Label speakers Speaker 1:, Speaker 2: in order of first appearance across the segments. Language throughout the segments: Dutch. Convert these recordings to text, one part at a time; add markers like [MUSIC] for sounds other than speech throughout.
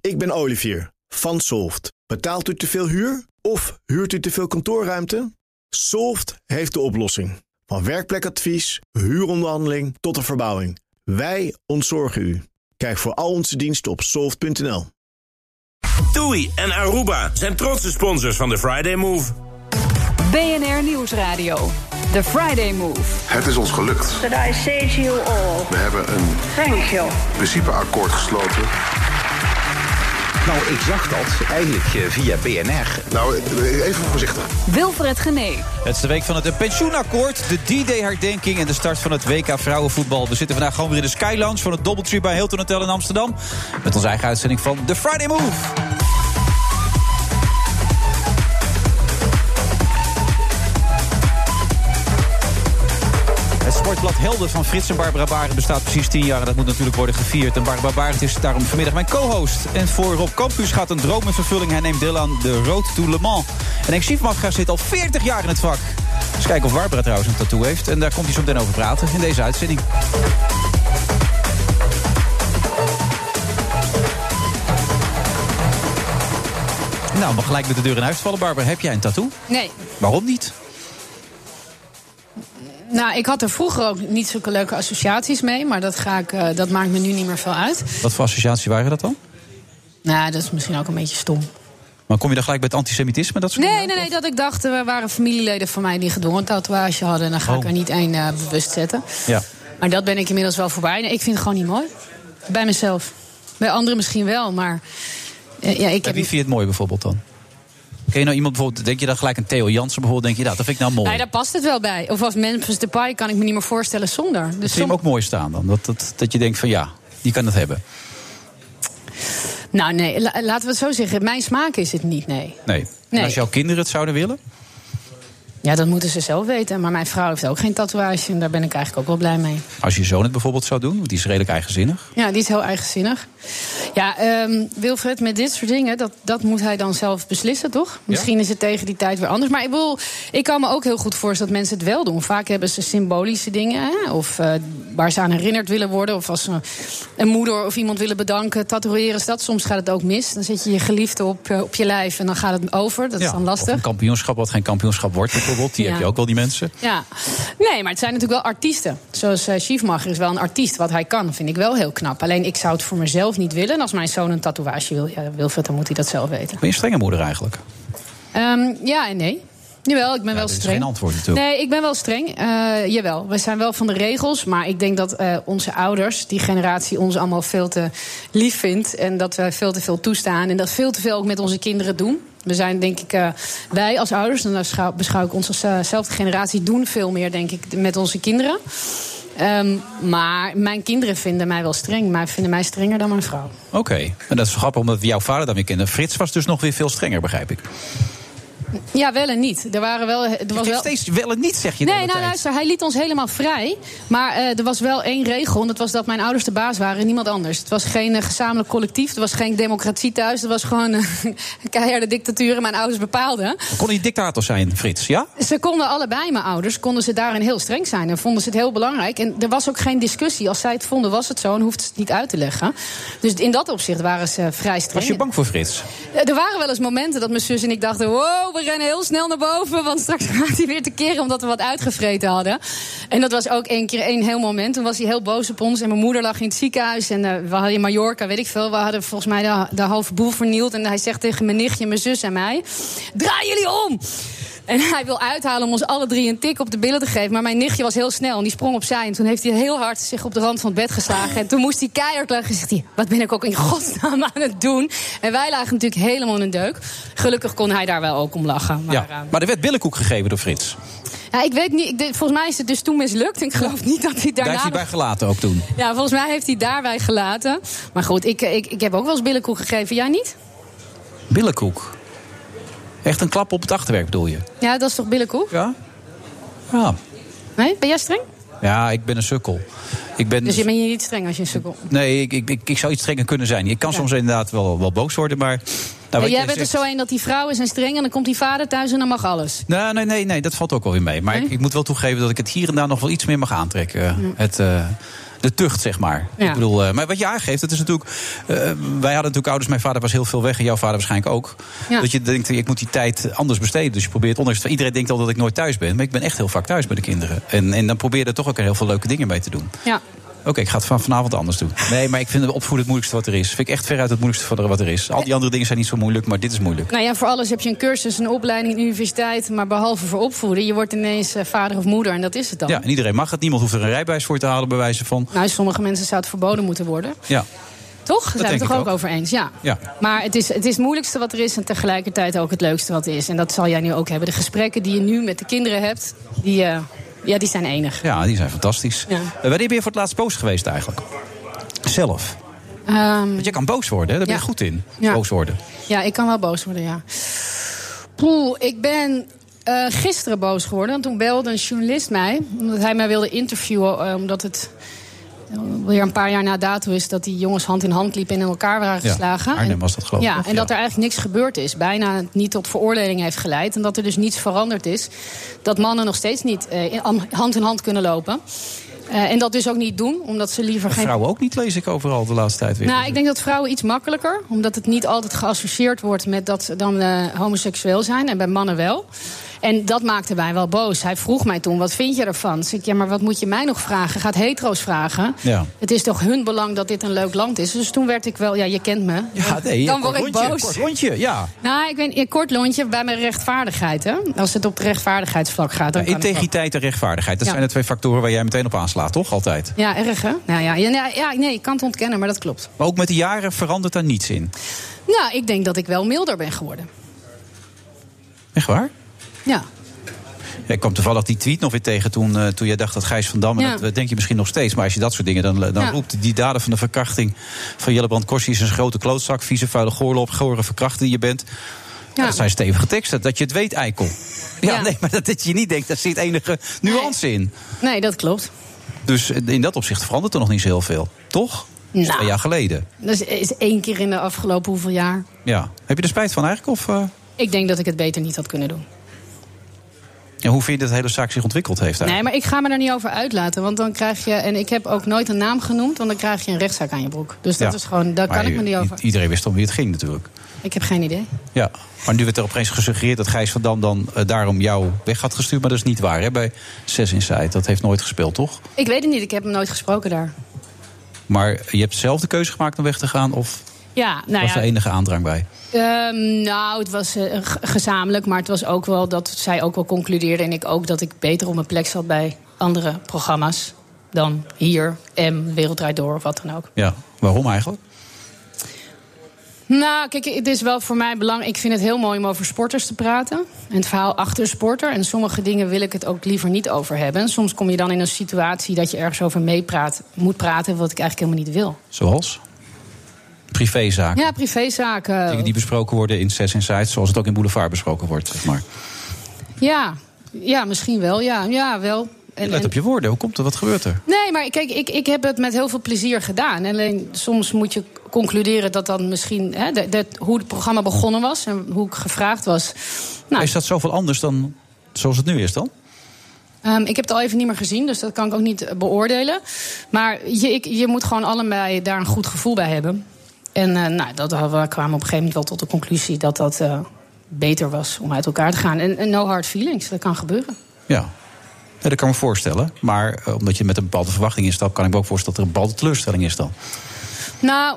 Speaker 1: Ik ben Olivier van Solft. Betaalt u te veel huur of huurt u te veel kantoorruimte? Solft heeft de oplossing. Van werkplekadvies, huuronderhandeling tot de verbouwing. Wij ontzorgen u. Kijk voor al onze diensten op soft.nl.
Speaker 2: TUI en Aruba zijn trotse sponsors van de Friday Move.
Speaker 3: BNR Nieuwsradio. The Friday Move.
Speaker 4: Het is ons gelukt.
Speaker 5: But I say to you all,
Speaker 4: We hebben een
Speaker 5: thank you.
Speaker 4: principeakkoord gesloten.
Speaker 6: Nou, ik zag dat eigenlijk eh, via BNR.
Speaker 4: Nou, even voorzichtig.
Speaker 3: Wilfred Genee.
Speaker 7: Het is de week van het pensioenakkoord, de D-Day-herdenking en de start van het WK vrouwenvoetbal. We zitten vandaag gewoon weer in de Skylounge van het Doubletree bij Hilton Hotel in Amsterdam. Met onze eigen uitzending van The Friday Move. Het sportblad Helden van Frits en Barbara Barend bestaat precies 10 jaar. En dat moet natuurlijk worden gevierd. En Barbara Barend is daarom vanmiddag mijn co-host. En voor Rob Campus gaat een droom in vervulling. Hij neemt deel aan de Road to Le Mans. En Henk Schiefmacher zit al 40 jaar in het vak. Dus kijken of Barbara trouwens een tattoo heeft. En daar komt hij zo meteen over praten in deze uitzending. Nou, maar gelijk met de deur in huis vallen. Barbara, heb jij een tattoo?
Speaker 8: Nee.
Speaker 7: Waarom niet?
Speaker 8: Nou, ik had er vroeger ook niet zulke leuke associaties mee. Maar dat, ga ik, eh, dat maakt me nu niet meer veel uit.
Speaker 7: Wat voor associatie waren dat dan?
Speaker 8: Nou, dat is misschien ook een beetje stom.
Speaker 7: Maar kom je dan gelijk bij het antisemitisme? Dat soort
Speaker 8: Nee,
Speaker 7: dingen?
Speaker 8: nee, nee. Dat ik dacht, er waren familieleden van mij die gedwongen een tatoeage hadden. En dan ga ik
Speaker 7: Oh.
Speaker 8: er niet één eh, bewust zetten.
Speaker 7: Ja.
Speaker 8: Maar dat ben ik inmiddels wel voorbij. Nee, ik vind het gewoon niet mooi. Bij mezelf. Bij anderen misschien wel, maar... eh, ja,
Speaker 7: Bij
Speaker 8: ik heb
Speaker 7: wie vind je het mooi bijvoorbeeld dan? Ken je nou iemand bijvoorbeeld, denk je dan gelijk een Theo Jansen bijvoorbeeld, denk je dat, dat vind ik nou mooi.
Speaker 8: Nee, daar past het wel bij. Of als Memphis Depay kan ik me niet meer voorstellen zonder. Dus
Speaker 7: vind je hem
Speaker 8: som-
Speaker 7: ook mooi staan dan? Dat, dat, dat je denkt van ja, die kan het hebben.
Speaker 8: Nou nee, la- laten we het zo zeggen. Mijn smaak is het niet, nee.
Speaker 7: Nee. En
Speaker 8: Nee.
Speaker 7: als jouw kinderen het zouden willen?
Speaker 8: Ja, dat moeten ze zelf weten. Maar mijn vrouw heeft ook geen tatoeage. En daar ben ik eigenlijk ook wel blij mee.
Speaker 7: Als je zoon het bijvoorbeeld zou doen, want die is redelijk eigenzinnig.
Speaker 8: Ja, die is heel eigenzinnig. Ja, ehm, Wilfred, met dit soort dingen, dat, dat moet hij dan zelf beslissen, toch? Misschien is het tegen die tijd weer anders. Maar ik, bedoel, ik kan me ook heel goed voorstellen dat mensen het wel doen. Vaak hebben ze symbolische dingen, hè, of eh, waar ze aan herinnerd willen worden. Of als ze een moeder of iemand willen bedanken, tatoeëren ze dat. Soms gaat het ook mis. Dan zet je je geliefde op, eh, op je lijf en dan gaat het over. Dat is dan
Speaker 7: Of
Speaker 8: lastig.
Speaker 7: een kampioenschap wat geen kampioenschap wordt bijvoorbeeld. Die
Speaker 8: Ja.
Speaker 7: heb je ook wel, die mensen.
Speaker 8: Ja, nee, maar het zijn natuurlijk wel artiesten. Zoals eh Schiefmacher is wel een artiest. Wat hij kan, vind ik wel heel knap. Alleen ik zou het voor mezelf niet willen. En als mijn zoon een tatoeage wil, ja, Wilfred, dan moet hij dat zelf weten.
Speaker 7: Ben je een strenge moeder eigenlijk?
Speaker 8: Ehm, ja en nee. Jawel, ik ben wel
Speaker 7: dit is
Speaker 8: streng.
Speaker 7: geen antwoord natuurlijk.
Speaker 8: Nee, ik ben wel streng. Eh, jawel, we zijn wel van de regels. Maar ik denk dat eh, onze ouders, die generatie, ons allemaal veel te lief vindt. En dat wij veel te veel toestaan. En dat veel te veel ook met onze kinderen doen. We zijn, denk ik, eh, wij als ouders, en dan schou- beschouw ik onze eh, zelfde generatie, doen veel meer, denk ik, met onze kinderen. Ehm, maar mijn kinderen vinden mij wel streng. Maar vinden mij strenger dan mijn vrouw.
Speaker 7: Oké. En dat is grappig omdat we jouw vader dan weer kennen. Frits was dus nog weer veel strenger, begrijp ik.
Speaker 8: Ja, wel en niet. Er, waren wel, er was
Speaker 7: je
Speaker 8: wel...
Speaker 7: steeds wel en niet, zeg je de
Speaker 8: Nee,
Speaker 7: hele
Speaker 8: nou
Speaker 7: tijd.
Speaker 8: luister, hij liet ons helemaal vrij. Maar eh, er was wel één regel. En dat was dat mijn ouders de baas waren en niemand anders. Het was geen eh, gezamenlijk collectief. Er was geen democratie thuis. Er was gewoon eh, [LAUGHS] een keiharde dictatuur. En mijn ouders bepaalden.
Speaker 7: Kon hij dictator zijn, Frits, ja?
Speaker 8: Ze konden allebei, mijn ouders, konden ze daarin heel streng zijn. En vonden ze het heel belangrijk. En er was ook geen discussie. Als zij het vonden, was het zo. En hoefde ze het niet uit te leggen. Dus in dat opzicht waren ze vrij streng.
Speaker 7: Was je bang voor Frits?
Speaker 8: Eh, Er waren wel eens momenten dat mijn zus en ik dachten: wow, we rennen heel snel naar boven. Want straks [LAUGHS] gaat hij weer te keren omdat we wat uitgevreten hadden. En dat was ook één keer één heel moment. Toen was hij heel boos op ons. En mijn moeder lag in het ziekenhuis. En eh, we hadden in Mallorca, weet ik veel. We hadden volgens mij de, de halve boel vernield. En hij zegt tegen mijn nichtje, mijn zus en mij: draai jullie om! En hij wil uithalen om ons alle drie een tik op de billen te geven. Maar mijn nichtje was heel snel en die sprong opzij. En toen heeft hij heel hard zich op de rand van het bed geslagen. En toen moest hij keihard lachen. En zegt hij, wat ben ik ook in godsnaam aan het doen? En wij lagen natuurlijk helemaal in een deuk. Gelukkig kon hij daar wel ook om lachen. Maar, eh,
Speaker 7: ja. Maar er werd billenkoek gegeven door Frits.
Speaker 8: ja, ik weet niet, ik, denk- volgens mij is het dus toen mislukt. En ik geloof niet dat hij daarna...
Speaker 7: Daar is hij
Speaker 8: nog-
Speaker 7: bij gelaten ook toen.
Speaker 8: Ja, volgens mij heeft hij daarbij gelaten. Maar goed, ik, ik, ik heb ook wel eens billenkoek gegeven. Jij niet?
Speaker 7: Billenkoek. Echt een klap op het achterwerk bedoel je?
Speaker 8: Ja, dat is toch billenkoek?
Speaker 7: Ja. Ja,
Speaker 8: Nee? Ben jij streng?
Speaker 7: ja ik ben een sukkel. Ik ben,
Speaker 8: Dus je bent hier niet streng als je een sukkel...
Speaker 7: Nee, ik, ik, ik, ik zou iets strenger kunnen zijn. Ik kan soms inderdaad wel, wel boos worden, maar... Nou, wat
Speaker 8: jij
Speaker 7: je
Speaker 8: bent er
Speaker 7: zegt-
Speaker 8: zo een dat die vrouwen zijn streng... en dan komt die vader thuis en dan mag alles.
Speaker 7: Nou, nee, nee, nee, dat valt ook wel weer mee. Maar ik, ik moet wel toegeven dat ik het hier en daar nog wel iets meer mag aantrekken. Het, eh, de tucht, zeg maar.
Speaker 8: Ja.
Speaker 7: Ik bedoel, eh, maar wat je aangeeft, dat is natuurlijk. eh, wij hadden natuurlijk ouders, mijn vader was heel veel weg en jouw vader waarschijnlijk ook.
Speaker 8: Ja.
Speaker 7: Dat je denkt, ik moet die tijd anders besteden. Dus je probeert, ondanks dat iedereen denkt al dat ik nooit thuis ben, maar ik ben echt heel vaak thuis bij de kinderen. En, en dan probeer je er toch ook heel veel leuke dingen mee te doen.
Speaker 8: Ja.
Speaker 7: Oké, ik ga het van vanavond anders doen. Nee, maar ik vind opvoeden het moeilijkste wat er is. Vind ik echt veruit het moeilijkste van wat er is. Al die andere dingen zijn niet zo moeilijk, maar dit is moeilijk.
Speaker 8: Nou ja, voor alles heb je een cursus, een opleiding, een universiteit. Maar behalve voor opvoeden, je wordt ineens eh, vader of moeder en dat is het dan.
Speaker 7: Ja, en iedereen mag het. Niemand hoeft er een rijbewijs voor te halen, bij wijze van.
Speaker 8: Nou, sommige mensen zou het verboden moeten worden.
Speaker 7: Ja,
Speaker 8: Toch? Zijn we
Speaker 7: denk
Speaker 8: het
Speaker 7: ik
Speaker 8: toch ook
Speaker 7: ook.
Speaker 8: over eens? Ja.
Speaker 7: Ja.
Speaker 8: Maar het is, het is het moeilijkste wat er is en tegelijkertijd ook het leukste wat er is. En dat zal jij nu ook hebben. De gesprekken die je nu met de kinderen hebt, die, eh, ja, die zijn enig.
Speaker 7: ja die zijn fantastisch.
Speaker 8: Ja.
Speaker 7: Eh, wanneer ben je voor het laatst boos geweest eigenlijk? Zelf.
Speaker 8: Ehm,
Speaker 7: Want je kan boos worden, hè? daar ben je
Speaker 8: Ja.
Speaker 7: goed in.
Speaker 8: Ja.
Speaker 7: Boos worden.
Speaker 8: ja, ik kan wel boos worden, ja. Poeh, ik ben eh, gisteren boos geworden. Want toen belde een journalist mij, omdat hij mij wilde interviewen. eh, omdat het eh, weer een paar jaar na dato is dat die jongens hand in hand liepen en in elkaar waren
Speaker 7: Ja,
Speaker 8: geslagen.
Speaker 7: Arnhem
Speaker 8: En-
Speaker 7: was dat, geloof ik,
Speaker 8: Ja,
Speaker 7: toch?
Speaker 8: en dat
Speaker 7: Ja.
Speaker 8: er eigenlijk niks gebeurd is. Bijna niet tot veroordeling heeft geleid. En dat er dus niets veranderd is. Dat mannen nog steeds niet eh, in- am- hand in hand kunnen lopen. Eh, en dat dus ook niet doen, omdat ze liever geen
Speaker 7: Vrouwen ook niet, lees ik overal de laatste tijd weer.
Speaker 8: nou, ik denk dat vrouwen iets makkelijker, omdat het niet altijd geassocieerd wordt met dat ze dan eh, homoseksueel zijn en bij mannen wel. En dat maakte mij wel boos. Hij vroeg mij toen: wat vind je ervan? Dus ik, ja, maar wat moet je mij nog vragen? Gaat hetero's vragen?
Speaker 7: Ja.
Speaker 8: Het is toch hun belang dat dit een leuk land is? Dus toen werd ik wel, ja, je kent me.
Speaker 7: ja, nee,
Speaker 8: dan
Speaker 7: een kort
Speaker 8: word ik
Speaker 7: rondje,
Speaker 8: boos.
Speaker 7: Kort rondje, ja.
Speaker 8: Nou, ik ben een kort lontje bij mijn rechtvaardigheid. Hè? Als het op het rechtvaardigheidsvlak gaat, dan kan ik wel.
Speaker 7: Integriteit en rechtvaardigheid. Dat
Speaker 8: Ja.
Speaker 7: zijn de twee factoren waar jij meteen op aanslaat, toch? Altijd.
Speaker 8: Ja, erg hè? Nou ja, ja, ja, ja, nee, ik kan het ontkennen, maar dat klopt.
Speaker 7: Maar ook met de jaren verandert daar niets in.
Speaker 8: Nou, ik denk dat ik wel milder ben geworden.
Speaker 7: Echt waar?
Speaker 8: Ja.
Speaker 7: Ja, ik kwam toevallig die tweet nog weer tegen toen, eh, toen jij dacht dat Gijs van Dam... en
Speaker 8: Ja.
Speaker 7: dat eh, denk je misschien nog steeds, maar als je dat soort dingen dan, eh, dan
Speaker 8: Ja.
Speaker 7: roept... die daden van de verkrachting van Jellebrand Korsi is een grote klootzak... vieze vuile goorlop, gore verkrachter die je bent...
Speaker 8: Ja.
Speaker 7: Ja. Dat zijn stevige teksten, dat je het weet, eikel. Ja,
Speaker 8: Ja.
Speaker 7: nee, maar dat, dat je niet denkt, daar zit enige nuance in.
Speaker 8: Nee, dat klopt.
Speaker 7: Dus eh, in dat opzicht verandert er nog niet zo heel veel, toch? Dat is
Speaker 8: Nou.
Speaker 7: Twee jaar geleden,
Speaker 8: Dat is, is één keer in de afgelopen hoeveel jaar.
Speaker 7: ja. Heb je er spijt van eigenlijk, of... eh,
Speaker 8: Ik denk dat ik het beter niet had kunnen doen.
Speaker 7: ja, hoe vind je dat de hele zaak zich ontwikkeld heeft eigenlijk?
Speaker 8: Nee, maar ik ga me daar niet over uitlaten. Want dan krijg je. En ik heb ook nooit een naam genoemd, want dan krijg je een rechtszaak aan je broek. Dus dat
Speaker 7: Ja.
Speaker 8: is gewoon. Daar
Speaker 7: Maar
Speaker 8: kan ik me
Speaker 7: i-
Speaker 8: niet over.
Speaker 7: i- Iedereen wist om wie het ging natuurlijk.
Speaker 8: Ik heb geen idee.
Speaker 7: Ja, maar nu werd er opeens gesuggereerd dat Gijs van Dam dan eh, daarom jou weg had gestuurd. Maar dat is niet waar, hè? Bij Zes Inside. Dat heeft nooit gespeeld, toch?
Speaker 8: Ik weet het niet, ik heb hem nooit gesproken daar.
Speaker 7: Maar je hebt zelf de keuze gemaakt om weg te gaan? Of
Speaker 8: Ja, nou
Speaker 7: was
Speaker 8: ja.
Speaker 7: er enige aandrang bij?
Speaker 8: ehm, nou, het was eh, g- gezamenlijk, maar het was ook wel dat zij ook wel concludeerde. En ik ook dat ik beter op mijn plek zat bij andere programma's dan hier, M, Wereld Draait Door of wat dan ook.
Speaker 7: Ja, waarom eigenlijk?
Speaker 8: Nou, kijk, het is wel voor mij belangrijk. Ik vind het heel mooi om over sporters te praten. En het verhaal achter sporter. En sommige dingen wil ik het ook liever niet over hebben. En soms kom je dan in een situatie dat je ergens over meepraat, moet praten, wat ik eigenlijk helemaal niet wil.
Speaker 7: Zoals? Privézaken.
Speaker 8: Ja, privézaken.
Speaker 7: Dingen die besproken worden in Zes Inside, zoals het ook in Boulevard besproken wordt, zeg maar.
Speaker 8: Ja, ja, misschien wel. Ja, ja wel. En-
Speaker 7: Je let
Speaker 8: en-
Speaker 7: op je woorden. Hoe komt er? Wat gebeurt er?
Speaker 8: Nee, maar kijk, ik, ik heb het met heel veel plezier gedaan. Alleen soms moet je concluderen dat dan misschien hè, dat- dat- hoe het programma begonnen was en hoe ik gevraagd was. Nou,
Speaker 7: Is dat zoveel anders dan zoals het nu is dan?
Speaker 8: Ehm, ik heb het al even niet meer gezien, dus dat kan ik ook niet eh, beoordelen. Maar je, ik, je moet gewoon allebei daar een goed gevoel bij hebben. En eh, nou, dat, we kwamen op een gegeven moment wel tot de conclusie dat dat eh, beter was om uit elkaar te gaan. En, en no hard feelings, dat kan gebeuren.
Speaker 7: Ja. Ja, dat kan ik me voorstellen. Maar eh, omdat je met een bepaalde verwachting instapt, kan ik me ook voorstellen dat er een bepaalde teleurstelling is dan.
Speaker 8: Nou,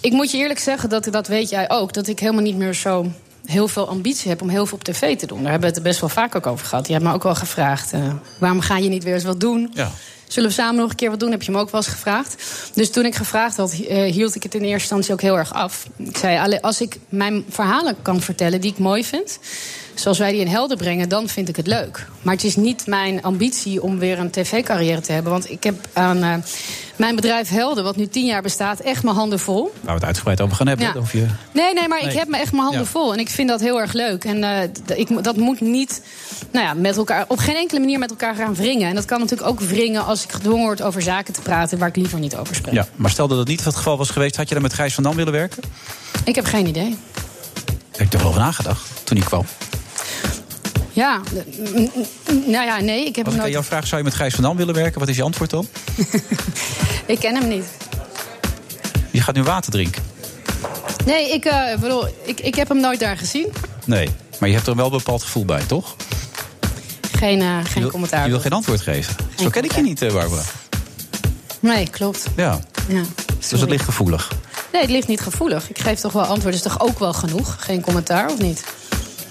Speaker 8: ik moet je eerlijk zeggen, dat, dat weet jij ook, dat ik helemaal niet meer zo heel veel ambitie heb om heel veel op tv te doen. Daar hebben we het er best wel vaak ook over gehad. Je hebt me ook wel gevraagd, eh, waarom ga je niet weer eens wat doen?
Speaker 7: Ja.
Speaker 8: Zullen we samen nog een keer wat doen? Heb je me ook wel eens gevraagd. Dus toen ik gevraagd had, eh, hield ik het in eerste instantie ook heel erg af. Ik zei, "Alle- als ik mijn verhalen kan vertellen die ik mooi vind... zoals wij die in helden brengen, dan vind ik het leuk. Maar het is niet mijn ambitie om weer een tv-carrière te hebben. Want ik heb aan eh, mijn bedrijf Helden, wat nu tien jaar bestaat... echt mijn handen vol.
Speaker 7: Waar we het uitgebreid over gaan hebben.
Speaker 8: Ja.
Speaker 7: Of je...
Speaker 8: Nee, nee, maar
Speaker 7: Nee.
Speaker 8: ik heb me echt mijn handen
Speaker 7: Ja.
Speaker 8: vol. En ik vind dat heel erg leuk. En eh, d- ik, mo- dat moet niet nou ja, met elkaar, op geen enkele manier met elkaar gaan wringen. En dat kan natuurlijk ook wringen als ik gedwongen word over zaken te praten waar ik liever niet over spreek.
Speaker 7: ja. Maar stel dat dat niet het geval was geweest, had je dan met Gijs van Dam willen werken?
Speaker 8: Ik heb geen idee.
Speaker 7: Daar heb ik er wel over nagedacht toen hij kwam.
Speaker 8: Ja, n- n- n- nou ja, nee, ik
Speaker 7: Als
Speaker 8: heb hem
Speaker 7: ik aan
Speaker 8: nooit.
Speaker 7: jou vraag, zou je met Gijs van Dam willen werken? Wat is je antwoord dan?
Speaker 8: Ik ken hem niet.
Speaker 7: Je gaat nu water drinken.
Speaker 8: Nee, ik, eh, bedoel, ik, ik heb hem nooit daar gezien.
Speaker 7: Nee, maar je hebt er wel een bepaald gevoel bij, toch?
Speaker 8: Geen, eh,
Speaker 7: je
Speaker 8: geen
Speaker 7: wil,
Speaker 8: commentaar.
Speaker 7: Je wil geen antwoord geven. Zo ken ik je
Speaker 8: commentaar.
Speaker 7: niet, eh, Barbara.
Speaker 8: Nee, klopt.
Speaker 7: Ja,
Speaker 8: Ja,
Speaker 7: dus
Speaker 8: sorry.
Speaker 7: het ligt gevoelig.
Speaker 8: Nee, het ligt niet gevoelig. Ik geef toch wel antwoord. Is toch ook wel genoeg? Geen commentaar of niet?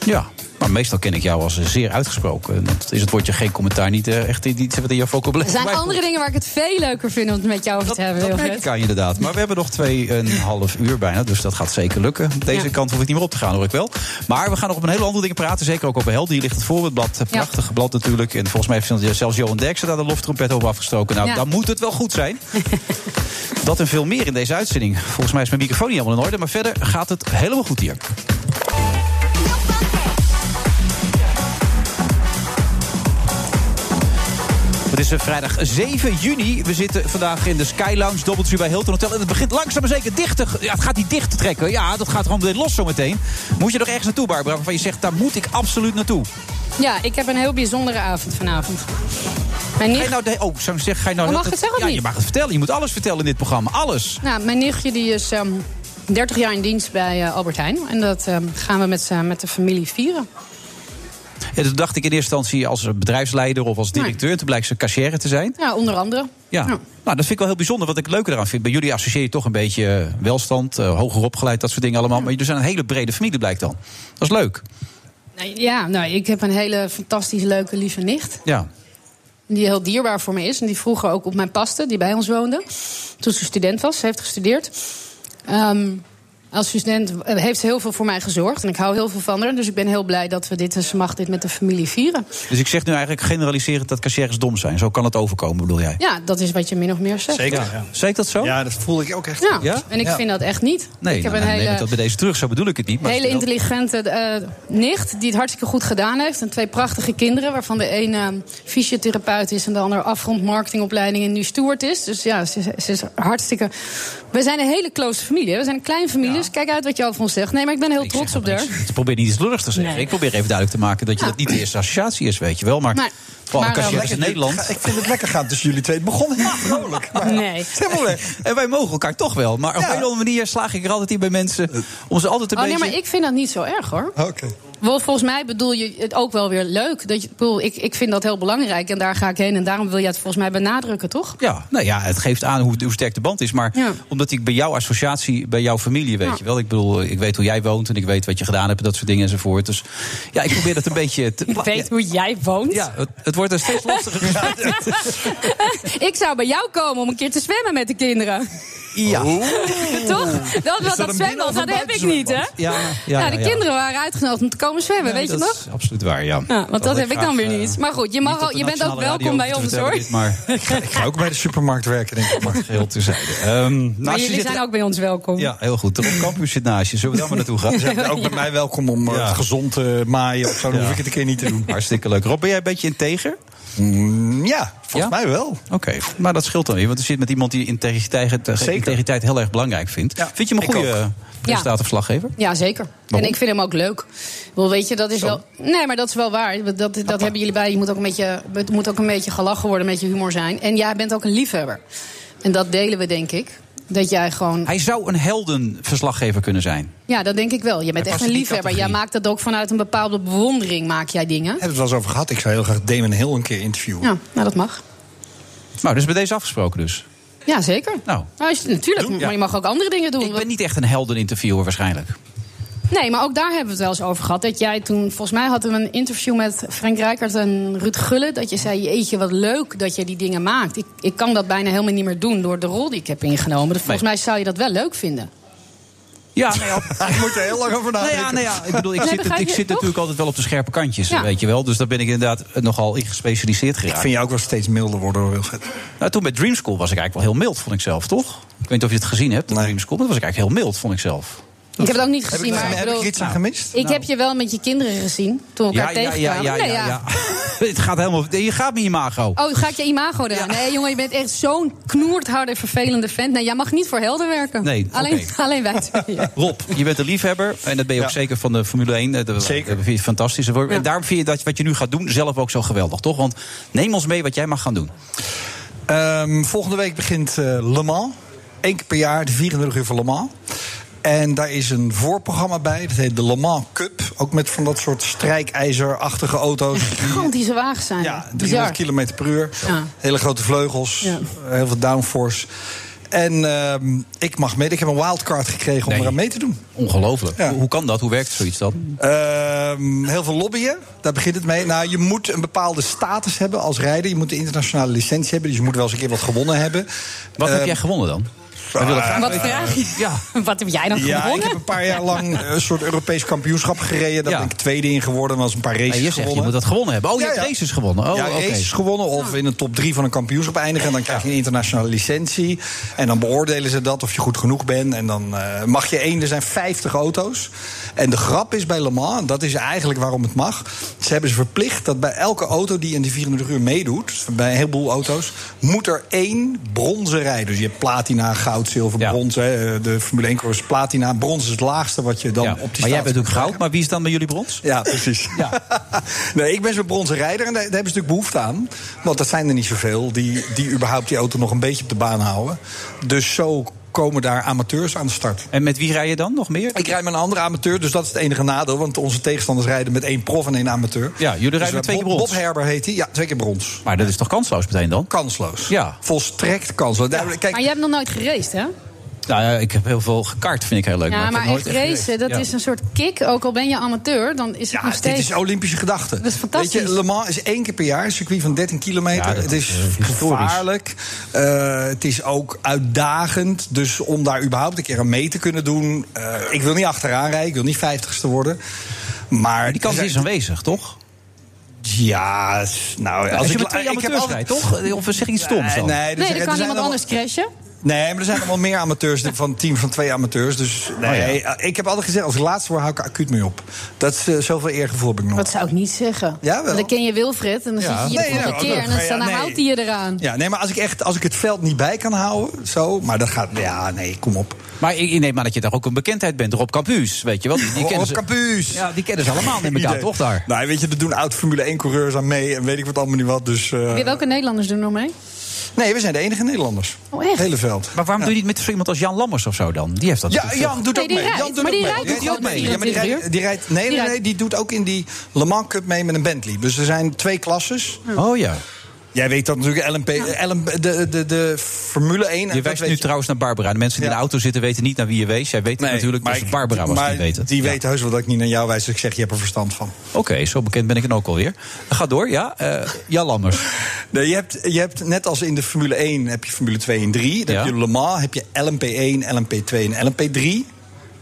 Speaker 7: Ja, maar meestal ken ik jou als eh, zeer uitgesproken. En Dat is het woordje geen commentaar niet eh, echt iets wat in jouw vocabulaire [LAUGHS]
Speaker 8: Er zijn
Speaker 7: voorbij
Speaker 8: andere
Speaker 7: komt.
Speaker 8: dingen waar ik het veel leuker vind om het met jou over te hebben.
Speaker 7: Dat merk
Speaker 8: Wilfred.
Speaker 7: ik aan je inderdaad. Maar we hebben nog 2,5 uur bijna, dus dat gaat zeker lukken. Deze
Speaker 8: Ja.
Speaker 7: kant hoef ik niet meer op te gaan, hoor ik wel. Maar we gaan nog op een hele andere dingen praten. Zeker ook op Helden. Hier ligt het voorbeeldblad. eh, Prachtig blad natuurlijk. En volgens mij heeft zelfs Johan Derksen daar de loftrompet over afgestoken. Nou,
Speaker 8: Ja.
Speaker 7: dan moet het wel goed
Speaker 8: [LAUGHS]
Speaker 7: zijn. dat en veel meer in deze uitzending. Volgens mij is mijn microfoon niet helemaal in orde. Maar verder gaat het helemaal goed hier. Het is eh, vrijdag 7 juni. We zitten vandaag in de Sky Lounge, dobbeltje bij Hilton Hotel. En het begint langzaam maar zeker dichter. Ja, het gaat niet dicht trekken. Ja, dat gaat gewoon meteen los zometeen. Moet je nog ergens naartoe, Barbara? Waarvan je zegt, daar moet ik absoluut naartoe.
Speaker 8: Ja, ik heb een heel bijzondere avond vanavond. Mijn
Speaker 7: Ga je
Speaker 8: nicht,
Speaker 7: nou, de- oh, zou ik zeggen, ga je nou...
Speaker 8: Maar mag
Speaker 7: dat-
Speaker 8: ik het zeggen of
Speaker 7: Ja,
Speaker 8: niet?
Speaker 7: je mag het vertellen. Je moet alles vertellen in dit programma. Alles.
Speaker 8: nou, mijn nichtje die is ehm, 30 jaar in dienst bij eh, Albert Heijn. En dat ehm, gaan we met, z'n- met de familie vieren.
Speaker 7: En toen dus dacht ik in eerste instantie als bedrijfsleider of als directeur. Toen blijkt ze cashier te zijn.
Speaker 8: Ja, onder andere.
Speaker 7: Ja.
Speaker 8: Nou,
Speaker 7: nou, dat vind ik wel heel bijzonder. Wat ik leuker eraan vind. Bij jullie associeer je toch een beetje eh, welstand, eh, hoger opgeleid, dat soort dingen allemaal. Maar jullie zijn een hele brede familie, blijkt dan. Dat is leuk.
Speaker 8: nou, ja, nou, ik heb een hele fantastisch leuke lieve nicht.
Speaker 7: Ja.
Speaker 8: Die heel dierbaar voor me is. En die vroeger ook op mijn paste, die bij ons woonde. Toen ze student was, ze heeft gestudeerd. Ehm, als student eh, heeft ze heel veel voor mij gezorgd. En ik hou heel veel van haar. Dus ik ben heel blij dat we dit, en ze mag dit met de familie vieren.
Speaker 7: Dus ik zeg nu eigenlijk generaliserend dat cashiers dom zijn. Zo kan het overkomen, bedoel jij?
Speaker 8: Ja, dat is wat je min of meer zegt.
Speaker 9: Zeker, ja.
Speaker 7: Zeg ik dat zo?
Speaker 9: Ja, dat voel ik ook echt.
Speaker 8: Ja,
Speaker 7: Ja?
Speaker 8: en ik
Speaker 7: Ja.
Speaker 8: vind dat echt niet.
Speaker 7: Nee,
Speaker 8: ik heb
Speaker 7: nou,
Speaker 8: een
Speaker 7: dan neem
Speaker 8: hele,
Speaker 7: ik dat bij deze terug. Zo bedoel ik het niet. Maar
Speaker 8: hele
Speaker 7: stel-
Speaker 8: intelligente eh, nicht die het hartstikke goed gedaan heeft. En twee prachtige kinderen, waarvan de een eh, fysiotherapeut is... en de ander afgrond marketingopleiding en nu steward is. Dus ja, ze, is- ze is hartstikke... We zijn een hele close familie. hè. We zijn een kleine familie, dus kijk uit wat je over ons zegt. Nee, maar ik ben heel
Speaker 7: Ik zeg
Speaker 8: trots op
Speaker 7: dat
Speaker 8: haar.
Speaker 7: niks. Ik probeer niet iets lulligs te zeggen.
Speaker 8: Nee.
Speaker 7: Ik probeer even duidelijk te maken dat je dat niet de eerste associatie is, weet je wel. Maar,
Speaker 8: Nee.
Speaker 7: vooral
Speaker 8: Maar,
Speaker 7: een cashier
Speaker 8: eh,
Speaker 7: is in Nederland.
Speaker 9: Ik vind het lekker gaan tussen jullie twee. Het begon heel vrolijk. maar-
Speaker 8: Nee.
Speaker 7: Helemaal leuk. En wij mogen elkaar toch wel. Maar op
Speaker 9: Ja. Eh.
Speaker 7: een of andere manier slaag ik er altijd in bij mensen. Om ze altijd een
Speaker 8: Oh nee,
Speaker 7: beetje...
Speaker 8: maar ik vind dat niet zo erg, hoor.
Speaker 9: Oké.
Speaker 8: Wel, volgens mij bedoel je het ook wel weer leuk. Dat je, ik bedoel, ik, ik vind dat heel belangrijk en daar ga ik heen. En daarom wil jij het volgens mij benadrukken, toch?
Speaker 7: Ja, nou ja, het geeft aan hoe, hoe sterk de band is. Maar
Speaker 8: Ja.
Speaker 7: omdat ik bij jouw associatie, bij jouw familie, weet
Speaker 8: Ja.
Speaker 7: je wel. Ik bedoel, ik weet hoe jij woont en ik weet wat je gedaan hebt en dat soort dingen enzovoort. Dus ja, ik probeer dat een [LAUGHS] beetje te...
Speaker 8: Ik weet hoe jij woont.
Speaker 7: Ja, het, het wordt een
Speaker 8: [LAUGHS]
Speaker 7: steeds lastiger.
Speaker 8: Ik zou bij jou komen om een keer te zwemmen met de kinderen.
Speaker 7: Ja.
Speaker 8: [LAUGHS] Toch?
Speaker 9: dat
Speaker 8: Dat, dat,
Speaker 9: een
Speaker 8: dat
Speaker 9: binnen-
Speaker 8: zwemmen,
Speaker 9: of
Speaker 8: dat
Speaker 9: een
Speaker 8: heb ik niet, hè?
Speaker 9: buitenzwembad?
Speaker 7: Ja, ja,
Speaker 8: nou, de
Speaker 7: ja, ja.
Speaker 8: kinderen waren uitgenodigd om te komen zwemmen, weet je
Speaker 7: dat
Speaker 8: nog?
Speaker 7: is absoluut waar, ja.
Speaker 8: Ja, want dat,
Speaker 7: had
Speaker 8: heb ik dan
Speaker 7: graag,
Speaker 8: weer
Speaker 7: eh,
Speaker 8: niet. Maar goed, je, mag
Speaker 7: niet
Speaker 8: al,
Speaker 7: op de
Speaker 8: je bent ook
Speaker 7: nationale radio
Speaker 8: welkom bij
Speaker 7: hoeven
Speaker 8: ons,
Speaker 7: te vertellen
Speaker 8: hoor.
Speaker 7: dit,
Speaker 8: [LAUGHS]
Speaker 7: maar
Speaker 9: Ik ga ook bij de supermarkt werken, denk ik. Maar.
Speaker 7: geheel terzijde. Ehm, naast
Speaker 8: Maar
Speaker 7: je
Speaker 8: jullie
Speaker 7: zit-
Speaker 8: zijn ook bij ons welkom.
Speaker 7: Ja, heel goed. De campus zit naast je. Zullen we daar maar
Speaker 8: [LAUGHS]
Speaker 7: naartoe gaan?
Speaker 9: Ze zijn ook bij mij welkom om eh,
Speaker 7: Ja.
Speaker 9: het gezond te maaien. Of zo dan
Speaker 7: Ja.
Speaker 9: hoef ik het een keer niet te doen.
Speaker 7: Hartstikke leuk. Rob, ben jij een beetje integer?
Speaker 9: Mm, Ja, volgens
Speaker 7: Ja?
Speaker 9: mij wel.
Speaker 7: Oké, maar dat scheelt dan weer. Want je zit met iemand die integriteit, eh,
Speaker 9: Zeker.
Speaker 7: integriteit heel erg belangrijk vindt.
Speaker 9: Ja,
Speaker 7: Vind je hem een
Speaker 9: ik
Speaker 7: goede
Speaker 9: ook.
Speaker 7: eh, presentator of slaggever?
Speaker 8: Ja, zeker. En ik vind hem ook leuk. Wel, weet je, dat is wel. Nee, maar dat is wel waar. Dat, dat hebben jullie bij. Je moet ook een beetje, het moet ook een beetje gelachen worden, een beetje humor zijn. En jij bent ook een liefhebber. En dat delen we, denk ik. Dat jij gewoon.
Speaker 7: Hij zou een heldenverslaggever kunnen zijn.
Speaker 8: Ja, dat denk ik wel. Je bent
Speaker 7: Hij
Speaker 8: echt
Speaker 7: past
Speaker 8: een
Speaker 7: in die
Speaker 8: liefhebber. Jij
Speaker 7: categorie.
Speaker 8: maakt dat ook vanuit een bepaalde bewondering, maak jij dingen.
Speaker 9: We hebben het wel eens over gehad. Ik zou heel graag Damon Hill een keer interviewen.
Speaker 8: Ja, nou, dat mag.
Speaker 7: Nou, dus bij deze afgesproken dus.
Speaker 8: Ja, zeker.
Speaker 7: Nou.
Speaker 8: als je- natuurlijk, maar je mag ook andere dingen doen.
Speaker 7: Ik ben niet echt een heldeninterviewer waarschijnlijk.
Speaker 8: Nee, maar ook daar hebben we het wel eens over gehad. Dat jij toen, volgens mij hadden we een interview met Frank Rijkaard en Ruud Gulle. Dat je zei, jeetje, wat leuk dat je die dingen maakt. Ik, ik kan dat bijna helemaal niet meer doen door de rol die ik heb ingenomen. Dus volgens
Speaker 7: Nee.
Speaker 8: mij zou je dat wel leuk vinden.
Speaker 7: Ja, nou ja,
Speaker 9: [LAUGHS] Ik moet er heel lang over
Speaker 7: Nou
Speaker 9: nadenken.
Speaker 7: ja, nou ja, ik bedoel, ik
Speaker 8: Nee,
Speaker 7: zit,
Speaker 8: begrijp
Speaker 7: ik
Speaker 8: je,
Speaker 7: zit
Speaker 8: toch?
Speaker 7: natuurlijk altijd wel op de scherpe kantjes,
Speaker 8: Ja.
Speaker 7: weet je wel. Dus daar ben ik inderdaad eh, nogal in gespecialiseerd
Speaker 9: Ik
Speaker 7: geraakt.
Speaker 9: vind jou ook wel steeds milder worden, hoor, Wilfred.
Speaker 7: Nou, toen bij Dream School was ik eigenlijk wel heel mild, vond ik zelf, toch? Ik weet niet of je het gezien hebt, dat
Speaker 9: Nee.
Speaker 7: Dream School. Maar dat was ik eigenlijk heel mild, vond ik zelf.
Speaker 8: Ik heb het ook niet gezien,
Speaker 9: daar-
Speaker 8: maar ik
Speaker 9: heb
Speaker 8: bedoel...
Speaker 9: ik iets aan gemist?
Speaker 8: Ik heb je wel met je kinderen gezien, toen we elkaar tegenkwamen. Nee, ja.
Speaker 7: [LAUGHS] het gaat helemaal. Je gaat met je imago.
Speaker 8: Oh, ga ik je imago eraan? Nee, jongen, je bent echt zo'n knoertharde, vervelende vent. Nee, jij mag niet voor helden werken.
Speaker 7: Nee,
Speaker 8: alleen,
Speaker 7: oké.
Speaker 8: alleen
Speaker 9: [LAUGHS]
Speaker 8: wij twee.
Speaker 7: Rob, je bent een liefhebber. En dat ben je ook zeker van de Formule 1. Eh, Dat
Speaker 9: Zeker.
Speaker 7: dat vind je het fantastisch. En daarom vind je dat wat je nu gaat doen zelf ook zo geweldig, toch? Want neem ons mee wat jij mag gaan doen.
Speaker 9: Ehm, volgende week begint eh, Le Mans. Eén keer per jaar, de 24 uur van Le Mans. En daar is een voorprogramma bij, dat heet de Le Mans Cup. Ook met van dat soort strijkijzerachtige auto's. [LAUGHS]
Speaker 8: Gigantische wagen zijn.
Speaker 9: Ja, 300
Speaker 8: Bizar.
Speaker 9: km per uur.
Speaker 8: Ja.
Speaker 9: Hele grote vleugels,
Speaker 8: Ja.
Speaker 9: heel veel downforce. En ehm, ik mag mee. Ik heb een wildcard gekregen om
Speaker 7: Nee.
Speaker 9: eraan mee te doen.
Speaker 7: Ongelooflijk.
Speaker 9: Ja.
Speaker 7: Hoe hoe kan dat? Hoe werkt zoiets dan?
Speaker 9: Ehm, heel veel lobbyen, daar begint het mee. Nou, je moet een bepaalde status hebben als rijder. Je moet een internationale licentie hebben, dus je moet wel eens een keer wat gewonnen hebben.
Speaker 7: Wat
Speaker 9: Ehm, Ah,
Speaker 7: heb jij gewonnen dan? Wij willen graag
Speaker 8: Wat
Speaker 7: weten.
Speaker 8: vraag je? [LAUGHS] Wat heb jij dan
Speaker 9: Ja, ik
Speaker 8: gewonnen?
Speaker 9: heb een paar jaar
Speaker 8: [LAUGHS]
Speaker 9: lang een soort Europees kampioenschap gereden. Daar
Speaker 7: Ja.
Speaker 9: ben ik tweede in geworden. Was een paar races
Speaker 7: Nee, je zegt, je
Speaker 9: gewonnen.
Speaker 7: moet dat gewonnen hebben. Oh, je
Speaker 9: Ja,
Speaker 7: hebt
Speaker 9: ja.
Speaker 7: races gewonnen. Oh,
Speaker 9: ja,
Speaker 7: oké.
Speaker 9: races gewonnen of in de top drie van een kampioenschap eindigen. En dan krijg je een internationale licentie. En dan beoordelen ze dat of je goed genoeg bent. En dan eh, mag je één. Er zijn 50 auto's. En de grap is bij Le Mans, en dat is eigenlijk waarom het mag. Ze hebben ze verplicht dat bij elke auto die in die 24 uur meedoet, dus bij een heleboel auto's, moet er één bronzen rijden. Dus je hebt platina, goud, zilver,
Speaker 7: Ja.
Speaker 9: brons. Hè, de Formule 1 is platina. Brons is het laagste wat je dan
Speaker 7: Ja.
Speaker 9: op die
Speaker 7: Maar
Speaker 9: status
Speaker 7: jij bent ook
Speaker 9: kan krijgen.
Speaker 7: goud. Maar wie is dan bij jullie brons?
Speaker 9: Ja,
Speaker 7: [LAUGHS]
Speaker 9: precies.
Speaker 7: Ja.
Speaker 9: nee, ik ben zo'n bronzen rijder en daar, daar hebben ze natuurlijk behoefte aan. Want dat zijn er niet zoveel die, die überhaupt die auto nog een beetje op de baan houden. Dus zo komen daar amateurs aan de start.
Speaker 7: En met wie rij je dan nog meer?
Speaker 9: Ik rijd met een andere amateur, dus dat is het enige nadeel. Want onze tegenstanders rijden met één prof en één amateur. Dus
Speaker 7: Ja, jullie rijden
Speaker 9: we
Speaker 7: met twee
Speaker 9: hebben
Speaker 7: keer brons.
Speaker 9: Bob, Bob Herber heet hij. Ja, twee keer brons.
Speaker 7: Maar dat is toch kansloos meteen dan?
Speaker 9: Kansloos.
Speaker 7: Ja.
Speaker 9: Volstrekt kansloos. Daar- Kijk,
Speaker 8: Maar jij hebt nog nooit geraced, hè?
Speaker 7: Nou ja, ik heb heel veel gekart, vind ik heel leuk.
Speaker 8: Ja,
Speaker 7: ik heb
Speaker 8: maar
Speaker 7: nooit
Speaker 8: echt racen, dat
Speaker 7: Ja.
Speaker 8: is een soort kick. Ook al ben je amateur, dan is het
Speaker 9: Ja,
Speaker 8: nog steeds...
Speaker 9: dit is Olympische gedachte.
Speaker 8: Dat is fantastisch.
Speaker 9: Weet je, Le Mans is één keer per jaar een circuit van 13 kilometer.
Speaker 7: Ja, dat
Speaker 9: het
Speaker 7: is,
Speaker 9: is
Speaker 7: eh, historisch.
Speaker 9: gevaarlijk. Eh, het is ook uitdagend. Dus om daar überhaupt een keer aan mee te kunnen doen... eh, ik wil niet achteraan rijden, ik wil niet vijftigste worden. Maar
Speaker 7: Die kans is aanwezig, toch?
Speaker 9: Ja, nou...
Speaker 7: Als, je
Speaker 9: ik,
Speaker 7: met twee
Speaker 9: ik heb
Speaker 7: amateurs
Speaker 9: altijd-
Speaker 7: rijdt, toch? Of zeg je iets stoms
Speaker 9: Nee,
Speaker 7: dan?
Speaker 9: nee, er
Speaker 8: Nee,
Speaker 9: zijn-
Speaker 8: dan
Speaker 9: er
Speaker 8: kan
Speaker 9: zijn
Speaker 8: iemand
Speaker 9: al-
Speaker 8: anders crashen.
Speaker 9: Nee, maar er zijn allemaal meer
Speaker 7: [LAUGHS]
Speaker 9: amateurs dan van een team van twee amateurs. Dus
Speaker 7: Oh,
Speaker 9: nee, ik heb altijd gezegd, als ik laatste word, hou ik er acuut mee op. Dat is eh, zoveel eergevoel heb ik nog.
Speaker 8: Dat zou ik niet zeggen.
Speaker 9: Ja, wel.
Speaker 8: Want Dan ken je Wilfred en dan
Speaker 9: Ja.
Speaker 8: zit je hier
Speaker 9: Nee,
Speaker 8: de volgende
Speaker 9: nou,
Speaker 8: keer...
Speaker 9: dat-
Speaker 8: en dan,
Speaker 9: ja,
Speaker 8: dan
Speaker 9: nee.
Speaker 8: houdt hij je eraan.
Speaker 9: Ja, nee, maar als ik, echt, als ik het veld niet bij kan houden, zo. Maar dat gaat. Ja, nee, kom op.
Speaker 7: Maar ik ik neem aan dat je daar ook een bekendheid bent. Rob Campus, weet je wel? Die, die
Speaker 9: Rob
Speaker 7: kennen ze-
Speaker 9: Campus!
Speaker 7: Ja, die kennen ze allemaal, neem ik aan,
Speaker 9: Oh, [LAUGHS] Idee.
Speaker 7: toch daar?
Speaker 9: Nou, weet je, er doen oud Formule 1-coureurs aan mee en weet ik wat allemaal niet wat. Dus, eh,
Speaker 8: Wie- Welke Nederlanders doen er mee?
Speaker 9: Nee, we zijn de enige Nederlanders.
Speaker 8: Oh, echt?
Speaker 9: Hele veld.
Speaker 7: Maar waarom doe je niet met zo iemand als Jan Lammers of zo dan? Die heeft dat
Speaker 9: Ja,
Speaker 7: natuurlijk
Speaker 9: Jan doet
Speaker 8: Nee,
Speaker 9: ook
Speaker 8: die
Speaker 9: mee.
Speaker 8: rijdt,
Speaker 9: Jan doet
Speaker 8: maar
Speaker 9: ook
Speaker 8: die
Speaker 9: mee.
Speaker 8: rijdt
Speaker 9: Die
Speaker 8: ook
Speaker 9: rijdt ook
Speaker 8: wel
Speaker 9: mee.
Speaker 8: met
Speaker 9: Ja, maar die
Speaker 8: 24
Speaker 9: rijdt, die rijdt, nee, nee,
Speaker 8: rijdt-
Speaker 9: nee, die doet ook in die Le Mans Cup mee met een Bentley. Dus er zijn twee klasses.
Speaker 7: toch? Oh ja.
Speaker 9: Jij weet dat natuurlijk, LMP, LMP, de, de, de Formule 1. en
Speaker 7: Je
Speaker 9: dat
Speaker 7: wijst
Speaker 9: weet
Speaker 7: nu trouwens naar Barbara. De mensen die
Speaker 9: Ja.
Speaker 7: in de auto zitten weten niet naar wie je wees. Jij weet het
Speaker 9: Nee,
Speaker 7: natuurlijk,
Speaker 9: maar
Speaker 7: dus
Speaker 9: ik-
Speaker 7: Barbara was
Speaker 9: maar
Speaker 7: die weten.
Speaker 9: Die
Speaker 7: Ja.
Speaker 9: weet heus wel dat ik niet naar jou wijs. Dus ik zeg, je hebt er verstand van.
Speaker 7: Oké, zo bekend ben ik dan ook alweer. Ga door, ja. eh, Jan Lammers.
Speaker 9: [LAUGHS] Nee, je, hebt, je hebt net als in de Formule 1 heb je Formule 2 en 3. Dan
Speaker 7: Ja.
Speaker 9: heb je Le Mans, heb je LMP1, LMP2 en LMP3.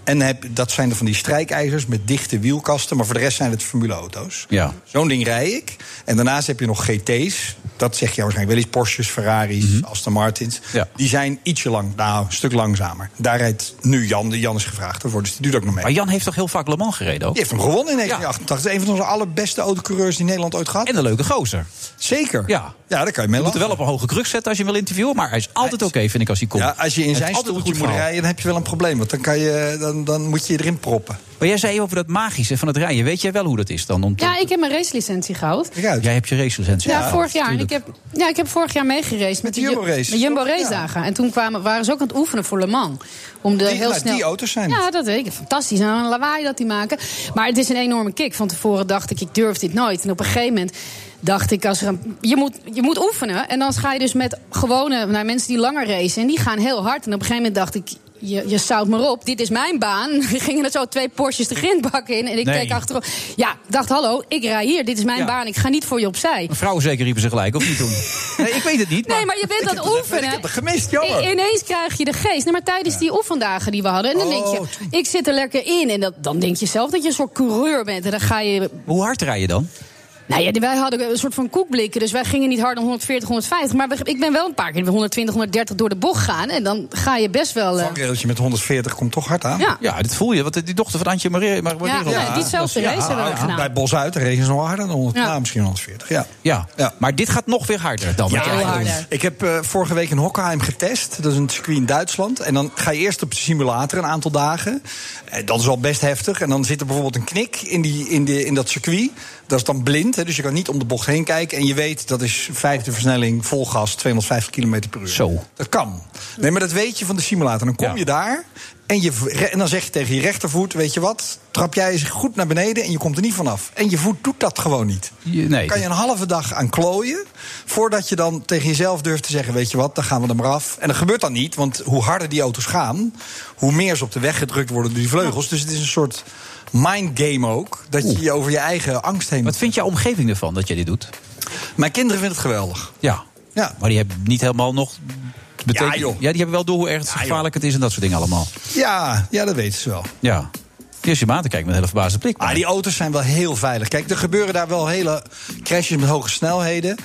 Speaker 9: En heb, dat zijn er van die strijkijzers met dichte wielkasten. Maar voor de rest zijn het Formule-auto's.
Speaker 7: Ja.
Speaker 9: Zo'n ding rij ik. En daarnaast heb je nog GT's. Dat zeg je waarschijnlijk wel eens. Porsches, Ferraris, Aston Martins.
Speaker 7: Mhm. Ja.
Speaker 9: Die zijn ietsje lang, nou, een stuk langzamer. Daar rijdt nu Jan. Jan is gevraagd ervoor, dus die doet ook nog mee.
Speaker 7: Maar Jan heeft toch heel vaak Le Mans gereden ook?
Speaker 9: Die heeft hem gewonnen in 1988. Een van onze allerbeste autocoureurs die Nederland ooit gehad.
Speaker 7: En een leuke gozer.
Speaker 9: Zeker.
Speaker 7: Ja.
Speaker 9: ja, daar kan je mee
Speaker 7: Je moet
Speaker 9: lachen.
Speaker 7: er wel op een hoge kruk zetten als je hem wil interviewen. Maar hij is altijd oké, vind ik, als hij komt.
Speaker 9: Ja, als je in
Speaker 7: Het is
Speaker 9: zijn
Speaker 7: altijd een goed
Speaker 9: stoeltje moet
Speaker 7: verhaal.
Speaker 9: rijden, dan heb je wel een probleem. Want dan, kan je, dan, dan moet je je erin proppen.
Speaker 7: Maar jij zei even over dat magische van het rijden. Weet jij wel hoe dat is dan? Om te-
Speaker 8: Ja, ik heb mijn racelicentie gehouden.
Speaker 9: Kijk uit.
Speaker 7: Jij hebt je racelicentie.
Speaker 8: Ja, vorig jaar. En ik
Speaker 7: tuurlijk.
Speaker 8: heb, ja, ik heb vorig jaar meegereisd met,
Speaker 9: de
Speaker 8: Ju-
Speaker 9: Jumbo Race.
Speaker 8: Met Jumbo
Speaker 9: Ja.
Speaker 8: Race dagen. En toen kwamen, waren ze ook aan het oefenen voor Le Mans. Om de
Speaker 9: Die-
Speaker 8: heel
Speaker 9: nou,
Speaker 8: snel...
Speaker 9: die auto's zijn
Speaker 8: Ja,
Speaker 9: het.
Speaker 8: dat weet ik. Fantastisch. En een lawaai dat die maken. Maar het is een enorme kick. Van tevoren dacht ik, ik durf dit nooit. En op een gegeven moment dacht ik, als er een, je, moet, je moet oefenen. En dan ga je dus met gewone nou, mensen die langer racen. En die gaan heel hard. En op een gegeven moment dacht ik... Je, je zout maar op, dit is mijn baan. [LAUGHS] Gingen er zo twee Porsches de grindbak in. En ik
Speaker 7: Nee.
Speaker 8: keek achterop. Ja, ik dacht, hallo, ik rij hier. Dit is mijn
Speaker 7: Ja.
Speaker 8: baan. Ik ga niet voor je opzij.
Speaker 7: Vrouwen zeker riepen ze gelijk, of niet toen? nee, ik weet het niet.
Speaker 8: [LAUGHS] Nee, maar je bent aan het oefenen.
Speaker 9: Nou, ik heb het gemist, jammer.
Speaker 8: I- ineens krijg je de geest. Nee, maar tijdens die oefendagen die we hadden... En dan denk
Speaker 9: Oh,
Speaker 8: je, ik zit er lekker in. En dat, dan denk je zelf dat je een soort coureur bent. En dan ga je...
Speaker 7: Hoe hard rij je dan?
Speaker 8: Nou ja, wij hadden een soort van koekblikken. Dus wij gingen niet hard dan 140, 150. Maar we- ik ben wel een paar keer 120, 130 door de bocht gaan. En dan ga je best wel. eh,
Speaker 9: Vangrailtje met 140 komt toch hard aan.
Speaker 8: ja.
Speaker 7: Ja, dat voel je. Want die dochter van Antje Maria. Maar
Speaker 8: Ja, ja, diezelfde race hebben we gedaan.
Speaker 9: Bij Bos uit, de regen is nog harder dan 100,
Speaker 8: Ja.
Speaker 9: nou, misschien 140. Ja.
Speaker 7: Ja.
Speaker 9: Ja.
Speaker 7: maar dit gaat nog weer harder dan.
Speaker 9: Ja,
Speaker 8: heel
Speaker 9: joh.
Speaker 8: harder.
Speaker 9: Ik heb eh, vorige week in Hockenheim getest. Dat is een circuit in Duitsland. En dan ga je eerst op de simulator een aantal dagen. Eh, dat is al best heftig. En dan zit er bijvoorbeeld een knik in, die, in, de, in dat circuit. Dat is dan blind, hè, dus je kan niet om de bocht heen kijken. En je weet, dat is vijfde versnelling, vol gas, 250 km per uur.
Speaker 7: Zo.
Speaker 9: Dat kan. Nee, maar dat weet je van de simulator. Dan kom
Speaker 7: Ja.
Speaker 9: je daar en, je, v- en dan zeg je tegen je rechtervoet... weet je wat, trap jij eens goed naar beneden en je komt er niet vanaf. En je voet doet dat gewoon niet.
Speaker 7: Je- nee.
Speaker 9: Kan je een halve dag aan klooien... voordat je dan tegen jezelf durft te zeggen... weet je wat, dan gaan we er maar af. En dat gebeurt dan niet, want hoe harder die auto's gaan... hoe meer ze op de weg gedrukt worden door die vleugels. Dus het is een soort mindgame ook... dat je je over je eigen angst heen...
Speaker 7: Wat vindt jouw omgeving ervan dat jij dit doet?
Speaker 9: Mijn kinderen vinden het geweldig.
Speaker 7: Ja.
Speaker 9: Ja.
Speaker 7: Maar die hebben niet helemaal nog. betekent-
Speaker 9: Ja, joh.
Speaker 7: die hebben wel door hoe erg het gevaarlijk het is en dat soort dingen allemaal.
Speaker 9: Ja, ja, dat weten ze wel.
Speaker 7: Ja. Eerst je maat te kijken met een hele verbaasde blik.
Speaker 9: Ah, die auto's zijn wel heel veilig. Kijk, er gebeuren daar wel hele crashes met hoge snelheden.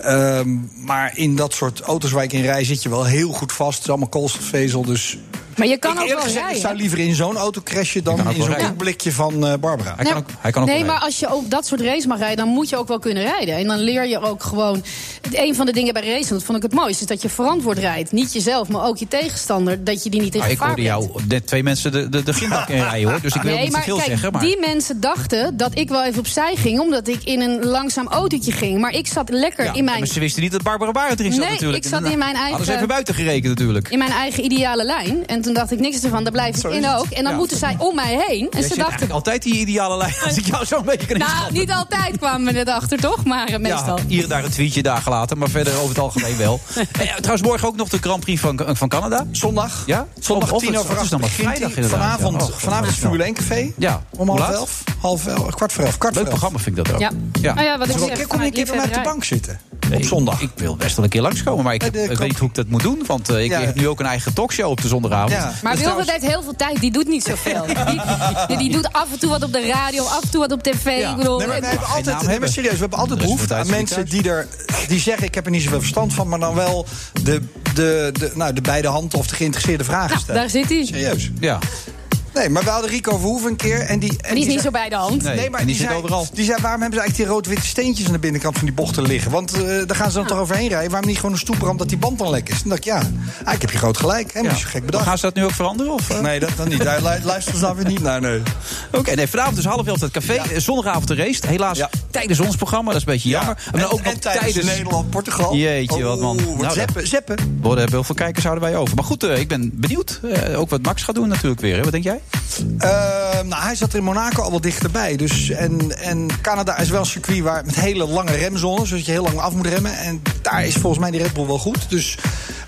Speaker 9: Ehm, maar in dat soort auto's waar ik in rij zit je wel heel goed vast. Het is allemaal koolstofvezel, dus...
Speaker 8: Maar je kan
Speaker 9: Ik
Speaker 8: ook wel
Speaker 9: eerlijk gezegd, ik
Speaker 8: rijden.
Speaker 9: zou liever in zo'n auto crashen
Speaker 7: Je kan
Speaker 9: dan
Speaker 7: ook
Speaker 9: in
Speaker 7: wel
Speaker 9: zo'n
Speaker 7: rijden.
Speaker 9: koekblikje van eh, Barbara.
Speaker 7: Hij kan ook- hij kan ook
Speaker 8: nee,
Speaker 7: wel
Speaker 8: maar
Speaker 7: rijden.
Speaker 8: als je op dat soort race mag rijden, dan moet je ook wel kunnen rijden. En dan leer je ook gewoon. Een van de dingen bij racen, dat vond ik het mooiste, is dat je verantwoord rijdt. Niet jezelf, maar ook je tegenstander, dat je die niet in
Speaker 7: Ah, ik
Speaker 8: gevaar
Speaker 7: hoorde
Speaker 8: brengt.
Speaker 7: jou net twee mensen de, de, de
Speaker 9: [LAUGHS]
Speaker 7: grindbak in rijden hoor. Dus ik wil
Speaker 8: Nee,
Speaker 7: niet te
Speaker 8: maar
Speaker 7: veel
Speaker 8: kijk,
Speaker 7: zeggen. Maar
Speaker 8: die mensen dachten dat ik wel even opzij ging... omdat ik in een langzaam autootje ging. Maar ik zat lekker
Speaker 7: Ja,
Speaker 8: in,
Speaker 7: maar
Speaker 8: mijn,
Speaker 7: ze wisten niet dat Barbara Barend erin zat
Speaker 8: Nee,
Speaker 7: natuurlijk. eh,
Speaker 8: ik zat in mijn eigen-
Speaker 7: Hadden ze even buiten gerekend natuurlijk.
Speaker 8: in mijn eigen ideale lijn. En toen dacht ik niks ervan, daar blijf ik
Speaker 9: Zo is
Speaker 8: in
Speaker 9: het.
Speaker 8: ook. En dan
Speaker 7: Ja.
Speaker 8: moeten zij om mij heen. En
Speaker 7: Jij
Speaker 8: ze
Speaker 7: zit
Speaker 8: dachten...
Speaker 7: eigenlijk altijd die ideale lijn. Als ik jou zo'n beetje kan
Speaker 8: Nou,
Speaker 7: inschatten.
Speaker 8: niet altijd kwamen we erachter, toch? Maar eh, meestal.
Speaker 7: Ja, hier en daar een tweetje dagen later, maar verder over het algemeen
Speaker 8: [LAUGHS]
Speaker 7: wel. En, ja, trouwens, morgen ook nog de Grand Prix van, van Canada.
Speaker 9: Zondag.
Speaker 7: Ja?
Speaker 9: Zondag
Speaker 7: Of- of
Speaker 9: 10
Speaker 7: het-
Speaker 9: over
Speaker 7: het is
Speaker 9: 8
Speaker 7: dan maar
Speaker 9: begint
Speaker 7: vrijdag
Speaker 9: hij.
Speaker 7: inderdaad,
Speaker 9: Vanavond,
Speaker 7: ja. Oh,
Speaker 9: vanavond is
Speaker 7: ja.
Speaker 9: het Formule 1 café.
Speaker 7: Ja.
Speaker 9: Om
Speaker 7: Hoe
Speaker 9: half
Speaker 7: laat?
Speaker 9: elf. Half elf. Eh, Kwart voor elf. Kwart
Speaker 7: Leuk
Speaker 9: voor elf.
Speaker 7: programma vind ik dat ook.
Speaker 8: Ja. Nou ja, wat ik
Speaker 9: Dus wel een
Speaker 8: zeg,
Speaker 9: keer kom je een keer bij mij op de bank zitten.
Speaker 7: Nee,
Speaker 9: Op zondag.
Speaker 7: Ik wil best wel een keer langskomen, maar ik,
Speaker 9: Bij de
Speaker 7: ik
Speaker 9: Grand
Speaker 7: weet niet
Speaker 9: Prix.
Speaker 7: hoe ik dat moet doen. Want eh, ik
Speaker 9: Ja.
Speaker 7: heb nu ook een eigen talkshow op de zondagavond.
Speaker 9: Ja.
Speaker 8: Maar
Speaker 9: Dus
Speaker 8: Wilfred
Speaker 9: trouwens-
Speaker 8: heeft heel veel tijd, die doet niet [LAUGHS] zoveel. Die, die, die doet af en toe wat op de radio, af en toe wat op tv.
Speaker 7: Ja.
Speaker 8: Ik bedoel,
Speaker 9: Nee, maar we
Speaker 8: eh,
Speaker 9: hebben
Speaker 7: naam
Speaker 9: altijd, nee,
Speaker 7: hebben.
Speaker 9: maar serieus, we hebben altijd
Speaker 7: Dus
Speaker 9: behoefte
Speaker 7: we
Speaker 9: aan
Speaker 7: moeten
Speaker 9: mensen die, er, die zeggen: Ik heb er niet zoveel verstand van, maar dan wel de, de, de, nou, de beide handen of de geïnteresseerde vragen
Speaker 8: nou,
Speaker 9: stellen.
Speaker 8: daar zit hij.
Speaker 9: Serieus.
Speaker 7: Ja.
Speaker 9: Nee, maar we hadden Rico Verhoeven een keer. En die, en
Speaker 8: Die is niet zo
Speaker 9: zei-
Speaker 8: bij de hand.
Speaker 7: Nee,
Speaker 9: Nee, maar
Speaker 7: en
Speaker 9: die,
Speaker 7: die
Speaker 9: zei,
Speaker 7: zit overal.
Speaker 9: die zei: Waarom hebben ze eigenlijk die rood-witte steentjes aan de binnenkant van die bochten liggen? Want eh, daar gaan ze dan toch overheen rijden. Waarom niet gewoon een stoepram dat die band dan lek is? Dan dacht ik: Ja, ah, ik heb je groot gelijk. Hè,
Speaker 7: Ja.
Speaker 9: ja. zo gek
Speaker 7: Maar
Speaker 9: bedacht.
Speaker 7: Gaan ze dat nu ook veranderen? Of, eh?
Speaker 9: Nee, dat dan niet. Daar lu- luisteren ze dan weer niet naar. Nee.
Speaker 7: Oké, nee, vanavond dus half elf het café. Eh, Zondagavond de race. Helaas
Speaker 9: Ja.
Speaker 7: tijdens ons programma, dat is een beetje jammer. Maar
Speaker 9: en,
Speaker 7: ook nog
Speaker 9: en tijdens, Nederland, Portugal.
Speaker 7: Jeetje, wat man.
Speaker 9: Oeh,
Speaker 7: Nou,
Speaker 9: Oh, zeppen, zeppen.
Speaker 7: We hebben heel veel kijkers houden wij over. Maar goed, eh, ik ben benieuwd. Eh, ook wat Max gaat doen natuurlijk weer. Hè? Wat denk jij?
Speaker 9: Ehm, nou, hij zat er in Monaco al wel dichterbij. Dus, en, en Canada is wel een circuit waar, met hele lange remzones. Dus je heel lang af moet remmen. En daar is volgens mij die Red Bull wel goed. Dus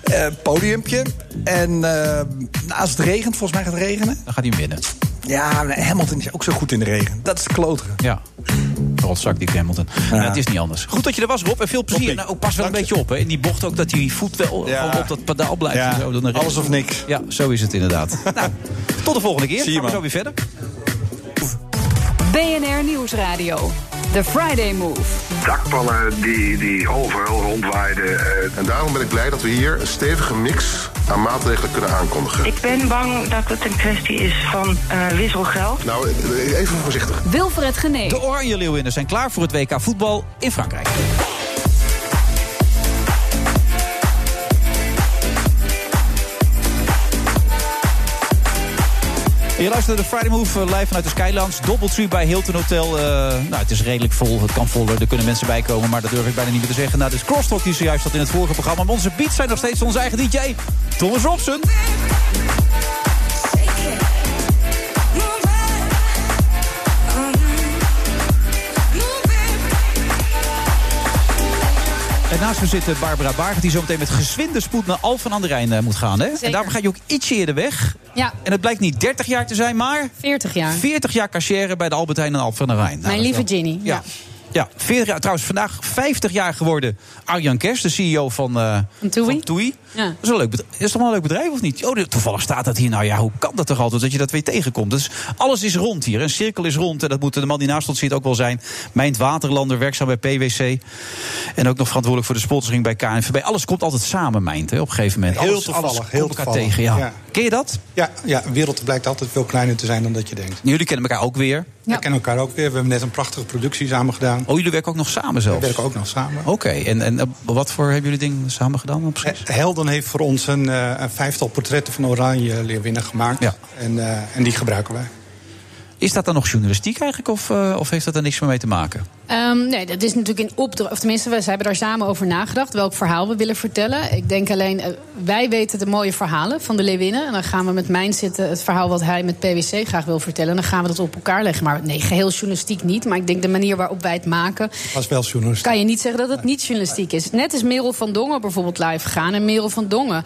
Speaker 9: eh, podiumpje. En eh, nou, als het regent, volgens mij gaat het regenen.
Speaker 7: Dan gaat hij hem winnen.
Speaker 9: Ja, nee, Hamilton is ook zo goed in de regen. Dat is kloteren.
Speaker 7: Ja. Rotzak die Hamilton. Ja. het is niet anders. Goed dat je er was, Rob. En veel plezier.
Speaker 9: Toppie.
Speaker 7: Nou, ook pas wel een
Speaker 9: Dank je.
Speaker 7: beetje op. Hè. In die bocht ook dat die voet wel
Speaker 9: Ja.
Speaker 7: gewoon op dat pedaal blijft.
Speaker 9: Ja,
Speaker 7: En zo, dan een race.
Speaker 9: alles of niks.
Speaker 7: Ja, zo is het inderdaad. [LAUGHS] nou, tot de volgende keer.
Speaker 9: Zie je,
Speaker 7: Gaan we zo
Speaker 9: man.
Speaker 7: weer verder.
Speaker 3: BNR Nieuwsradio. The Friday Move.
Speaker 4: Dakpannen die, die overal rondwaaiden. eh. En daarom ben ik blij dat we hier een stevige mix aan maatregelen kunnen aankondigen.
Speaker 5: Ik ben bang dat het een kwestie is van eh, wisselgeld.
Speaker 4: Nou, eh, even voorzichtig.
Speaker 3: Wilfred Genee.
Speaker 7: De Oranje Leeuwinnen zijn klaar voor het WK voetbal in Frankrijk. Je luistert naar de Friday Move eh, live vanuit de Skylands. Doubletree bij Hilton Hotel. Eh, nou, het is redelijk vol. Het kan voller. Er kunnen mensen bij komen. Maar dat durf ik bijna niet meer te zeggen. Nou, dus Crosstalk die zojuist zat in het vorige programma. Maar onze beats zijn nog steeds onze eigen DJ, Thomas Robson. En naast me zit eh, Barbara Bargert, die zo meteen met gezwinde spoed naar Alphen aan de Rijn eh, moet gaan. Hè? En daarom ga je ook ietsje eerder weg.
Speaker 8: Ja,
Speaker 7: En het blijkt niet 30 jaar te zijn, maar
Speaker 8: 40 jaar.
Speaker 7: 40 jaar cachère bij de Albert Heijn en Alphen aan de Rijn. Nou,
Speaker 8: Mijn
Speaker 7: dat is
Speaker 8: lieve
Speaker 7: wel-
Speaker 8: Ginny.
Speaker 7: Ja.
Speaker 8: Ja.
Speaker 7: Ja, 40 jaar, trouwens vandaag 50 jaar geworden Arjan Kers, de CEO van, eh,
Speaker 8: Van Toei.
Speaker 7: van Toei.
Speaker 8: Ja.
Speaker 7: Dat is, wel een leuk bedrijf, is toch wel een leuk bedrijf, of niet? Oh, de- toevallig staat dat hier. Nou ja, hoe kan dat toch altijd dat je dat weer tegenkomt? Dus alles is rond hier. Een cirkel is rond. En dat moet de man die naast ons zit ook wel zijn. Mijnd Waterlander, werkzaam bij PwC. En ook nog verantwoordelijk voor de sponsoring bij KNVB. Alles komt altijd samen, Mijnd, hè, op een gegeven moment.
Speaker 10: Heel
Speaker 7: alles,
Speaker 10: toevallig,
Speaker 7: alles
Speaker 10: heel
Speaker 7: komt elkaar
Speaker 10: toevallig.
Speaker 7: tegen, ja.
Speaker 10: Ja.
Speaker 7: Ken je dat?
Speaker 10: Ja, ja, de wereld blijkt altijd veel kleiner te zijn dan dat je denkt.
Speaker 7: Jullie kennen elkaar ook weer.
Speaker 10: We kennen elkaar ook weer. We hebben net een prachtige productie samen gedaan.
Speaker 7: Oh, jullie werken ook nog samen zelfs?
Speaker 10: We werken ook nog samen.
Speaker 7: Oké, en, en eh, wat voor hebben jullie dingen samen gedaan dan precies?
Speaker 10: Eh, Helden heeft voor ons een, eh, een vijftal portretten van Oranje Leerwinnen gemaakt.
Speaker 7: Ja.
Speaker 10: En, eh, en die gebruiken wij.
Speaker 7: Is dat dan nog journalistiek eigenlijk, of, eh, of heeft dat er niks meer mee te maken?
Speaker 8: Ehm, nee, dat is natuurlijk in opdracht. Of tenminste, we ze hebben daar samen over nagedacht. Welk verhaal we willen vertellen. Ik denk alleen, eh, wij weten de mooie verhalen van de Leeuwinnen. En dan gaan we met mijn zitten het verhaal wat hij met PwC graag wil vertellen. En dan gaan we dat op elkaar leggen. Maar nee, geheel journalistiek niet. Maar ik denk de manier waarop wij het maken.
Speaker 10: Was wel journalist.
Speaker 8: Kan je niet zeggen dat het niet journalistiek is. Net is Merel van Dongen bijvoorbeeld live gegaan. En Merel van Dongen,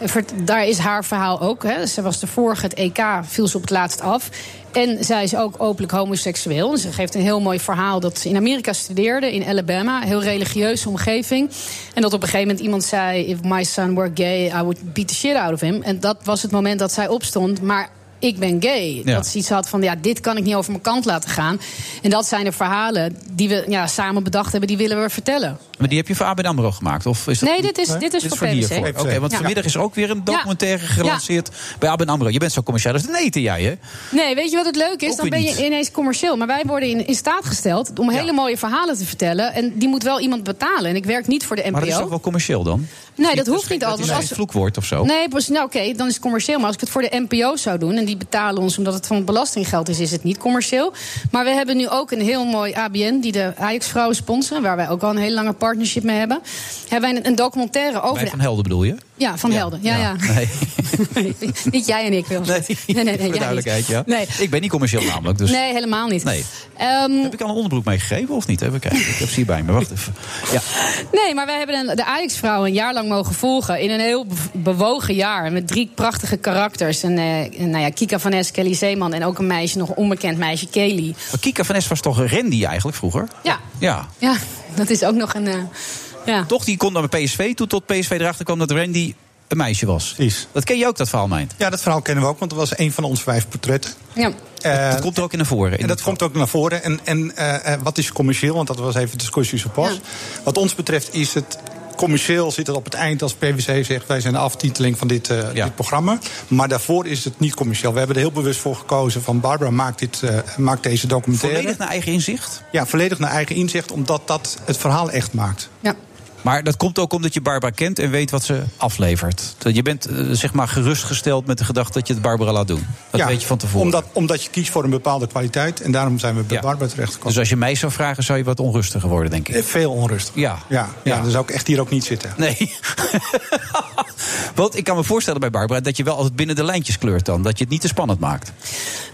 Speaker 8: eh, vert- daar is haar verhaal ook. Hè. Ze was de vorige, het EK, viel ze op het laatst af. En zij is ook openlijk homoseksueel. En ze geeft een heel mooi verhaal dat ze in Amerika studeerde, in Alabama. Een heel religieuze omgeving. En dat op een gegeven moment iemand zei... If my son were gay, I would beat the shit out of him. En dat was het moment dat zij opstond. Maar ik ben gay.
Speaker 7: Ja.
Speaker 8: Dat ze iets had van, ja, dit kan ik niet over mijn kant laten gaan. En dat zijn de verhalen die we ja, samen bedacht hebben, die willen we vertellen.
Speaker 7: Maar die heb je voor ABN AMRO gemaakt? Of is dat...
Speaker 8: Nee, dit is, dit is voor PwC.
Speaker 7: hiervoor. Oké, want
Speaker 8: Ja.
Speaker 7: vanmiddag is er ook weer een documentaire
Speaker 8: Ja.
Speaker 7: gelanceerd bij ABN AMRO. Je bent zo commercieel als nee te jij, hè?
Speaker 8: Nee, weet je wat het leuk is?
Speaker 7: Ook
Speaker 8: Dan
Speaker 7: weer
Speaker 8: ben je
Speaker 7: niet.
Speaker 8: ineens commercieel. Maar wij worden in, in staat gesteld om hele mooie verhalen te vertellen. En die moet wel iemand betalen. En ik werk niet voor de NPO.
Speaker 7: Maar dat is toch wel commercieel dan?
Speaker 8: Nee, dat hoeft niet
Speaker 7: Dat
Speaker 8: altijd.
Speaker 7: is
Speaker 8: want
Speaker 7: een
Speaker 8: als-
Speaker 7: vloekwoord of zo.
Speaker 8: Nee, pas- nou oké, dan is het commercieel. Maar als ik het voor de NPO zou doen, en die betalen ons omdat het van het belastinggeld is, is het niet commercieel. Maar we hebben nu ook een heel mooi ABN, die de Ajax-vrouwen sponsoren, waar wij ook al een hele lange partnership mee hebben. Hebben wij een, een documentaire over.
Speaker 7: Bij
Speaker 8: de- [LAUGHS]
Speaker 7: Van Helden bedoel je?
Speaker 8: ja, van Helden. Ja, ja. [LAUGHS]
Speaker 7: Nee,
Speaker 8: niet jij en ik, Wil.
Speaker 7: nee.
Speaker 8: jij
Speaker 7: voor
Speaker 8: niet.
Speaker 7: de duidelijkheid, ja.
Speaker 8: Nee.
Speaker 7: Ik ben niet commercieel namelijk, dus...
Speaker 8: Nee, helemaal niet.
Speaker 7: Nee.
Speaker 8: Ehm,
Speaker 7: Heb ik al een onderbroek meegegeven of niet? Even kijken. Ik heb ze hier bij me. Wacht even. Ja.
Speaker 8: Nee, maar wij hebben een- de Ajax-vrouwen een jaar lang mogen volgen. In een heel bev- bewogen jaar. Met drie prachtige karakters. En, eh, en, nou ja, Kika van Es, Kelly Zeeman en ook een meisje, nog een onbekend meisje, Kelly.
Speaker 7: Maar Kika van Es was toch Randy eigenlijk vroeger?
Speaker 8: Ja,
Speaker 7: Ja.
Speaker 8: ja dat is ook nog een... eh, ja.
Speaker 7: Toch, die kon naar PSV toe tot PSV erachter kwam dat Randy een meisje was.
Speaker 10: Precies.
Speaker 7: Dat ken je ook, dat verhaal, Meint.
Speaker 10: Ja, dat verhaal kennen we ook, want dat was een van onze vijf portretten.
Speaker 8: ja.
Speaker 10: Eh,
Speaker 7: dat komt er ook in naar voren.
Speaker 10: En dat komt ook naar voren. En, en eh, eh, wat is commercieel? Want dat was even discussie zo pas.
Speaker 8: Ja.
Speaker 10: Wat ons betreft is het commercieel zit het op het eind als PwC zegt... wij zijn de aftiteling van dit, eh,
Speaker 7: Ja.
Speaker 10: dit programma. Maar daarvoor is het niet commercieel. We hebben er heel bewust voor gekozen van... Barbara, maakt dit, eh, maak deze documentaire.
Speaker 7: volledig naar eigen inzicht.
Speaker 10: Ja, volledig naar eigen inzicht, omdat dat het verhaal echt maakt.
Speaker 8: ja.
Speaker 7: Maar dat komt ook omdat je Barbara kent en weet wat ze aflevert. Dat Je bent eh, zeg maar gerustgesteld met de gedachte dat je het Barbara laat doen. Dat
Speaker 10: ja,
Speaker 7: weet je van tevoren.
Speaker 10: Omdat, omdat je kiest voor een bepaalde kwaliteit. En daarom zijn we bij
Speaker 7: Ja.
Speaker 10: Barbara terechtgekomen.
Speaker 7: Dus als je mij zou vragen, zou je wat onrustiger worden, denk ik.
Speaker 10: Eh, Veel onrustig.
Speaker 7: Ja.
Speaker 10: Ja, ja,
Speaker 7: Ja.
Speaker 10: dan zou ik echt hier ook niet zitten.
Speaker 7: Nee. [LAUGHS] Want ik kan me voorstellen bij Barbara dat je wel altijd binnen de lijntjes kleurt dan. Dat je het niet te spannend maakt.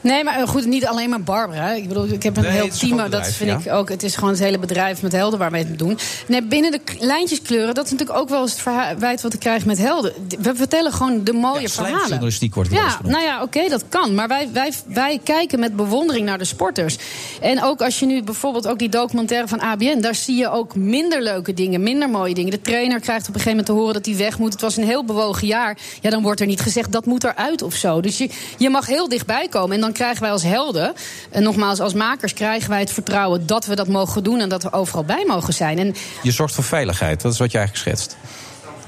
Speaker 8: Nee, maar eh, goed, niet alleen maar Barbara. hè. Ik bedoel, ik heb een
Speaker 7: Nee,
Speaker 8: heel
Speaker 7: het is een
Speaker 8: team.
Speaker 7: groot
Speaker 8: Dat
Speaker 7: bedrijf,
Speaker 8: vind
Speaker 7: ja.
Speaker 8: ik ook. Het is gewoon het hele bedrijf met helden waar we het doen. Nee, binnen de k- lijntjes kleuren, dat is natuurlijk ook wel eens het verwijt wat ik krijg met helden. D- We vertellen gewoon de mooie
Speaker 7: Ja,
Speaker 8: verhalen.
Speaker 7: slijmjournalistiek wordt het wel eens
Speaker 8: Ja,
Speaker 7: genoemd.
Speaker 8: nou ja, oké, dat kan. Maar wij, wij, wij kijken met bewondering naar de sporters. En ook als je nu bijvoorbeeld ook die documentaire van ABN, daar zie je ook minder leuke dingen, minder mooie dingen. De trainer krijgt op een gegeven moment te horen dat hij weg moet. Het was een heel bewogen jaar. Ja, dan wordt er niet gezegd dat moet eruit of zo. Dus je, je mag heel dichtbij komen. En dan krijgen wij als helden, en nogmaals als makers, krijgen wij het vertrouwen dat we dat mogen doen en dat we overal bij mogen zijn. En
Speaker 7: Je zorgt voor veiligheid. Dat is wat je eigenlijk schetst.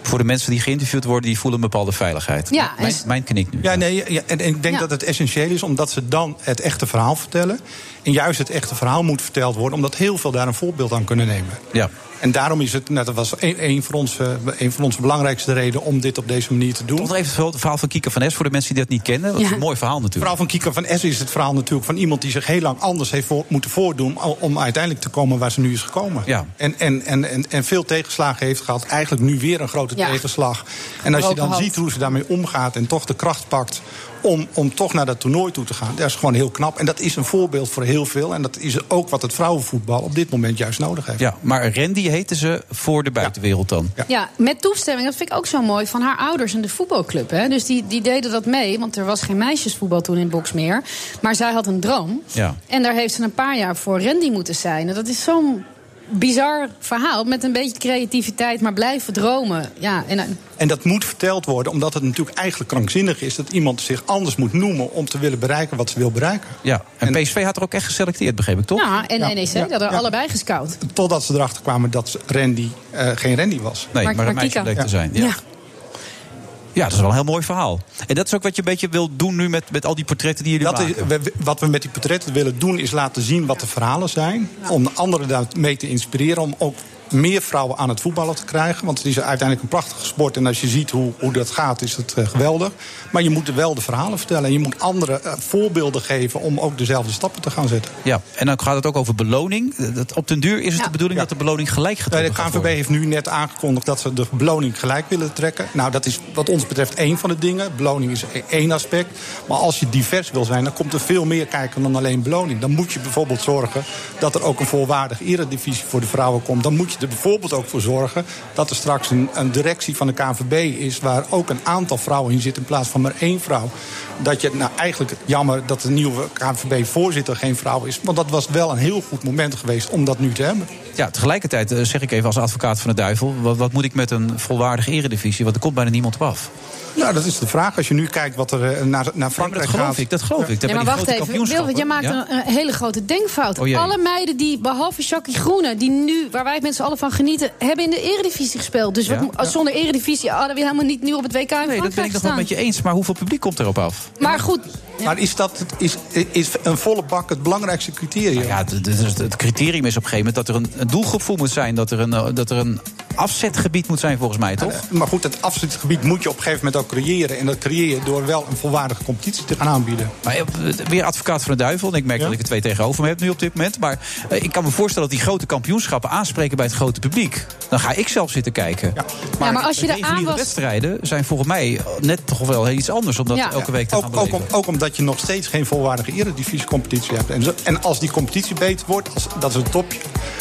Speaker 7: Voor de mensen die geïnterviewd worden, die voelen een bepaalde veiligheid.
Speaker 8: Ja, en-
Speaker 7: mijn, mijn knikt nu.
Speaker 10: Ja, nee, ja, en, en ik denk
Speaker 8: Ja.
Speaker 10: dat het essentieel is omdat ze dan het echte verhaal vertellen. En juist het echte verhaal moet verteld worden, omdat heel veel daar een voorbeeld aan kunnen nemen.
Speaker 7: Ja.
Speaker 10: En daarom is het, nou, dat was een, een, van onze, een van onze belangrijkste redenen om dit op deze manier te doen.
Speaker 7: Nog even het verhaal van Kieke van Es voor de mensen die dat niet kennen. Dat is
Speaker 8: Ja.
Speaker 7: een mooi verhaal
Speaker 10: Het
Speaker 7: natuurlijk.
Speaker 10: verhaal van Kika van Essen is het verhaal natuurlijk van iemand die zich heel lang anders heeft voor- moeten voordoen. al- om uiteindelijk te komen waar ze nu is gekomen.
Speaker 7: Ja.
Speaker 10: En, en, en, en, en veel tegenslagen heeft gehad. Eigenlijk nu weer een grote
Speaker 8: Ja.
Speaker 10: tegenslag. En als je
Speaker 8: Gebroken
Speaker 10: dan
Speaker 8: hand.
Speaker 10: ziet hoe ze daarmee omgaat en toch de kracht pakt. om, om toch naar dat toernooi toe te gaan. Dat is gewoon heel knap. En dat is een voorbeeld voor heel veel. En dat is ook wat het vrouwenvoetbal op dit moment juist nodig heeft.
Speaker 7: Ja, maar Randy heten ze voor de buitenwereld dan.
Speaker 10: Ja.
Speaker 8: Ja, met toestemming, dat vind ik ook zo mooi, van haar ouders en de voetbalclub. Hè? Dus die, die deden dat mee, want er was geen meisjesvoetbal toen in box meer. Maar zij had een droom.
Speaker 7: Ja.
Speaker 8: En daar heeft ze een paar jaar voor Randy moeten zijn. En dat is zo'n bizar verhaal. Met een beetje creativiteit, maar blijven dromen. Ja, en, eh,
Speaker 10: En dat moet verteld worden, omdat het natuurlijk eigenlijk krankzinnig is... dat iemand zich anders moet noemen om te willen bereiken wat ze wil bereiken.
Speaker 7: Ja, en PSV had er ook echt geselecteerd, begreep ik toch?
Speaker 8: ja, en E
Speaker 10: Ja,
Speaker 8: NEC,
Speaker 10: ja,
Speaker 8: dat hadden
Speaker 10: ja.
Speaker 8: allebei gescout.
Speaker 10: Totdat ze erachter kwamen dat Randy eh, geen Randy was.
Speaker 7: Nee, maar, een meisje
Speaker 8: Kika-
Speaker 7: bleek te zijn. Ja. ja. dat is wel een heel mooi verhaal. En dat is ook wat je een beetje wilt doen nu met, met al die portretten die jullie
Speaker 10: Dat is,
Speaker 7: maken.
Speaker 10: we- we- wat we met die portretten willen doen is laten zien wat de verhalen zijn. Om de anderen daarmee te inspireren. Om ook meer vrouwen aan het voetballen te krijgen. Want het is uiteindelijk een prachtige sport. En als je ziet hoe, hoe dat gaat, is het eh, geweldig. Maar je moet er wel de verhalen vertellen. En je moet anderen eh, voorbeelden geven om ook dezelfde stappen te gaan zetten.
Speaker 7: Ja, en dan gaat het ook over beloning. Eh, Dat, op den duur is het de bedoeling dat de beloning gelijk
Speaker 10: Nee,
Speaker 7: getrokken
Speaker 10: Eh, de
Speaker 7: wordt.
Speaker 10: KNVB heeft nu net aangekondigd dat ze de beloning gelijk willen trekken. Nou, dat is wat ons betreft één van de dingen. Beloning is e- één aspect. Maar als je divers wil zijn, dan komt er veel meer kijken dan alleen beloning. Dan moet je bijvoorbeeld zorgen dat er ook een volwaardig eredivisie voor de vrouwen komt. Dan moet je er bijvoorbeeld ook voor zorgen dat er straks een, een directie van de KNVB is... waar ook een aantal vrouwen in zit in plaats van maar één vrouw. Dat je, nou eigenlijk jammer dat de nieuwe KNVB-voorzitter geen vrouw is. Want dat was wel een heel goed moment geweest om dat nu te hebben.
Speaker 7: Ja, tegelijkertijd eh, zeg ik even als advocaat van de duivel... wat, wat moet ik met een volwaardige eredivisie? Want er komt bijna niemand op af.
Speaker 10: Nou, dat is de vraag. Als je nu kijkt wat er eh, naar, naar
Speaker 7: Maar dat
Speaker 10: Frankrijk
Speaker 7: geloof
Speaker 10: gaat.
Speaker 7: ik, dat geloof ik. Dat
Speaker 8: Nee, maar
Speaker 7: bij die
Speaker 8: wacht
Speaker 7: grote
Speaker 8: even.
Speaker 7: kampioenschappen-
Speaker 8: Wilfried, jij maakt
Speaker 7: Ja?
Speaker 8: een, een hele grote denkfout.
Speaker 7: Oh jee.
Speaker 8: Alle meiden die, behalve Jackie Groene, die nu, waar wij met z'n allen van genieten, hebben in de Eredivisie gespeeld. Dus wat
Speaker 7: Ja.
Speaker 8: mo- als zonder Eredivisie hadden we helemaal niet nu op het WK in
Speaker 7: Nee, dat
Speaker 8: Frankrijk
Speaker 7: ben ik nog wel
Speaker 8: gestaan.
Speaker 7: met je eens. Maar hoeveel publiek komt erop af?
Speaker 8: Maar goed,
Speaker 10: Maar is, dat, is, is een volle bak het belangrijkste criterium?
Speaker 7: Nou Ja, het, het- het criterium is op een gegeven moment dat er een, een doelgroep voor moet zijn. Dat er een, eh, dat er een afzetgebied moet zijn, volgens mij, toch?
Speaker 10: eh, Maar goed, het afzetgebied moet je op een gegeven moment ook creëren. En dat creëer je door wel een volwaardige competitie te gaan aanbieden.
Speaker 7: Maar eh, weer advocaat van de duivel. En ik merk dat ik er twee tegenover me heb nu op dit moment. Maar eh, ik kan me voorstellen dat die grote kampioenschappen aanspreken bij het grote publiek. Dan ga ik zelf zitten kijken.
Speaker 10: Ja.
Speaker 8: maar, ja, maar als je
Speaker 7: de
Speaker 8: daar aan
Speaker 7: reguliere
Speaker 8: was.
Speaker 7: wedstrijden zijn volgens mij eh, net toch wel heel iets anders. Omdat
Speaker 8: Ja.
Speaker 7: elke week te gaan
Speaker 10: Ook, ook,
Speaker 7: beleven.
Speaker 10: om- ook omdat je nog steeds geen volwaardige eredivisie-competitie hebt. En, zo- en als die competitie beter wordt, als, dat is een topje,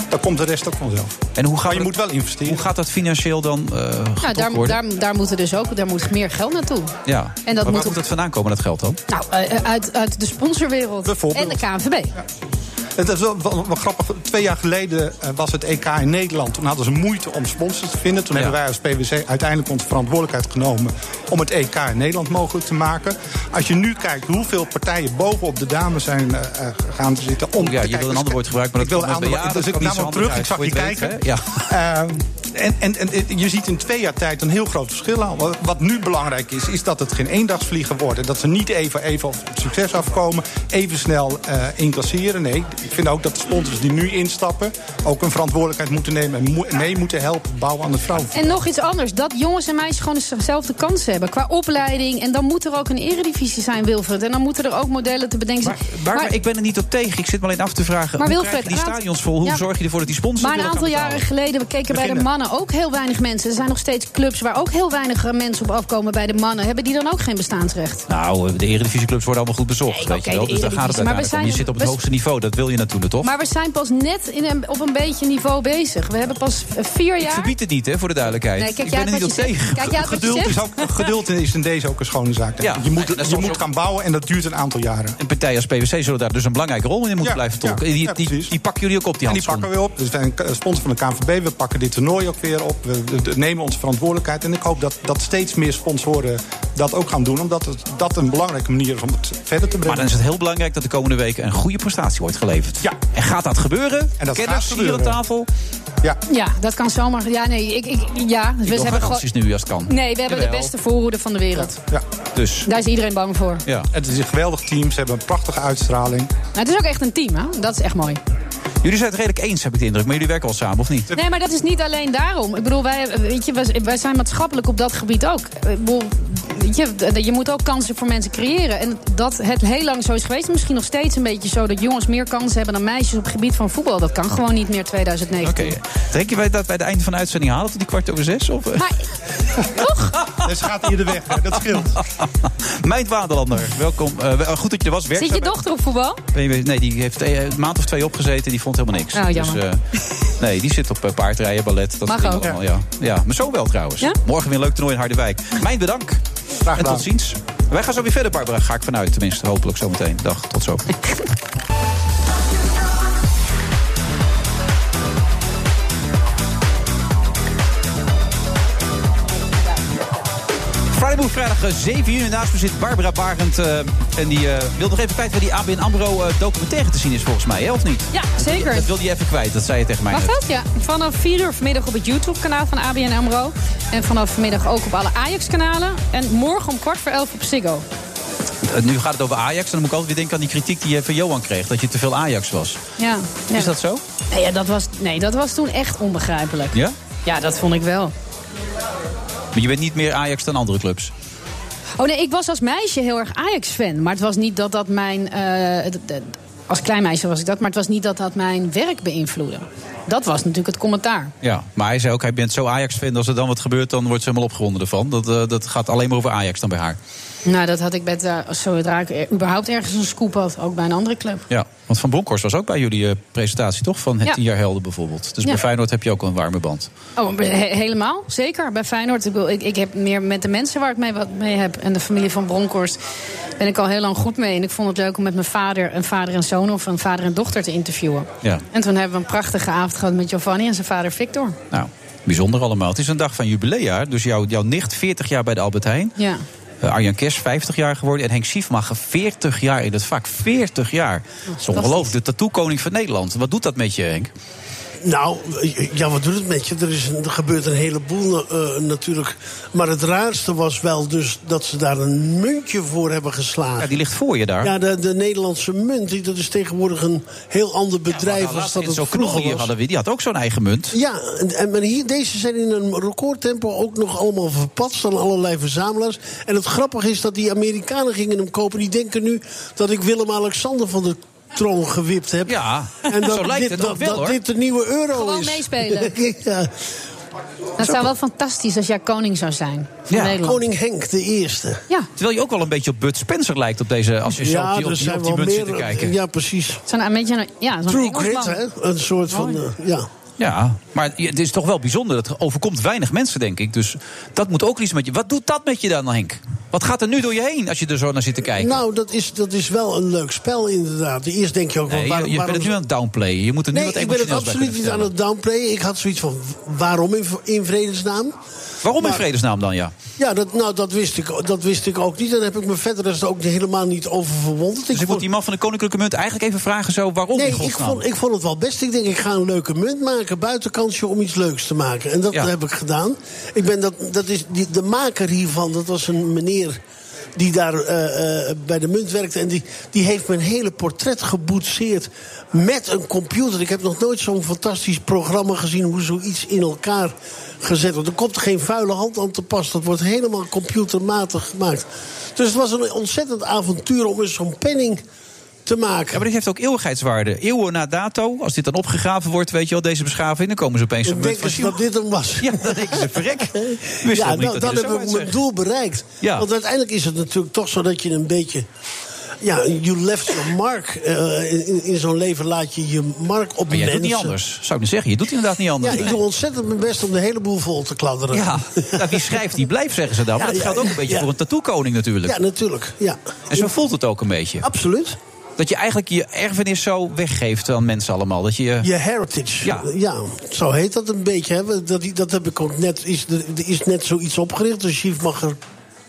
Speaker 10: dan komt de rest ook vanzelf.
Speaker 7: En hoe, gaan
Speaker 10: Maar je
Speaker 7: we-
Speaker 10: moet wel investeren.
Speaker 7: hoe gaat dat financieel dan eh
Speaker 8: Nou,
Speaker 7: getopt
Speaker 8: daar,
Speaker 7: worden?
Speaker 8: daar, daar moeten dus ook daar moet meer geld naartoe.
Speaker 7: ja.
Speaker 8: En dat
Speaker 7: maar waar
Speaker 8: moet
Speaker 7: moet,
Speaker 8: op-
Speaker 7: dat vandaan komen, dat geld dan?
Speaker 8: Nou, eh, eh, uit, uit de sponsorwereld en de
Speaker 10: Bijvoorbeeld.
Speaker 8: KNVB.
Speaker 10: Het is wel, wel- wel grappig. Twee jaar geleden eh, was het EK in Nederland. Toen hadden ze moeite om sponsors te vinden. Toen
Speaker 7: Ja.
Speaker 10: hebben wij als PwC uiteindelijk onze verantwoordelijkheid genomen om het EK in Nederland mogelijk te maken. Als je nu kijkt hoeveel partijen bovenop de dames zijn eh, eh, gaan zitten. Om
Speaker 7: Oh Ja,
Speaker 10: te
Speaker 7: je
Speaker 10: kijken-
Speaker 7: wil een ander woord gebruiken, maar
Speaker 10: Ik
Speaker 7: dat
Speaker 10: wil een
Speaker 7: komt
Speaker 10: ander
Speaker 7: net bij ja, dat
Speaker 10: woord. Dus ik
Speaker 7: kwam
Speaker 10: nam
Speaker 7: niet zo
Speaker 10: hem terug, ik
Speaker 7: handig
Speaker 10: zag je
Speaker 7: uit, voor je
Speaker 10: kijken.
Speaker 7: het weet,
Speaker 10: Ehm, en, en, en en je ziet in twee jaar tijd een heel groot verschil aan. Wat- Wat nu belangrijk is, is dat het geen eendagsvliegen wordt. En dat ze niet even, even op succes afkomen, even snel eh incasseren. Nee, ik vind ook dat de sponsors die nu instappen... ook een verantwoordelijkheid moeten nemen en moe- mee moeten helpen bouwen aan de vrouw.
Speaker 8: En nog iets anders, dat jongens en meisjes gewoon eens dezelfde kansen hebben qua opleiding. En dan moet er ook een eredivisie zijn, Wilfred. En dan moeten er ook modellen te bedenken zijn.
Speaker 7: Maar, maar, ik ben er niet op tegen. Ik zit me alleen af te vragen.
Speaker 8: Maar
Speaker 7: hoe
Speaker 8: Wilfred,
Speaker 7: krijg je die
Speaker 8: raad-
Speaker 7: stadions vol? Hoe
Speaker 8: Ja.
Speaker 7: zorg je ervoor dat die sponsors
Speaker 8: Maar een
Speaker 7: willen gaan
Speaker 8: aantal jaren
Speaker 7: betalen?
Speaker 8: geleden, we keken bij de
Speaker 10: Beginnen.
Speaker 8: mannen ook heel weinig mensen. Er zijn nog steeds clubs waar ook heel weinig eh, mensen op afkomen bij de mannen. Hebben die dan ook geen bestaansrecht?
Speaker 7: Nou, de eredivisieclubs worden allemaal goed bezocht,
Speaker 8: Nee,
Speaker 7: weet
Speaker 8: oké,
Speaker 7: je wel.
Speaker 8: de
Speaker 7: Dus daar gaat het
Speaker 8: Eredivisie. Maar we
Speaker 7: uiteindelijk om. Je
Speaker 8: zijn-
Speaker 7: zit op het
Speaker 8: we-
Speaker 7: hoogste niveau, dat wil je natuurlijk, toch?
Speaker 8: Maar we zijn pas net in een, op een beetje niveau bezig. We hebben pas eh, vier
Speaker 7: Ik
Speaker 8: jaar.
Speaker 7: verbied het niet, hè, voor de duidelijkheid.
Speaker 8: Nee, kijk
Speaker 7: ik
Speaker 8: jij
Speaker 7: ben er
Speaker 8: uit
Speaker 7: niet op
Speaker 8: wat je
Speaker 7: tegen.
Speaker 8: zegt. Kijk jij uit wat je
Speaker 10: Geduld is,
Speaker 8: zegt.
Speaker 10: ook, geduld is in deze ook een schone zaak.
Speaker 7: Ja,
Speaker 10: je moet,
Speaker 7: dat is
Speaker 10: je
Speaker 7: soms
Speaker 10: moet
Speaker 7: ook-
Speaker 10: gaan bouwen en dat duurt een aantal jaren.
Speaker 7: En partijen als PwC zullen daar dus een belangrijke rol in moeten
Speaker 10: Ja,
Speaker 7: blijven
Speaker 10: ja,
Speaker 7: tolken. Die-
Speaker 10: ja,
Speaker 7: die, die,
Speaker 10: precies.
Speaker 7: pakken jullie ook op, die
Speaker 10: En die
Speaker 7: handschoen.
Speaker 10: pakken we op. Dus wij zijn een sponsor van de KNVB. We pakken dit toernooi ook weer op. We we- we nemen onze verantwoordelijkheid. En ik hoop dat, dat steeds meer sponsoren dat ook gaan doen. Omdat het, dat een belangrijke manier is om het verder te
Speaker 7: Maar dan
Speaker 10: brengen.
Speaker 7: is het heel belangrijk dat de komende weken een goede prestatie wordt geleverd.
Speaker 10: Ja.
Speaker 7: En gaat dat gebeuren?
Speaker 10: En dat
Speaker 7: Kenners
Speaker 10: gaat gebeuren.
Speaker 7: hier aan tafel?
Speaker 10: Ja.
Speaker 8: Ja, dat kan zomaar. Ja, nee, ik, ik, ja we
Speaker 7: Ik wil
Speaker 8: hebben gewoon.
Speaker 7: garanties nu als het kan.
Speaker 8: Nee, we hebben de
Speaker 7: Jawel.
Speaker 8: beste voorhoede van de wereld.
Speaker 10: Ja.
Speaker 7: Dus,
Speaker 8: Daar is iedereen bang voor.
Speaker 7: ja.
Speaker 10: Het is een geweldig team. Ze hebben een prachtige uitstraling.
Speaker 8: Nou, het is ook echt een team, hè? Dat is echt mooi.
Speaker 7: Jullie zijn het redelijk eens, heb ik de indruk. Maar jullie werken wel samen, of niet?
Speaker 8: Nee, maar dat is niet alleen daarom. Ik bedoel, wij, weet je, wij, wij zijn maatschappelijk op dat gebied ook. Ik bedoel, weet je, je moet ook kansen voor mensen creëren. En dat het heel lang zo is geweest, misschien nog steeds een beetje zo... dat jongens meer kansen hebben dan meisjes op het gebied van voetbal. Dat kan gewoon niet meer 2019.
Speaker 7: Oh. Oké. Denk je wij dat bij het einde van de uitzending halen tot die kwart over zes? Of, eh? [LAUGHS]
Speaker 10: Dus gaat hier de weg, hè? dat scheelt.
Speaker 7: Mijn Waderlander, welkom. Eh, wel- goed dat je er was.
Speaker 8: Zit je
Speaker 7: Werkzaam-
Speaker 8: dochter op voetbal?
Speaker 7: Ben je- Nee, die heeft eh, een maand of twee opgezeten. Die vond helemaal niks.
Speaker 8: Oh, jammer.
Speaker 7: Dus, eh, nee, die zit op eh, paardrijden, ballet. Dat
Speaker 8: Mag
Speaker 7: soort dingen
Speaker 8: ook.
Speaker 7: allemaal, ja. ja. Maar zo wel trouwens.
Speaker 8: Ja?
Speaker 7: Morgen weer een leuk toernooi in Harderwijk. Mijn bedankt. En tot ziens. Wij gaan zo weer verder, Barbara. Ga ik vanuit, tenminste. Hopelijk zometeen. Dag, tot zo. [LAUGHS] Friday Move, vrijdag eh, 7 juni. Naast me zit Barbara Barend. eh, en die eh, wil nog even kwijt waar die ABN AMRO eh, documentaire te zien is volgens mij, hè, of niet?
Speaker 8: Ja, zeker.
Speaker 7: Dat wil die even kwijt, dat zei je tegen mij.
Speaker 8: Mag
Speaker 7: net.
Speaker 8: dat? Ja. Vanaf 4 uur vanmiddag op het YouTube-kanaal van ABN AMRO. En vanaf vanmiddag ook op alle Ajax-kanalen. En morgen om kwart voor elf op Ziggo.
Speaker 7: Eh, Nu gaat het over Ajax. En dan moet ik altijd weer denken aan die kritiek die je van Johan kreeg. Dat je te veel Ajax was.
Speaker 8: Ja.
Speaker 7: Is dat zo?
Speaker 8: Nee, ja, dat was, nee, dat was toen echt onbegrijpelijk.
Speaker 7: Ja?
Speaker 8: Ja, dat vond ik wel.
Speaker 7: Maar je bent niet meer Ajax dan andere clubs.
Speaker 8: Oh nee, ik was als meisje heel erg Ajax-fan. Maar het was niet dat dat mijn... eh, d- d- als klein meisje was ik dat. Maar het was niet dat dat mijn werk beïnvloedde. Dat was natuurlijk het commentaar.
Speaker 7: Ja, maar hij zei ook, hij bent zo Ajax-fan. Als er dan wat gebeurt, dan wordt ze helemaal opgewonden ervan. Dat, eh, dat gaat alleen maar over Ajax dan bij haar.
Speaker 8: Nou, dat had ik met... eh zodra ik eh, überhaupt ergens een scoop had. Ook bij een andere club.
Speaker 7: Ja, want Van Bronckhorst was ook bij jullie eh, presentatie, toch? Van het
Speaker 8: Ja.
Speaker 7: 10 jaar helden bijvoorbeeld. Dus
Speaker 8: Ja.
Speaker 7: bij Feyenoord heb je ook wel een warme band.
Speaker 8: Oh, he- helemaal, zeker. Bij Feyenoord. Ik, bedoel, ik, ik heb meer met de mensen waar ik mee, wat mee heb. En de familie van Bronkhorst ben ik al heel lang goed mee. En ik vond het leuk om met mijn vader, een vader en zoon of een vader en dochter te interviewen.
Speaker 7: Ja,
Speaker 8: En toen hebben we een prachtige avond gehad met Giovanni en zijn vader Victor.
Speaker 7: nou, bijzonder allemaal. Het is een dag van jubileumjaar. Dus jouw, jouw nicht, 40 jaar bij de Albert Heijn.
Speaker 8: Ja.
Speaker 7: Eh, Arjan Kers, 50 jaar geworden. En Henk Siefmacher, 40 jaar in het vak. 40 jaar. Dat is ongelooflijk. De tattoo-koning van Nederland. Wat doet dat met je, Henk?
Speaker 11: Nou, ja, wat doet het met je? Er, is een- er gebeurt een heleboel eh, natuurlijk. Maar het raarste was wel dus dat ze daar een muntje voor hebben geslagen.
Speaker 7: Ja, die ligt voor je daar.
Speaker 11: Ja, de, de Nederlandse munt, die, dat is tegenwoordig een heel ander bedrijf
Speaker 7: Nou,
Speaker 11: als
Speaker 7: laatst
Speaker 11: dat
Speaker 7: in
Speaker 11: het
Speaker 7: zo'n
Speaker 11: vroeger
Speaker 7: knol hier
Speaker 11: was.
Speaker 7: hadden we, die had ook zo'n eigen munt.
Speaker 11: Ja, en, en, maar hier, deze zijn in een recordtempo ook nog allemaal verpatst aan allerlei verzamelaars. En het grappige is dat die Amerikanen gingen hem kopen. Die denken nu dat ik Willem-Alexander van de troon gewipt heb.
Speaker 7: Ja,
Speaker 11: en dat,
Speaker 7: [LAUGHS] zo lijkt
Speaker 11: dit,
Speaker 7: het ook
Speaker 11: dat,
Speaker 7: wel,
Speaker 11: dat
Speaker 7: hoor.
Speaker 11: dit de nieuwe euro
Speaker 8: Gewoon
Speaker 11: is. [LAUGHS]
Speaker 8: meespelen.
Speaker 11: ja.
Speaker 8: Dat zou wel fantastisch als jij koning zou zijn van
Speaker 7: Ja.
Speaker 8: Nederland.
Speaker 11: Koning Henk de Eerste.
Speaker 8: Ja,
Speaker 7: Terwijl je ook wel een beetje op Bud Spencer lijkt op deze... als je zo op die, op die, op die munt zit te kijken.
Speaker 11: Ja, precies.
Speaker 8: zo'n een beetje een, ja, zo'n
Speaker 11: True
Speaker 8: Engelsman.
Speaker 11: grit, hè? Een soort van. eh, ja.
Speaker 7: Ja, maar je- het is toch wel bijzonder. Dat overkomt weinig mensen, denk ik. Dus dat moet ook iets met je. Wat doet dat met je dan, Henk? Wat gaat er nu door je heen als je er zo naar zit te kijken?
Speaker 11: Nou, dat is, dat is wel een leuk spel, inderdaad. Eerst denk je ook
Speaker 7: nee,
Speaker 11: van
Speaker 7: je-
Speaker 11: waarom.
Speaker 7: je, bent het
Speaker 11: waarom
Speaker 7: nu aan het downplayen. Je moet er nu
Speaker 11: Nee,
Speaker 7: wat
Speaker 11: ik ben het
Speaker 7: emotioneels bij
Speaker 11: absoluut niet
Speaker 7: kunnen
Speaker 11: aan het downplayen. Ik had zoiets van, waarom in, in vredesnaam?
Speaker 7: vertellen. Waarom in
Speaker 11: Maar-
Speaker 7: vredesnaam dan, ja?
Speaker 11: Ja, dat, nou, dat, wist ik, dat wist ik ook niet. En daar heb ik me verder dus ook helemaal niet over verwonderd.
Speaker 7: Dus ik moet
Speaker 11: vond-
Speaker 7: die man van de Koninklijke Munt eigenlijk even vragen zo, waarom
Speaker 11: Nee,
Speaker 7: in
Speaker 11: ik
Speaker 7: godsnaam?
Speaker 11: vond, ik vond het wel best. Ik denk, ik ga een leuke munt maken, buitenkansje om iets leuks te maken. En dat
Speaker 7: Ja.
Speaker 11: heb ik gedaan. Ik ben dat, dat is die, de maker hiervan, dat was een meneer die daar eh, eh, bij de munt werkte. En die, die heeft mijn hele portret geboetseerd met een computer. Ik heb nog nooit zo'n fantastisch programma gezien... hoe zoiets in elkaar gezet wordt. Er komt geen vuile hand aan te pas. Dat wordt helemaal computermatig gemaakt. Dus het was een ontzettend avontuur om eens zo'n penning te maken.
Speaker 7: Ja, maar dit heeft ook eeuwigheidswaarde. Eeuwen na dato, als dit dan opgegraven wordt, weet je wel, deze beschaving... dan komen ze opeens een
Speaker 11: Ik
Speaker 7: munt
Speaker 11: denk
Speaker 7: van
Speaker 11: dus dat dit hem was.
Speaker 7: Ja, dan denken ze, verrek. Wist
Speaker 11: [LAUGHS] Ja,
Speaker 7: helemaal niet
Speaker 11: nou,
Speaker 7: dat
Speaker 11: dan
Speaker 7: hij er zo
Speaker 11: heb ik
Speaker 7: uitzag.
Speaker 11: mijn doel bereikt.
Speaker 7: Ja.
Speaker 11: Want uiteindelijk is het natuurlijk toch zo dat je een beetje... Ja, you left your mark. eh, in in zo'n leven laat je je mark op
Speaker 7: Maar jij
Speaker 11: mensen.
Speaker 7: doet niet anders, zou ik niet zeggen. Je doet inderdaad niet
Speaker 11: Ja,
Speaker 7: anders.
Speaker 11: ik doe ontzettend mijn best om de hele boel vol te kladderen.
Speaker 7: Ja, nou, wie schrijft, die blijft, zeggen ze dan. Maar
Speaker 11: Ja,
Speaker 7: dat
Speaker 11: ja,
Speaker 7: geldt ook een beetje
Speaker 11: ja.
Speaker 7: voor een tattoo-koning natuurlijk.
Speaker 11: Ja, natuurlijk. Ja.
Speaker 7: en zo voelt het ook een beetje.
Speaker 11: Absoluut.
Speaker 7: Dat je eigenlijk je erfenis zo weggeeft aan mensen allemaal. Dat je,
Speaker 11: Je heritage.
Speaker 7: Ja.
Speaker 11: zo heet dat een beetje. Hè. Dat, dat heb ik ook net. Is, er is net zoiets opgericht. De Schiefmacher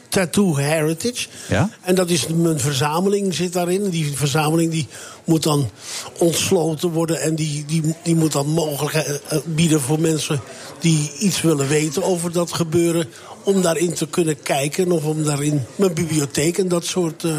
Speaker 11: Tattoo Heritage.
Speaker 7: Ja.
Speaker 11: En dat is mijn verzameling zit daarin. En Die verzameling die moet dan ontsloten worden. En die, die, die moet dan mogelijkheid eh, bieden voor mensen die iets willen weten over dat gebeuren. Om daarin te kunnen kijken of om daarin mijn bibliotheek en dat soort. eh,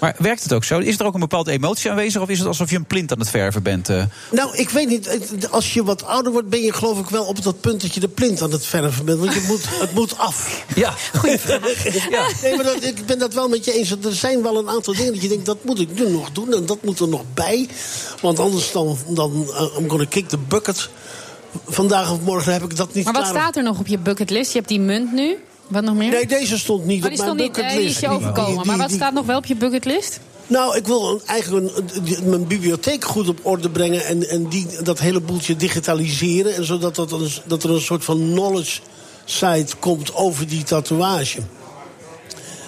Speaker 7: Maar werkt het ook zo? Is er ook een bepaalde emotie aanwezig? Of is het alsof je een plint aan het verven bent? eh?
Speaker 11: Nou, ik weet niet. het- Als je wat ouder wordt, ben je geloof ik wel op dat punt dat je de plint aan het verven bent. Want je moet, het moet af.
Speaker 7: Ja,
Speaker 11: goede vraag. [LAUGHS] Nee, maar dat, ik ben dat wel met je eens. Er zijn wel een aantal dingen dat je denkt, dat moet ik nu nog doen. En dat moet er nog bij. Want anders dan, dan eh, I'm gonna kick the bucket. Vandaag of morgen heb ik dat niet
Speaker 8: Maar wat
Speaker 11: klaar.
Speaker 8: staat er nog op je bucketlist? Je hebt die munt nu. Wat nog meer?
Speaker 11: Nee, deze stond niet
Speaker 8: Oh,
Speaker 11: op
Speaker 8: die
Speaker 11: mijn
Speaker 8: stond niet. eh,
Speaker 11: bucketlist.
Speaker 8: die is je overkomen.
Speaker 11: Die-
Speaker 8: maar wat
Speaker 11: die-
Speaker 8: staat nog wel op je bucketlist?
Speaker 11: Nou, ik wil een- eigenlijk een- die- mijn bibliotheek goed op orde brengen. En, en die, dat hele boeltje digitaliseren. En zodat dat een, dat er een soort van knowledge site komt over die tatoeage.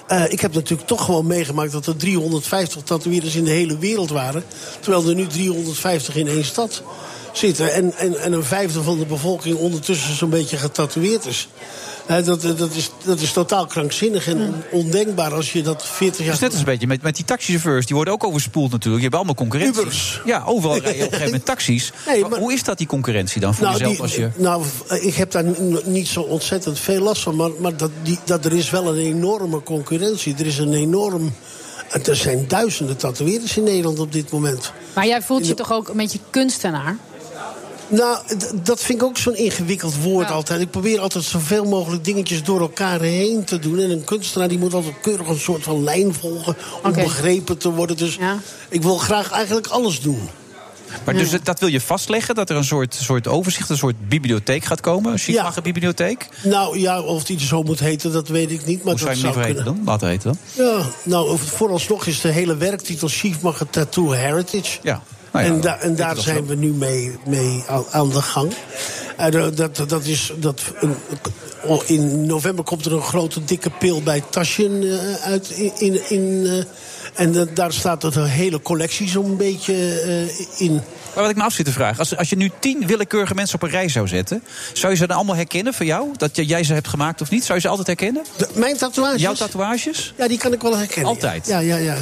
Speaker 11: Eh, ik heb natuurlijk toch gewoon meegemaakt dat er 350 tatoeëerders in de hele wereld waren. Terwijl er nu 350 in één stad zitten. En, en, en een vijfde van de bevolking ondertussen zo'n beetje getatoeëerd is. Eh, dat, dat, is, dat is totaal krankzinnig en on- ondenkbaar als je dat 40 jaar
Speaker 7: Dus net als een beetje met, met die taxichauffeurs. Die worden ook overspoeld natuurlijk. Je hebt allemaal concurrentie. Ja, overal rijden op een
Speaker 11: [LAUGHS]
Speaker 7: gegeven moment taxis. Maar hoe is dat die concurrentie dan voor jezelf?
Speaker 11: die-
Speaker 7: als je...
Speaker 11: nou, ik heb daar n- niet zo ontzettend veel last van. Maar, maar dat, die, dat, er is wel een enorme concurrentie. Er is een enorm... Er zijn duizenden tatoeëerders in Nederland op dit moment.
Speaker 8: Maar jij voelt je toch ook een beetje kunstenaar?
Speaker 11: Nou, d- dat vind ik ook zo'n ingewikkeld woord altijd. Ik probeer altijd zoveel mogelijk dingetjes door elkaar heen te doen. En een kunstenaar die moet altijd keurig een soort van lijn volgen... om
Speaker 8: Oké.
Speaker 11: begrepen te worden. Dus ik wil graag eigenlijk alles doen.
Speaker 7: Maar dus dat, dat wil je vastleggen? Dat er een soort, soort overzicht, een soort bibliotheek gaat komen? Een Chicago-bibliotheek?
Speaker 11: Nou ja, of die zo moet heten, dat weet ik niet. Maar
Speaker 7: Hoe zou
Speaker 11: dat
Speaker 7: je hem
Speaker 11: zou
Speaker 7: liever heten
Speaker 11: kunnen.
Speaker 7: dan? Laten heten dan?
Speaker 11: Ja, nou, vooralsnog is de hele werktitel Chief Maga Tattoo Heritage.
Speaker 7: Ah, Ja.
Speaker 11: en, da- en daar zijn we nu mee, mee aan, aan de gang. En, eh, dat, dat is, dat, een- oh, in november komt er een grote dikke pil bij Taschen eh, uit. In, in, eh, en dat- daar staat het een hele collectie zo'n beetje eh, in.
Speaker 7: Maar wat ik me af zit te vragen, als, als je nu tien willekeurige mensen op een rij zou zetten, zou je ze dan allemaal herkennen van jou? Dat je- jij ze hebt gemaakt of niet? Zou je ze altijd herkennen?
Speaker 11: mijn tatoeages?
Speaker 7: Jouw tatoeages?
Speaker 11: Ja, die kan ik wel herkennen.
Speaker 7: Altijd?
Speaker 11: Ja, ja, ja.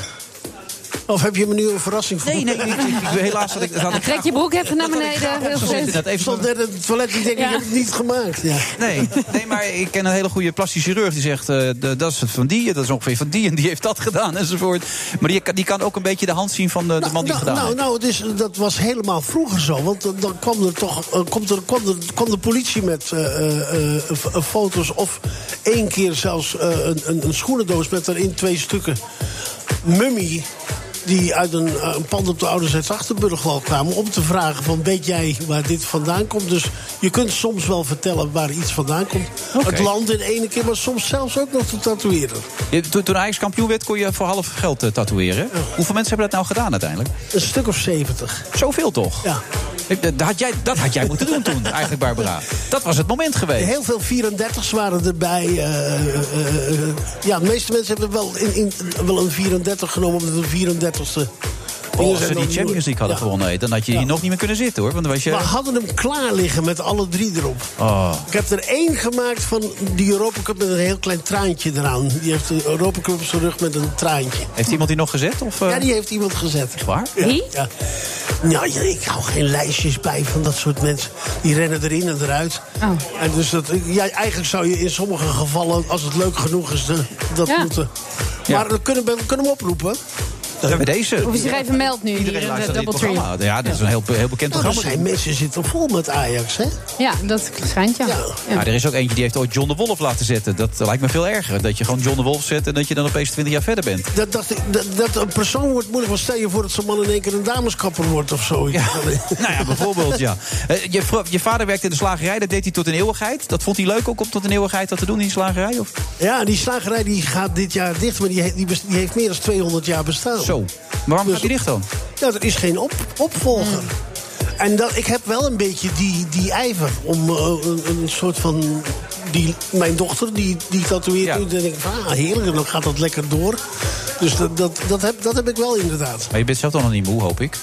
Speaker 11: Of heb je me nu een verrassing voor?
Speaker 7: Nee, nee, ik- ik- ik- [LAUGHS] helaas had ik- dat had ik
Speaker 8: Nou, Trek je broek even naar beneden. Heel
Speaker 7: opgezocht,
Speaker 8: goed.
Speaker 7: inderdaad. Even-
Speaker 11: stond net in het toilet en denk ik
Speaker 8: Ja.
Speaker 11: heb het niet gemaakt. Ja.
Speaker 7: Nee, nee, maar ik ken een hele goede plastisch chirurg die zegt... eh, de- dat is van die, dat is ongeveer van die en die heeft dat gedaan enzovoort. Maar die, kan- die kan ook een beetje de hand zien van de, de man die het gedaan
Speaker 11: Nou, nou,
Speaker 7: heeft.
Speaker 11: nou het is, dat was helemaal vroeger zo. Want dan- dan kwam er toch eh, komt er, kwam er, kwam de politie met eh, eh, eh, f- eh, foto's. Of één keer zelfs eh, een, een, een schoenendoos met daarin twee stukken mummie. Die uit een, eh, een pand op de Oude Zuid-Achterburg wel kwamen. Om te vragen van weet jij waar dit vandaan komt. Dus je kunt soms wel vertellen waar iets vandaan komt. Het land in de ene keer, maar soms zelfs ook nog te tatoeëren.
Speaker 7: Je- Toen, toen Ajax kampioen werd, kon je voor half geld eh, tatoeëren. Hoeveel mensen hebben dat nou gedaan uiteindelijk?
Speaker 11: Een stuk of zeventig.
Speaker 7: Zoveel toch?
Speaker 11: Ja.
Speaker 7: Ik- Dat had jij, dat had jij moeten doen toen, eigenlijk, Barbara. Dat was het moment geweest.
Speaker 11: Heel veel 34's waren erbij. eh, eh, eh, ja, de meeste mensen hebben wel, in, in, wel een 34 genomen, omdat de 34ste.
Speaker 7: Oh, als ze die Champions League hadden gewonnen, hé, dan had je hier nog niet meer kunnen zitten, hoor. Want dan was je...
Speaker 11: We hadden hem klaar liggen met alle drie erop.
Speaker 7: Oh.
Speaker 11: Ik heb er één gemaakt van die Europa Cup met een heel klein traantje eraan. Die heeft de Europa Cup op zijn rug met een traantje.
Speaker 7: Heeft iemand die nog gezet? Of, eh?
Speaker 11: Ja, die heeft iemand gezet.
Speaker 7: waar?
Speaker 11: Ja,
Speaker 7: Wie?
Speaker 11: Ja. Nou, ja, ik hou geen lijstjes bij van dat soort mensen. Die rennen erin en eruit.
Speaker 8: Oh.
Speaker 11: En dus dat, ja, eigenlijk zou je in sommige gevallen, als het leuk genoeg is, eh, dat moeten. Maar we kunnen, we kunnen hem oproepen.
Speaker 7: Ja, bij deze.
Speaker 8: Of je zich even meldt nu hier in de
Speaker 7: Luister naar
Speaker 8: Double
Speaker 7: dit
Speaker 8: Tree.
Speaker 7: programma. Ja, dat is een heel, heel bekend
Speaker 11: Nou, er
Speaker 7: programma.
Speaker 11: zijn mensen zitten vol met Ajax, hè?
Speaker 8: Ja, dat schijnt ja.
Speaker 7: Maar er is ook eentje die heeft ooit John de Wolf laten zetten. Dat lijkt me veel erger. Dat je gewoon John de Wolf zet en dat je dan opeens 20 jaar verder bent.
Speaker 11: Dat, dat, dat, dat een persoon wordt moeilijk. Want stel je voor dat zo'n man in één keer een dameskapper wordt of zo.
Speaker 7: [LAUGHS] nou ja, bijvoorbeeld, ja. Eh, Je, vro- je vader werkte in de slagerij, dat deed hij tot een eeuwigheid. Dat vond hij leuk ook om tot een eeuwigheid dat te doen in die slagerij? Of?
Speaker 11: Ja, die slagerij die gaat dit jaar dicht, maar die, he- die, bes- die heeft meer dan 200 jaar bestaan.
Speaker 7: Zo. Maar waarom gaat die dicht dan?
Speaker 11: Ja, er is geen op,
Speaker 7: Hmm.
Speaker 11: opvolger. En dat, ik heb wel een beetje die, die ijver om eh, een, een soort van... Die, mijn dochter, die, die tatoeëert nu, dan denk ik van, ah, heerlijk, en dan gaat dat lekker door. Dus dat, dat, dat, heb, dat heb ik wel inderdaad.
Speaker 7: Maar je bent zelf dan nog niet moe, hoop ik.
Speaker 11: Eh,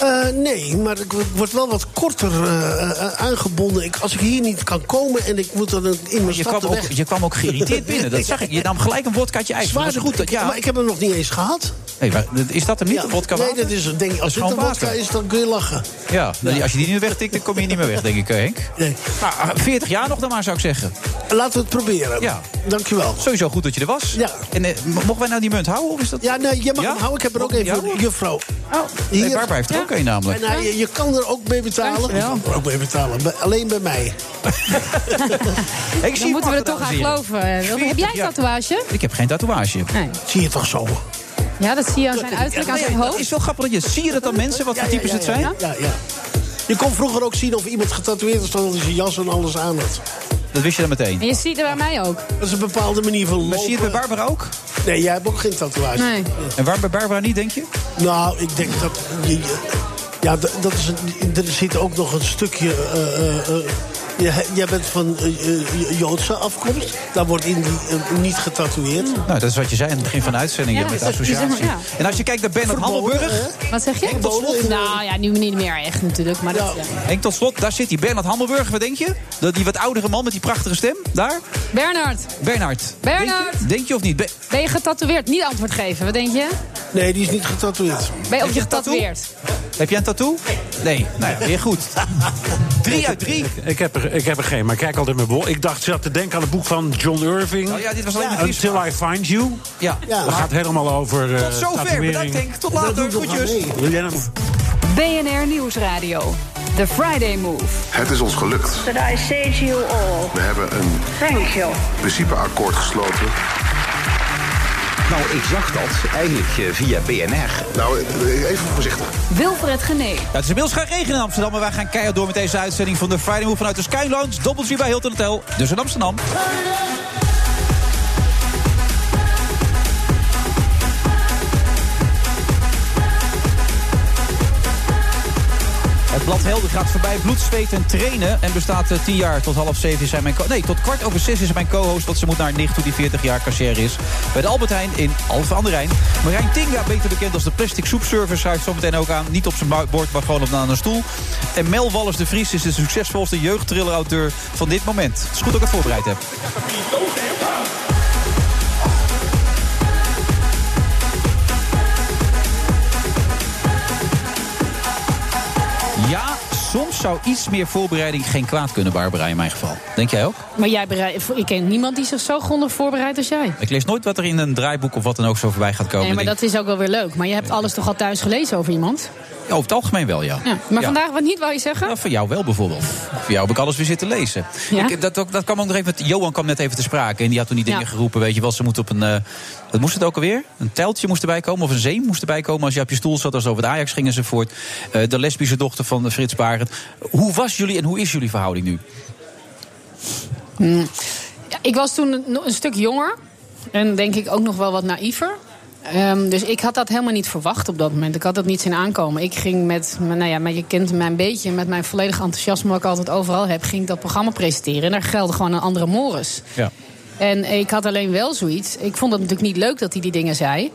Speaker 11: Eh, nee, maar ik word wel wat korter eh, eh, aangebonden. Ik, als ik hier niet kan komen en ik moet dan een- in mijn
Speaker 7: Je
Speaker 11: stad
Speaker 7: kwam, ook,
Speaker 11: weg.
Speaker 7: je kwam ook
Speaker 11: [LAUGHS]
Speaker 7: geïrriteerd binnen, dat zag ik. Je nam gelijk een wodkaatje ijs.
Speaker 11: Zwaar
Speaker 7: Dat is goed, dat, ja.
Speaker 11: Maar ik heb hem nog niet eens gehad.
Speaker 7: Nee, maar is dat hem niet,
Speaker 11: Ja.
Speaker 7: een wodka
Speaker 11: Nee,
Speaker 7: water?
Speaker 11: dat is denk
Speaker 7: Dat
Speaker 11: ik. Als
Speaker 7: is
Speaker 11: dit
Speaker 7: gewoon
Speaker 11: een wodka
Speaker 7: water.
Speaker 11: is, dan kun je lachen.
Speaker 7: Ja, dan- als je die nu wegtikt, dan kom je niet meer weg, denk ik, eh, Henk.
Speaker 11: Nee.
Speaker 7: Nou, 40 jaar nog dan maar, zou ik zeggen.
Speaker 11: Laten we het proberen.
Speaker 7: Ja.
Speaker 11: Dankjewel.
Speaker 7: Sowieso goed dat je er was.
Speaker 11: Ja.
Speaker 7: En eh, m- mogen wij nou die munt houden? Of is dat...
Speaker 11: Ja, nee, je mag
Speaker 7: Ja?
Speaker 11: hem houden. Ik heb er ook
Speaker 7: Mag ik
Speaker 11: even
Speaker 7: hem
Speaker 11: voor de juffrouw.
Speaker 7: nee, Barbara heeft er ook een namelijk.
Speaker 11: En hij- je, je kan er ook mee betalen.
Speaker 7: Dankjewel.
Speaker 11: Je kan er ook mee betalen. Bij- alleen bij mij.
Speaker 7: Ik
Speaker 12: Dan moeten we er toch aan geloven. eh, Wilbert. Heb jij een
Speaker 7: Ja.
Speaker 12: tatoeage?
Speaker 7: Ik heb geen tatoeage.
Speaker 12: Nee.
Speaker 11: Zie je toch zo?
Speaker 12: Ja, dat zie je aan zijn uiterlijk, aan zijn
Speaker 7: Het
Speaker 12: hoofd.
Speaker 7: is wel grappig dat je... Zie je dat dan mensen? Wat voor types het zijn?
Speaker 11: Ja, ja. Je kon vroeger ook zien of iemand getatoeëerd was... omdat hij zijn jas en alles aan had.
Speaker 7: Dat wist je dan meteen.
Speaker 12: En je ziet er bij mij ook.
Speaker 11: Dat is een bepaalde manier van lopen.
Speaker 7: Maar zie je het bij Barbara ook?
Speaker 11: Nee, jij hebt ook geen tatoeage.
Speaker 12: Nee.
Speaker 7: En waar bij Barbara niet, denk je?
Speaker 11: Nou, ik denk dat... je- je- ja, d- dat is een, er zit ook nog een stukje... eh, eh, eh, je- jij bent van eh, eh, Joodse afkomst. Daar wordt in die, eh, niet getatoeëerd.
Speaker 7: Nou, dat is wat je zei in het begin van de uitzending.
Speaker 12: Ja,
Speaker 7: Ja, met de
Speaker 12: dat is-
Speaker 7: associatie.
Speaker 12: ja.
Speaker 7: En als je kijkt naar Bernard
Speaker 11: Verboden,
Speaker 7: Hammelburg...
Speaker 12: Wat zeg je?
Speaker 11: Tot slot.
Speaker 8: Nou ja, nu niet meer echt natuurlijk. Maar dat, eh,
Speaker 7: Henk, tot slot, daar zit hij. Bernard Hammelburg, wat denk je? Dat die wat oudere man met die prachtige stem, daar?
Speaker 12: Bernard,
Speaker 7: Bernard.
Speaker 12: Bernard!
Speaker 7: Denk je, denk je of niet? Be-
Speaker 12: ben je getatoeëerd? Niet antwoord geven, wat denk je?
Speaker 11: Nee, die is niet getatoeëerd.
Speaker 12: Ben je op
Speaker 7: je
Speaker 12: je
Speaker 7: een tattoo?
Speaker 12: getatoeëerd?
Speaker 7: heb jij een tattoo? Nee. Nou ja, weer
Speaker 13: [LAUGHS]
Speaker 7: goed. Drie uit drie.
Speaker 13: Ik heb, er, ik heb er geen, maar ik kijk altijd mijn bol. Ik dacht, zat te denken aan het boek van John Irving.
Speaker 7: Nou ja, dit was alleen een gift.
Speaker 13: Until I Find You.
Speaker 7: Ja.
Speaker 11: Ja.
Speaker 13: Dat gaat helemaal over. eh,
Speaker 7: Tot zover.
Speaker 13: tatoeëring.
Speaker 7: Bedankt, Henk. Tot
Speaker 11: Dat doe
Speaker 7: later.
Speaker 11: ik nog
Speaker 7: Goedjes.
Speaker 11: maar mee.
Speaker 13: Wil jij nou-
Speaker 3: BNR Nieuwsradio. The Friday Move.
Speaker 4: Het is ons gelukt.
Speaker 14: But I say to you all,
Speaker 4: We hebben een
Speaker 14: thank you.
Speaker 4: principeakkoord gesloten.
Speaker 15: Nou, ik zag dat eigenlijk eh, via BNR.
Speaker 4: Nou, eh, even voorzichtig.
Speaker 3: Wilfred Genee.
Speaker 7: Ja, het is inmiddels gaan regenen in Amsterdam, maar wij gaan keihard door met deze uitzending van de Friday Move vanuit de Sky Lounge. Doppeltje bij Hilton Hotel, dus in Amsterdam. Het blad Helden gaat voorbij bloed, zweet en trainen. En bestaat eh, 10 jaar. Tot half zeven is hij mijn co Nee, tot kwart over zes is hij mijn co-host. Want ze moet naar haar nicht toe die 40 jaar cashier is. Bij de Albert Heijn in Alphen aan de Rijn. Marijn Tinga, beter bekend als de Plastic Soep Service. Hij heeft zometeen ook aan. Niet op zijn bu- bord, maar gewoon op aan een stoel. En Mel Wallis de Vries is de succesvolste jeugdtriller-auteur van dit moment. Het is goed dat ik het voorbereid heb. Ja, soms zou iets meer voorbereiding geen kwaad kunnen, Barbara, in mijn geval. Denk jij ook?
Speaker 8: maar jij bereidt, ik ken niemand die zich zo grondig voorbereidt als jij.
Speaker 7: Ik lees nooit wat er in een draaiboek of wat dan ook zo voorbij gaat komen.
Speaker 8: Nee, maar
Speaker 7: Ik denk-
Speaker 8: dat is ook wel weer leuk. Maar je hebt alles toch al thuis gelezen over iemand?
Speaker 7: Over het algemeen wel, ja.
Speaker 8: Ja. Maar
Speaker 7: Ja.
Speaker 8: vandaag wat niet, wou je zeggen?
Speaker 7: Nou, voor jou wel bijvoorbeeld. Voor jou heb ik alles weer zitten lezen.
Speaker 8: Ja?
Speaker 7: Ik, dat, ook- dat kwam ook nog even. met- Johan kwam net even te sprake. En die had toen die dingen
Speaker 8: Ja.
Speaker 7: geroepen. Weet je wel, ze moeten op een. eh, wat moest het ook alweer? Een teltje moest erbij komen. Of een zeem moest erbij komen. Als je op je stoel zat. Als het over het Ajax ging enzovoort. Eh de lesbische dochter van Frits Barend. Hoe was jullie en hoe is jullie verhouding nu?
Speaker 8: Ja, ik was toen een, een stuk jonger. En denk ik ook nog wel wat naïver. Ehm, dus ik had dat helemaal niet verwacht op dat moment. Ik had dat niet zien aankomen. Ik ging met, mijn- nou ja, met je kent mij een beetje, met mijn volledig enthousiasme wat ik altijd overal heb, ging ik dat programma presenteren. En daar gelde gewoon een andere mores.
Speaker 7: Ja.
Speaker 8: En ik had alleen wel zoiets. Ik vond het natuurlijk niet leuk dat hij die dingen zei.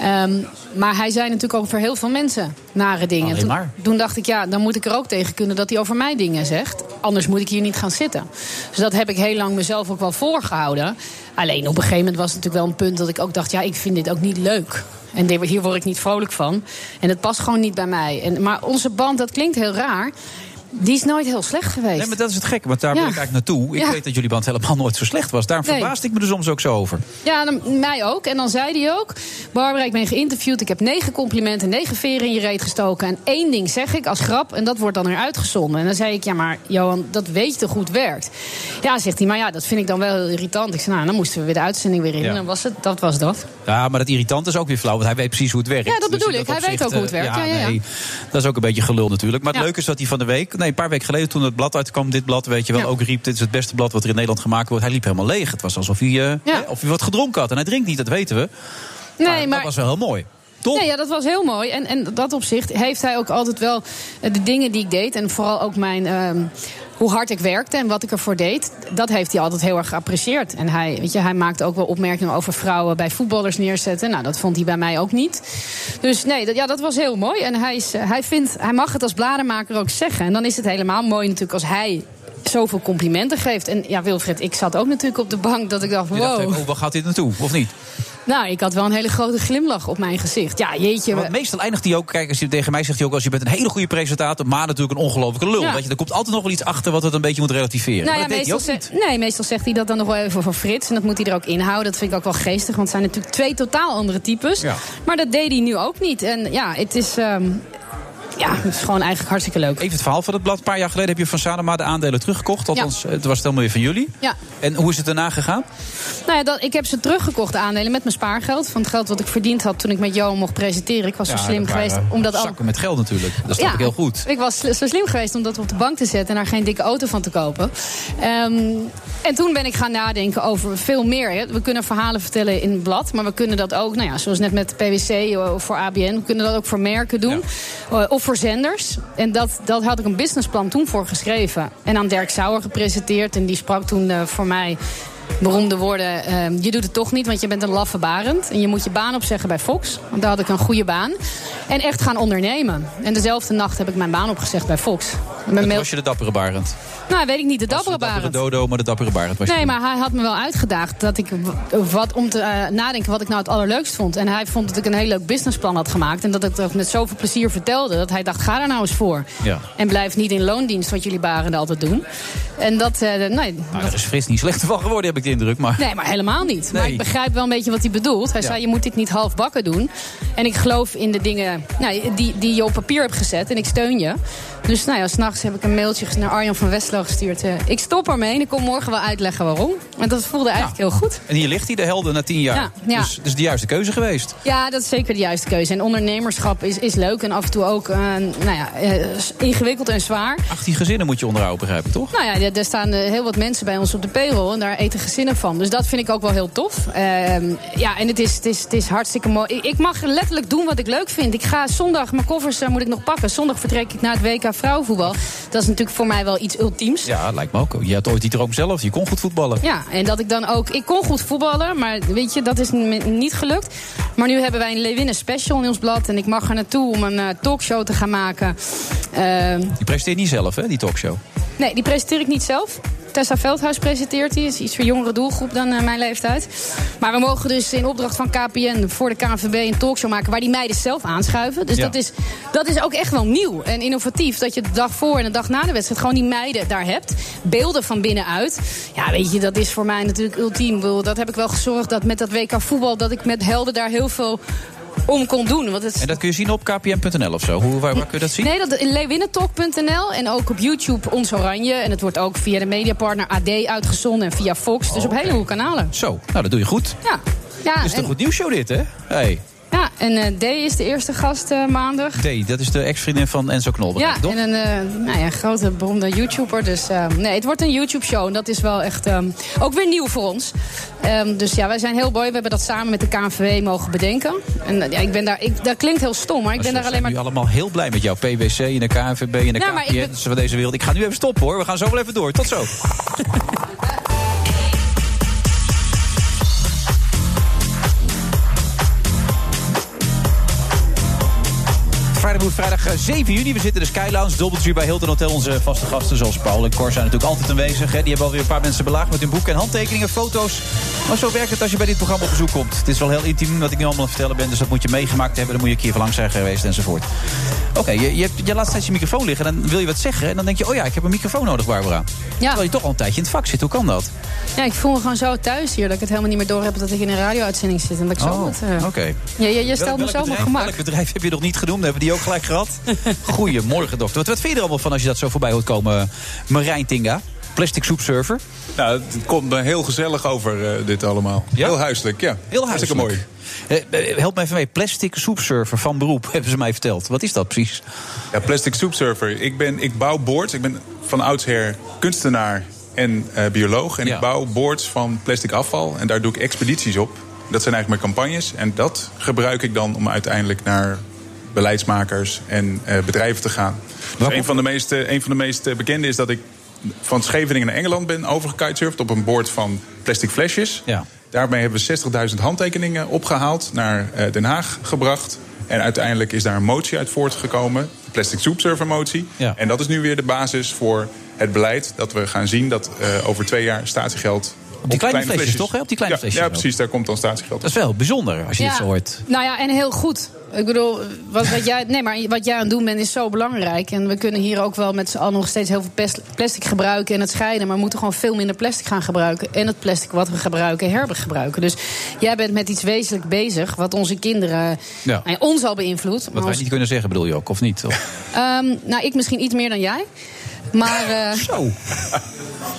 Speaker 8: Ehm, maar hij zei natuurlijk ook voor heel veel mensen nare dingen.
Speaker 7: Alleen
Speaker 8: Toen-
Speaker 7: maar.
Speaker 8: toen dacht ik, ja, dan moet ik er ook tegen kunnen dat hij over mij dingen zegt. Anders moet ik hier niet gaan zitten. Dus dat heb ik heel lang mezelf ook wel voorgehouden. Alleen op een gegeven moment was het natuurlijk wel een punt dat ik ook dacht, ja, ik vind dit ook niet leuk. En dit- hier word ik niet vrolijk van. En het past gewoon niet bij mij. En, maar onze band, dat klinkt heel raar. Die is nooit heel slecht geweest.
Speaker 7: Nee, maar dat is het gekke. Want daar
Speaker 8: Ja.
Speaker 7: wil ik eigenlijk naartoe. Ik
Speaker 8: Ja.
Speaker 7: weet dat jullie band helemaal nooit zo slecht was. Daarom
Speaker 8: Nee.
Speaker 7: verbaasde ik me er soms ook zo over.
Speaker 8: Ja, dan, mij ook. En dan zei hij ook: Barbara, ik ben geïnterviewd. Ik heb negen complimenten, negen veren in je reet gestoken. En één ding zeg ik als grap, en dat wordt dan eruit gezonden. En dan zei ik: Ja, maar Johan, dat weet je toch goed werkt? Ja, zegt hij, maar ja, dat vind ik dan wel heel irritant. Ik zei: Nou, dan moesten we weer de uitzending weer in.
Speaker 7: Ja.
Speaker 8: En dan was het, dat was dat.
Speaker 7: Ja, maar dat irritant is ook weer flauw, want hij weet precies hoe het werkt. Dus
Speaker 8: Ja, dat bedoel
Speaker 7: in
Speaker 8: ik. Hij weet
Speaker 7: opzicht,
Speaker 8: ook hoe
Speaker 7: eh,
Speaker 8: het werkt. Ja, ja, ja.
Speaker 7: Nee, dat is ook een beetje gelul natuurlijk. Maar het
Speaker 8: Ja.
Speaker 7: leuke is dat hij van de week, nee, een paar weken geleden toen het blad uitkwam, dit blad, weet je wel,
Speaker 8: Ja.
Speaker 7: ook riep: Dit is het beste blad wat er in Nederland gemaakt wordt. Hij liep helemaal leeg. Het was alsof hij, eh, hè, of hij wat gedronken had. En hij drinkt niet, dat weten we.
Speaker 8: Nee,
Speaker 7: maar, dat was wel heel mooi. Toch?
Speaker 8: Nee, ja, dat was heel mooi. En, en dat opzicht heeft hij ook altijd wel eh, de dingen die ik deed. En vooral ook mijn. ehm, hoe hard ik werkte en wat ik ervoor deed, dat heeft hij altijd heel erg geapprecieerd. En hij, weet je, hij maakte ook wel opmerkingen over vrouwen bij voetballers neerzetten. Nou, dat vond hij bij mij ook niet. Dus nee, dat, ja, dat was heel mooi. En hij, is, eh, hij, vindt, hij mag het als bladenmaker ook zeggen. En dan is het helemaal mooi natuurlijk als hij zoveel complimenten geeft. En ja, Wilfred, ik zat ook natuurlijk op de bank dat ik dacht,
Speaker 7: Je dacht
Speaker 8: wow.
Speaker 7: even, oh, waar gaat dit naartoe, of niet?
Speaker 8: Nou, ik had wel een hele grote glimlach op mijn gezicht. Ja, jeetje.
Speaker 7: Want meestal eindigt hij ook, kijk, als je tegen mij zegt hij ook... als je bent een hele goede presentator, maar natuurlijk een ongelofelijke lul.
Speaker 8: Ja.
Speaker 7: Weet je, er komt altijd nog wel iets achter wat het een beetje moet relativeren.
Speaker 8: Nou
Speaker 7: Maar
Speaker 8: ja,
Speaker 7: dat deed hij
Speaker 8: meestal,
Speaker 7: ook niet.
Speaker 8: zegt- nee, meestal zegt hij dat dan nog wel even voor Frits. En dat moet hij er ook inhouden. Dat vind ik ook wel geestig. Want het zijn natuurlijk twee totaal andere types.
Speaker 7: Ja.
Speaker 8: Maar dat deed hij nu ook niet. En ja, het is. ehm, ja, het is gewoon eigenlijk hartstikke leuk.
Speaker 7: Even het verhaal van het blad. Een paar jaar geleden heb je van Sanoma de aandelen teruggekocht. Althans, het was het helemaal weer van jullie.
Speaker 8: Ja.
Speaker 7: En hoe is het daarna gegaan?
Speaker 8: Nou ja, dat, ik heb ze teruggekocht, de aandelen, met mijn spaargeld. Van het geld wat ik verdiend had toen ik met Johan mocht presenteren. Ik was
Speaker 7: Ja,
Speaker 8: zo slim
Speaker 7: dat waren
Speaker 8: geweest. om dat al-
Speaker 7: zakken met geld natuurlijk. Dat snap
Speaker 8: Ja,
Speaker 7: ik heel goed.
Speaker 8: Ik was sli- zo slim geweest om dat op de bank te zetten en daar geen dikke auto van te kopen. Ehm, en toen ben ik gaan nadenken over veel meer. hè. We kunnen verhalen vertellen in het blad, maar we kunnen dat ook, nou ja, zoals net met PwC eh, voor ABN, we kunnen dat ook voor merken doen Eh, of voor zenders. En dat, dat had ik een businessplan toen voor geschreven. En aan Dirk Sauer gepresenteerd en die sprak toen eh, voor mij beroemde woorden. ehm, je doet het toch niet, want je bent een laffe barend. En je moet je baan opzeggen bij Fox. Want daar had ik een goede baan. En echt gaan ondernemen. En dezelfde nacht heb ik mijn baan opgezegd bij Fox. Mijn
Speaker 7: Toen
Speaker 8: mail-
Speaker 7: was je de dappere Barend.
Speaker 8: Nou, weet ik niet, de dappere
Speaker 7: De
Speaker 8: barend.
Speaker 7: dodo, maar de dappere Barend was je
Speaker 8: Nee, maar hij had me wel uitgedaagd dat ik w- wat om te eh, nadenken wat ik nou het allerleukst vond. En hij vond dat ik een heel leuk businessplan had gemaakt. En dat ik dat ook met zoveel plezier vertelde. Dat hij dacht, ga daar nou eens voor.
Speaker 7: Ja.
Speaker 8: En blijf niet in loondienst, wat jullie barenden altijd doen. En dat, eh, nee,
Speaker 7: Nou, daar is Frits niet slechter van geworden, heb ik de indruk. Maar...
Speaker 8: Nee, maar helemaal niet. Maar
Speaker 7: Nee.
Speaker 8: ik begrijp wel een beetje wat hij bedoelt. Hij
Speaker 7: Ja.
Speaker 8: zei, je moet dit niet halfbakken doen. En ik geloof in de dingen nou, die, die je op papier hebt gezet. En ik steun je. Dus nou ja, s'nachts heb ik een mailtje naar Arjan van Westlo gestuurd. eh, ik stop ermee en ik kom morgen wel uitleggen waarom. Want dat voelde eigenlijk heel goed.
Speaker 7: En hier ligt hij, de helden, na tien jaar.
Speaker 8: Ja, ja.
Speaker 7: Dus, dus de juiste keuze geweest.
Speaker 8: Ja, dat is zeker de juiste keuze. En ondernemerschap is, is leuk en af en toe ook eh, nou ja, eh, ingewikkeld en zwaar.
Speaker 7: 18 gezinnen moet je onderhouden, begrijp ik, toch?
Speaker 8: Nou ja, daar- daar staan eh, heel wat mensen bij ons op de payroll. En daar eten gezinnen van. Dus dat vind ik ook wel heel tof. Ehm, ja, en het is, het, is, het is hartstikke mooi. Ik, ik mag letterlijk doen wat ik leuk vind. Ik ga zondag, mijn koffers eh, moet ik nog pakken. Zondag vertrek ik naar het WK vrouwenvoetbal. Dat is natuurlijk voor mij wel iets ultiems.
Speaker 7: Ja, lijkt me ook. Je had ooit die droom zelf. Je kon goed voetballen.
Speaker 8: Ja, en dat ik dan ook... Ik kon goed voetballen, maar weet je, dat is n- niet gelukt. Maar nu hebben wij een Lewinnen special in ons blad. En ik mag er naartoe om een eh, talkshow te gaan maken. Ehm,
Speaker 7: Die presteert niet zelf, hè, die talkshow.
Speaker 8: Nee, die presenteer ik niet zelf. Tessa Veldhuis presenteert die. Is iets voor jongere doelgroep dan eh, mijn leeftijd. Maar we mogen dus in opdracht van KPN voor de KNVB een talkshow maken... waar die meiden zelf aanschuiven. Dus
Speaker 16: Ja.
Speaker 8: dat, is, dat is ook echt wel nieuw en innovatief. Dat je de dag voor en de dag na de wedstrijd gewoon die meiden daar hebt. Beelden van binnenuit. Ja, weet je, dat is voor mij natuurlijk ultiem. Ik bedoel, Dat heb ik wel gezorgd dat met dat WK voetbal... dat ik met helden daar heel veel om kon doen. Want het
Speaker 7: En dat kun je zien op kpm.nl of zo. Hoe, waar, waar kun je dat zien?
Speaker 8: Nee, dat in leewinnentalk.nl en ook op YouTube Ons Oranje. En het wordt ook via de mediapartner AD uitgezonden en via Fox. Dus op een heleboel kanalen.
Speaker 7: Oh, Zo, nou dat doe je goed.
Speaker 8: Ja. Ja,
Speaker 7: Dit is een
Speaker 8: en,
Speaker 7: goed nieuwsshow dit, hè? Hey.
Speaker 8: ja, en eh, D is de eerste gast eh, maandag.
Speaker 7: D, dat is de ex-vriendin van Enzo Knol.
Speaker 8: Ja,
Speaker 7: begrijp ik, Oh, toch?
Speaker 8: en een eh, nou ja, grote beroemde YouTuber. Dus eh, nee, het wordt een YouTube-show. En dat is wel echt ehm, ook weer nieuw voor ons. Ehm, dus ja, wij zijn heel mooi. We hebben dat samen met de KNVW mogen bedenken. En eh, ja, ik ben daar, ik, dat klinkt heel stom, maar ik
Speaker 7: Maar ze
Speaker 8: ben daar alleen
Speaker 7: Dus zijn
Speaker 8: maar
Speaker 7: nu allemaal heel blij met jou. PwC en de KNVB en de
Speaker 8: Ja, maar ik
Speaker 7: KPN
Speaker 8: ben-
Speaker 7: van deze wereld. Ik ga nu even stoppen hoor. We gaan zo wel even door. Tot zo. Vrijdag, moet vrijdag eh, 7 juni. We zitten in de Skylounge, Doubletree bij Hilton Hotel. Onze vaste gasten zoals Paul en Cor zijn natuurlijk altijd aanwezig. Hè. Die hebben alweer een paar mensen belaagd met hun boeken en handtekeningen, foto's. Maar zo werkt het als je bij dit programma op bezoek komt. Het is wel heel intiem wat ik nu allemaal aan het vertellen ben. Dus dat moet je meegemaakt hebben. Dan moet je een keer van lang zijn geweest enzovoort. Oké, je, je, hebt- je laat steeds je microfoon liggen. Dan wil je wat zeggen. En dan denk je, oh ja, ik heb een microfoon nodig, Barbara. Terwijl je toch al een tijdje in het vak zit. Hoe kan dat?
Speaker 8: Ja, ik voel me gewoon zo thuis hier dat ik het helemaal niet meer door heb dat ik in een radio-uitzending zit. En dat ik zo
Speaker 7: Oh,
Speaker 8: moet. eh,
Speaker 7: Oké.
Speaker 8: Ja, ja, je
Speaker 7: Welk-
Speaker 8: stelt me
Speaker 7: welk
Speaker 8: zo op mijn
Speaker 7: bedrijf-
Speaker 8: gemak.
Speaker 7: Welk bedrijf heb je nog niet genoemd? Hebben die ook gelijk
Speaker 8: [LAUGHS]
Speaker 7: gehad? Goedemorgen, dokter. Wat, wat vind je er allemaal van als je dat zo voorbij hoort komen? Marijn Tinga, plastic soepsurfer.
Speaker 17: Nou, het komt me heel gezellig over eh, dit allemaal. Heel huiselijk, ja.
Speaker 7: Heel
Speaker 17: Hartstikke
Speaker 7: hartstikke
Speaker 17: mooi.
Speaker 7: Eh, help me even mee. Plastic soepsurfer van beroep, hebben ze mij verteld. Wat is dat precies?
Speaker 17: Ja, plastic soepsurfer. Ik, ben, ik bouw boards. Ik ben van oudsher kunstenaar en eh, bioloog. En ik bouw boards van plastic afval. En daar doe ik expedities op. Dat zijn eigenlijk mijn campagnes. En dat gebruik ik dan om uiteindelijk naar beleidsmakers en eh, bedrijven te gaan. Dus een, van de meest, eh, een van de meest eh, bekende is dat ik van Scheveningen naar Engeland ben overgekitesurfd op een boord van plastic flesjes.
Speaker 7: Ja.
Speaker 17: Daarmee hebben we 60.000 handtekeningen opgehaald, naar eh, Den Haag gebracht. En uiteindelijk is daar een motie uit voortgekomen, de Plastic Soup Server motie.
Speaker 7: Ja.
Speaker 17: En dat is nu weer de basis voor het beleid dat we gaan zien dat eh, over twee jaar statiegeld... Op
Speaker 7: kleine flesjes, toch, hè? Op die kleine
Speaker 17: ja,
Speaker 7: flesjes
Speaker 17: Ja,
Speaker 7: ook.
Speaker 17: precies, daar komt dan statiegeld op.
Speaker 7: Dat is wel bijzonder als je
Speaker 8: Ja.
Speaker 7: dit zo hoort.
Speaker 8: Nou ja, en heel goed. Ik bedoel, wat, wat, jij, nee, maar wat jij aan het doen bent is zo belangrijk. En we kunnen hier ook wel met z'n allen nog steeds heel veel pes- plastic gebruiken en het scheiden. Maar we moeten gewoon veel minder plastic gaan gebruiken. En het plastic wat we gebruiken hergebruiken. Dus jij bent met iets wezenlijk bezig wat onze kinderen,
Speaker 7: Ja.
Speaker 8: nou ja, ons al beïnvloedt. maar
Speaker 7: Wat wij
Speaker 8: ons-
Speaker 7: niet kunnen zeggen, bedoel je ook, of niet?
Speaker 8: [LAUGHS]
Speaker 7: Of-
Speaker 8: Ehm, nou, ik misschien iets meer dan jij. Maar, eh,
Speaker 7: [LAUGHS] Zo.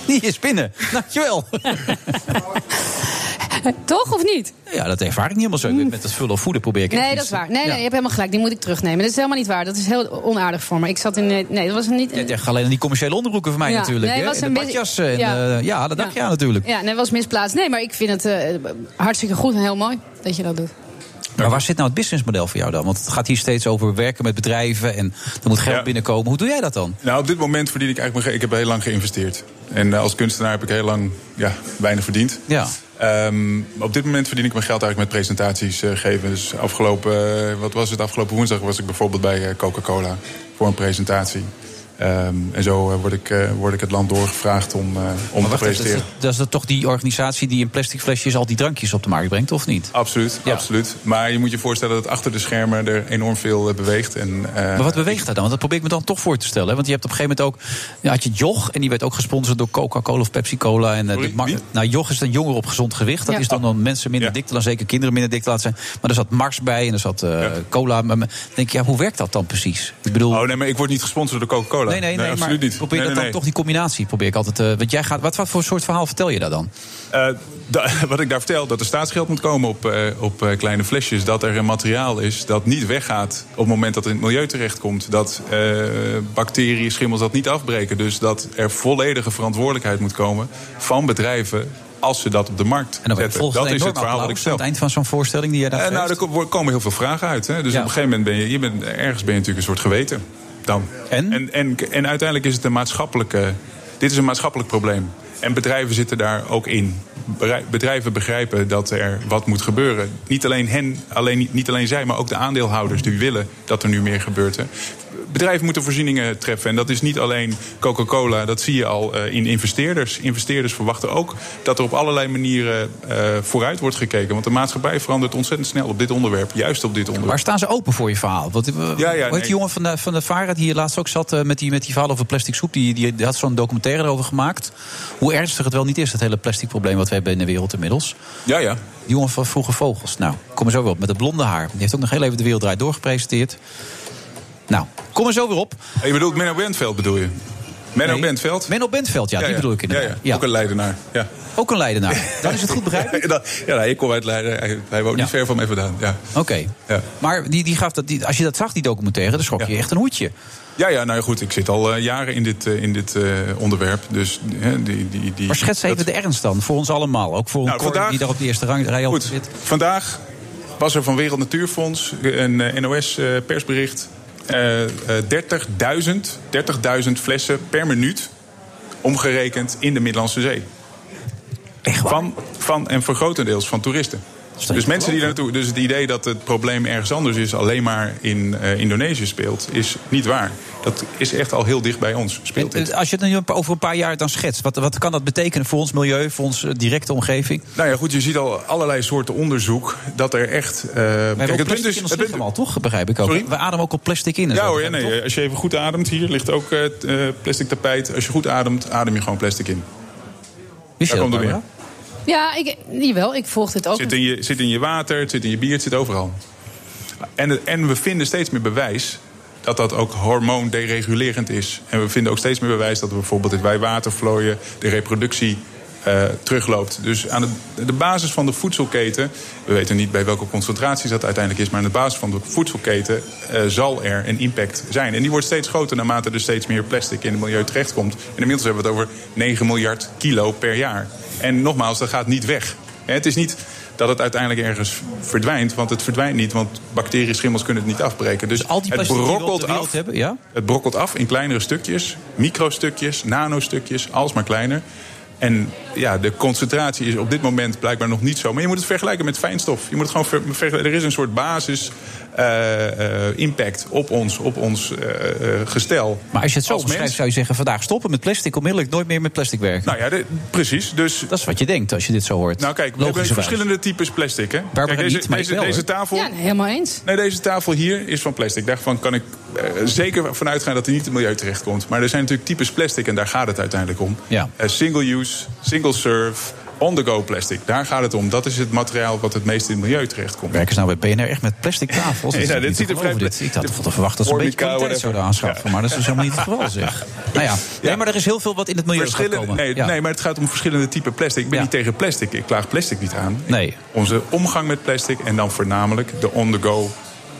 Speaker 7: Die is binnen. Dankjewel.
Speaker 8: [LAUGHS] toch of niet?
Speaker 7: Ja, dat ervaar ik niet helemaal zo. Ik ben Met het vullen of voeden probeer ik echt
Speaker 8: Nee,
Speaker 7: iets-
Speaker 8: dat is waar. Nee,
Speaker 7: Ja.
Speaker 8: nee, je hebt helemaal gelijk. Die moet ik terugnemen. Dat is helemaal niet waar. Dat is heel onaardig voor me. Ik zat in. eh, Nee, dat was niet.
Speaker 7: Je dacht alleen aan die commerciële onderbroeken van mij
Speaker 8: Ja,
Speaker 7: natuurlijk.
Speaker 8: nee,
Speaker 7: hè?
Speaker 8: was
Speaker 7: En
Speaker 8: een
Speaker 7: de
Speaker 8: beetje-
Speaker 7: badjassen. En,
Speaker 8: ja.
Speaker 7: ja. ja, dat dacht je aan natuurlijk.
Speaker 8: Ja, nee, was misplaatst. Nee, maar ik vind het eh, hartstikke goed en heel mooi dat je dat doet.
Speaker 7: Maar waar zit nou het businessmodel voor jou dan? Want het gaat hier steeds over werken met bedrijven en er moet geld binnenkomen. Hoe doe jij dat dan?
Speaker 17: Nou, op dit moment verdien ik eigenlijk... mijn ge- Ik heb heel lang geïnvesteerd. En eh, als kunstenaar heb ik heel lang ja, weinig verdiend.
Speaker 7: Ja.
Speaker 17: Ehm, op dit moment verdien ik mijn geld eigenlijk met presentaties eh, geven. Dus afgelopen, eh, wat was het? Afgelopen woensdag was ik bijvoorbeeld bij eh, Coca-Cola voor een presentatie. Ehm, en zo eh, word, ik, eh, word ik het land doorgevraagd om, eh, om
Speaker 7: Maar
Speaker 17: te
Speaker 7: wacht even, dat,
Speaker 17: presenteren.
Speaker 7: is, dat is dat toch die organisatie die in plastic flesjes al die drankjes op de markt brengt, of niet?
Speaker 17: Absoluut, absoluut. Maar je moet je voorstellen dat achter de schermen er enorm veel eh, beweegt. En,
Speaker 7: Maar wat beweegt dat dan? Want dat probeer ik me dan toch voor te stellen. hè? Want je hebt op een gegeven moment ook. ja, had je Joch, en die werd ook gesponsord door Coca-Cola of Pepsi-Cola. En, eh, de mar- nou, Joch is dan jonger op gezond gewicht. Dat
Speaker 16: Ja.
Speaker 7: is dan, dan mensen minder dik te laten, zeker kinderen minder dik te laten zijn. Maar er zat Mars bij en er zat eh, cola. Maar, maar dan denk je, ja, hoe werkt dat dan precies? Ik bedoel.
Speaker 17: Oh nee, maar ik word niet gesponsord door Coca-Cola.
Speaker 7: Nee, nee, nee, maar
Speaker 17: absoluut niet.
Speaker 7: probeer
Speaker 17: Nee,
Speaker 7: dat
Speaker 17: nee,
Speaker 7: dan
Speaker 17: nee.
Speaker 7: toch die combinatie probeer ik altijd. eh, want jij gaat, wat, wat voor soort verhaal vertel je daar dan?
Speaker 17: Eh, da- [LAUGHS] wat ik daar vertel, dat er staatsgeld moet komen op, eh, op eh, kleine flesjes. Dat er een materiaal is dat niet weggaat op het moment dat het in het milieu terechtkomt. Dat eh, bacteriën, schimmels dat niet afbreken. Dus dat er volledige verantwoordelijkheid moet komen van bedrijven als ze dat op de markt
Speaker 7: En dan wordt
Speaker 17: zetten.
Speaker 7: volgens
Speaker 17: Dat
Speaker 7: een
Speaker 17: is
Speaker 7: enorm
Speaker 17: het verhaal dat ik
Speaker 7: applaus
Speaker 17: stel.
Speaker 7: aan het eind van zo'n voorstelling die jij daar
Speaker 17: Eh, nou,
Speaker 7: geeft.
Speaker 17: er ko- komen heel veel vragen uit. Hè? Dus op een gegeven moment ben je, je bent, ergens ben je natuurlijk een soort geweten. Dan.
Speaker 7: En?
Speaker 17: En, en, en uiteindelijk is het een maatschappelijke. Dit is een maatschappelijk probleem. En bedrijven zitten daar ook in. Berij- Bedrijven begrijpen dat er wat moet gebeuren. Niet alleen hen, alleen, niet- niet alleen zij, maar ook de aandeelhouders die willen dat er nu meer gebeurt. Hè. Bedrijven moeten voorzieningen treffen. En dat is niet alleen Coca-Cola, dat zie je al eh, in investeerders. Investeerders verwachten ook dat er op allerlei manieren eh, vooruit wordt gekeken. Want de maatschappij verandert ontzettend snel op dit onderwerp. Juist op dit onderwerp.
Speaker 7: Maar staan ze open voor je verhaal? Want, eh, hoe heet
Speaker 17: nee.
Speaker 7: die jongen van de, van de Vara die hier laatst ook zat eh, met, die, met die verhaal over plastic soep? Die, die, die had zo'n documentaire erover gemaakt. Hoe ernstig het wel niet is, dat hele plastic probleem wat we hebben in de wereld inmiddels.
Speaker 17: Ja, ja.
Speaker 7: Die jongen van Vroege Vogels. Nou, kom er zo weer op. Met het blonde haar. Die heeft ook nog heel even de wereld draait doorgepresenteerd. Nou, kom er zo weer op.
Speaker 17: Je bedoelt Menno Bentveld, bedoel je? Menno Bentveld?
Speaker 7: Menno Bentveld, ja, die bedoel ik inderdaad.
Speaker 17: Ja, ja. Ook een Leidenaar. Ja.
Speaker 7: Ook een Leidenaar. Dan is het goed
Speaker 17: [LAUGHS]
Speaker 7: begrepen?
Speaker 17: ja, dat- ja, nee, ik kom uit Leiden. Hij, hij woont niet ver van mij vandaan. Ja.
Speaker 7: Oké. Maar die, die gaf dat, die, als je dat zag, die documentaire, dan schrok je echt een hoedje.
Speaker 17: Ja, ja, nou ja, goed, ik zit al eh, jaren in dit, eh, in dit eh, onderwerp. Dus, hè, die, die, die,
Speaker 7: Maar schets even
Speaker 17: dat-
Speaker 7: de ernst dan, voor ons allemaal. Ook voor een
Speaker 17: Nou,
Speaker 7: Cor
Speaker 17: vandaag-
Speaker 7: die daar op de eerste rang, rij op
Speaker 17: Goed,
Speaker 7: zit.
Speaker 17: vandaag was er van Wereld Natuurfonds een eh, NOS-persbericht. Eh, 30.000 30.000 flessen per minuut omgerekend in de Middellandse Zee. Van, van en voor grotendeels van toeristen. Dus mensen die daar naartoe. Dus het idee dat het probleem ergens anders is, alleen maar in eh, Indonesië speelt, is niet waar. Dat is echt al heel dicht bij ons. Speelt dit.
Speaker 7: Eh, Als je het nu een paar- over een paar jaar dan schetst, wat, wat kan dat betekenen voor ons milieu, voor onze eh, directe omgeving?
Speaker 17: Nou ja, goed, je ziet al allerlei soorten onderzoek dat er echt. eh
Speaker 7: We hebben
Speaker 17: het
Speaker 7: ook plastic in ons lichaam al, toch? Begrijp ik ook. We ademen ook al plastic in. en
Speaker 17: Ja
Speaker 7: zo,
Speaker 17: hoor, ja,
Speaker 7: begrijp ik,
Speaker 17: nee, als je even goed ademt, hier ligt ook eh, t- eh, plastic tapijt. Als je goed ademt, adem je gewoon plastic in.
Speaker 7: Wist
Speaker 17: Daar
Speaker 7: je dat,
Speaker 17: komt het
Speaker 7: Barbara?
Speaker 17: neer.
Speaker 8: Ja, ik, jawel, ik volg dit ook.
Speaker 17: Zit in, je, zit in je water, het zit in je bier, het zit overal. En, en we vinden steeds meer bewijs dat dat ook hormoonderegulerend is. En we vinden ook steeds meer bewijs dat bijvoorbeeld het wij watervlooien, de reproductie eh, terugloopt. Dus aan de, de basis van de voedselketen, we weten niet bij welke concentraties dat uiteindelijk is, maar aan de basis van de voedselketen eh, zal er een impact zijn. En die wordt steeds groter naarmate er steeds meer plastic in het milieu terechtkomt. En inmiddels hebben we het over 9 miljard kilo per jaar. En nogmaals, dat gaat niet weg. Hè, Het is niet dat het uiteindelijk ergens verdwijnt. Want het verdwijnt niet, want bacteriën, schimmels kunnen het niet afbreken. Dus
Speaker 7: Al die
Speaker 17: het
Speaker 7: plastieken die we op de
Speaker 17: brokkelt
Speaker 7: wereld
Speaker 17: af.
Speaker 7: hebben, ja?
Speaker 17: Het brokkelt af in kleinere stukjes, microstukjes, nanostukjes, alles maar kleiner. En ja, de concentratie is op dit moment blijkbaar nog niet zo. Maar je moet het vergelijken met fijnstof. Je moet het gewoon ver- vergelijken. Er is een soort basis eh, eh, impact op ons, op ons eh, eh, gestel.
Speaker 7: Maar als je het zo
Speaker 17: Als mens.
Speaker 7: beschrijft, zou je zeggen: vandaag stoppen met plastic, onmiddellijk nooit meer met plastic werken.
Speaker 17: Nou ja, de- precies. Dus
Speaker 7: dat is wat je denkt als je dit zo hoort.
Speaker 17: Nou kijk, we
Speaker 7: Logischerwijs.
Speaker 17: hebben verschillende types plastic. Hè?
Speaker 7: Barbara
Speaker 17: Kijk, deze,
Speaker 7: niet, maar ik
Speaker 17: deze,
Speaker 7: wel,
Speaker 17: deze
Speaker 7: hoor.
Speaker 17: tafel...
Speaker 8: Ja, nee, helemaal eens.
Speaker 17: Nee, deze tafel hier is van plastic. Daarvan kan ik eh, zeker vanuit gaan dat hij niet in het milieu terechtkomt. Maar er zijn natuurlijk types plastic en daar gaat het uiteindelijk om.
Speaker 7: Ja.
Speaker 17: Eh, single use, single serve, on-the-go plastic. Daar gaat het om. Dat is het materiaal wat het meest in het milieu terechtkomt.
Speaker 7: Werken ze nou bij PNR echt met plastic tafels?
Speaker 17: Ja,
Speaker 7: Dat is
Speaker 17: dit
Speaker 7: niet te
Speaker 17: ziet er
Speaker 7: geloven,
Speaker 17: vrij-
Speaker 7: dit. Ik had wel verwacht dat ze een beetje
Speaker 17: Formica, whatever.
Speaker 7: kwaliteit zouden aanschaffen. Maar dat is dus helemaal niet het geval, zeg. Nou ja, nee, maar er is heel veel wat in het milieu gaat
Speaker 17: Verschillende,
Speaker 7: komen.
Speaker 17: nee,
Speaker 7: Ja.
Speaker 17: nee, maar het gaat om verschillende typen plastic. Ik ben niet tegen plastic. Ik klaag plastic niet aan.
Speaker 7: Nee.
Speaker 17: Onze omgang met plastic en dan voornamelijk de on-the-go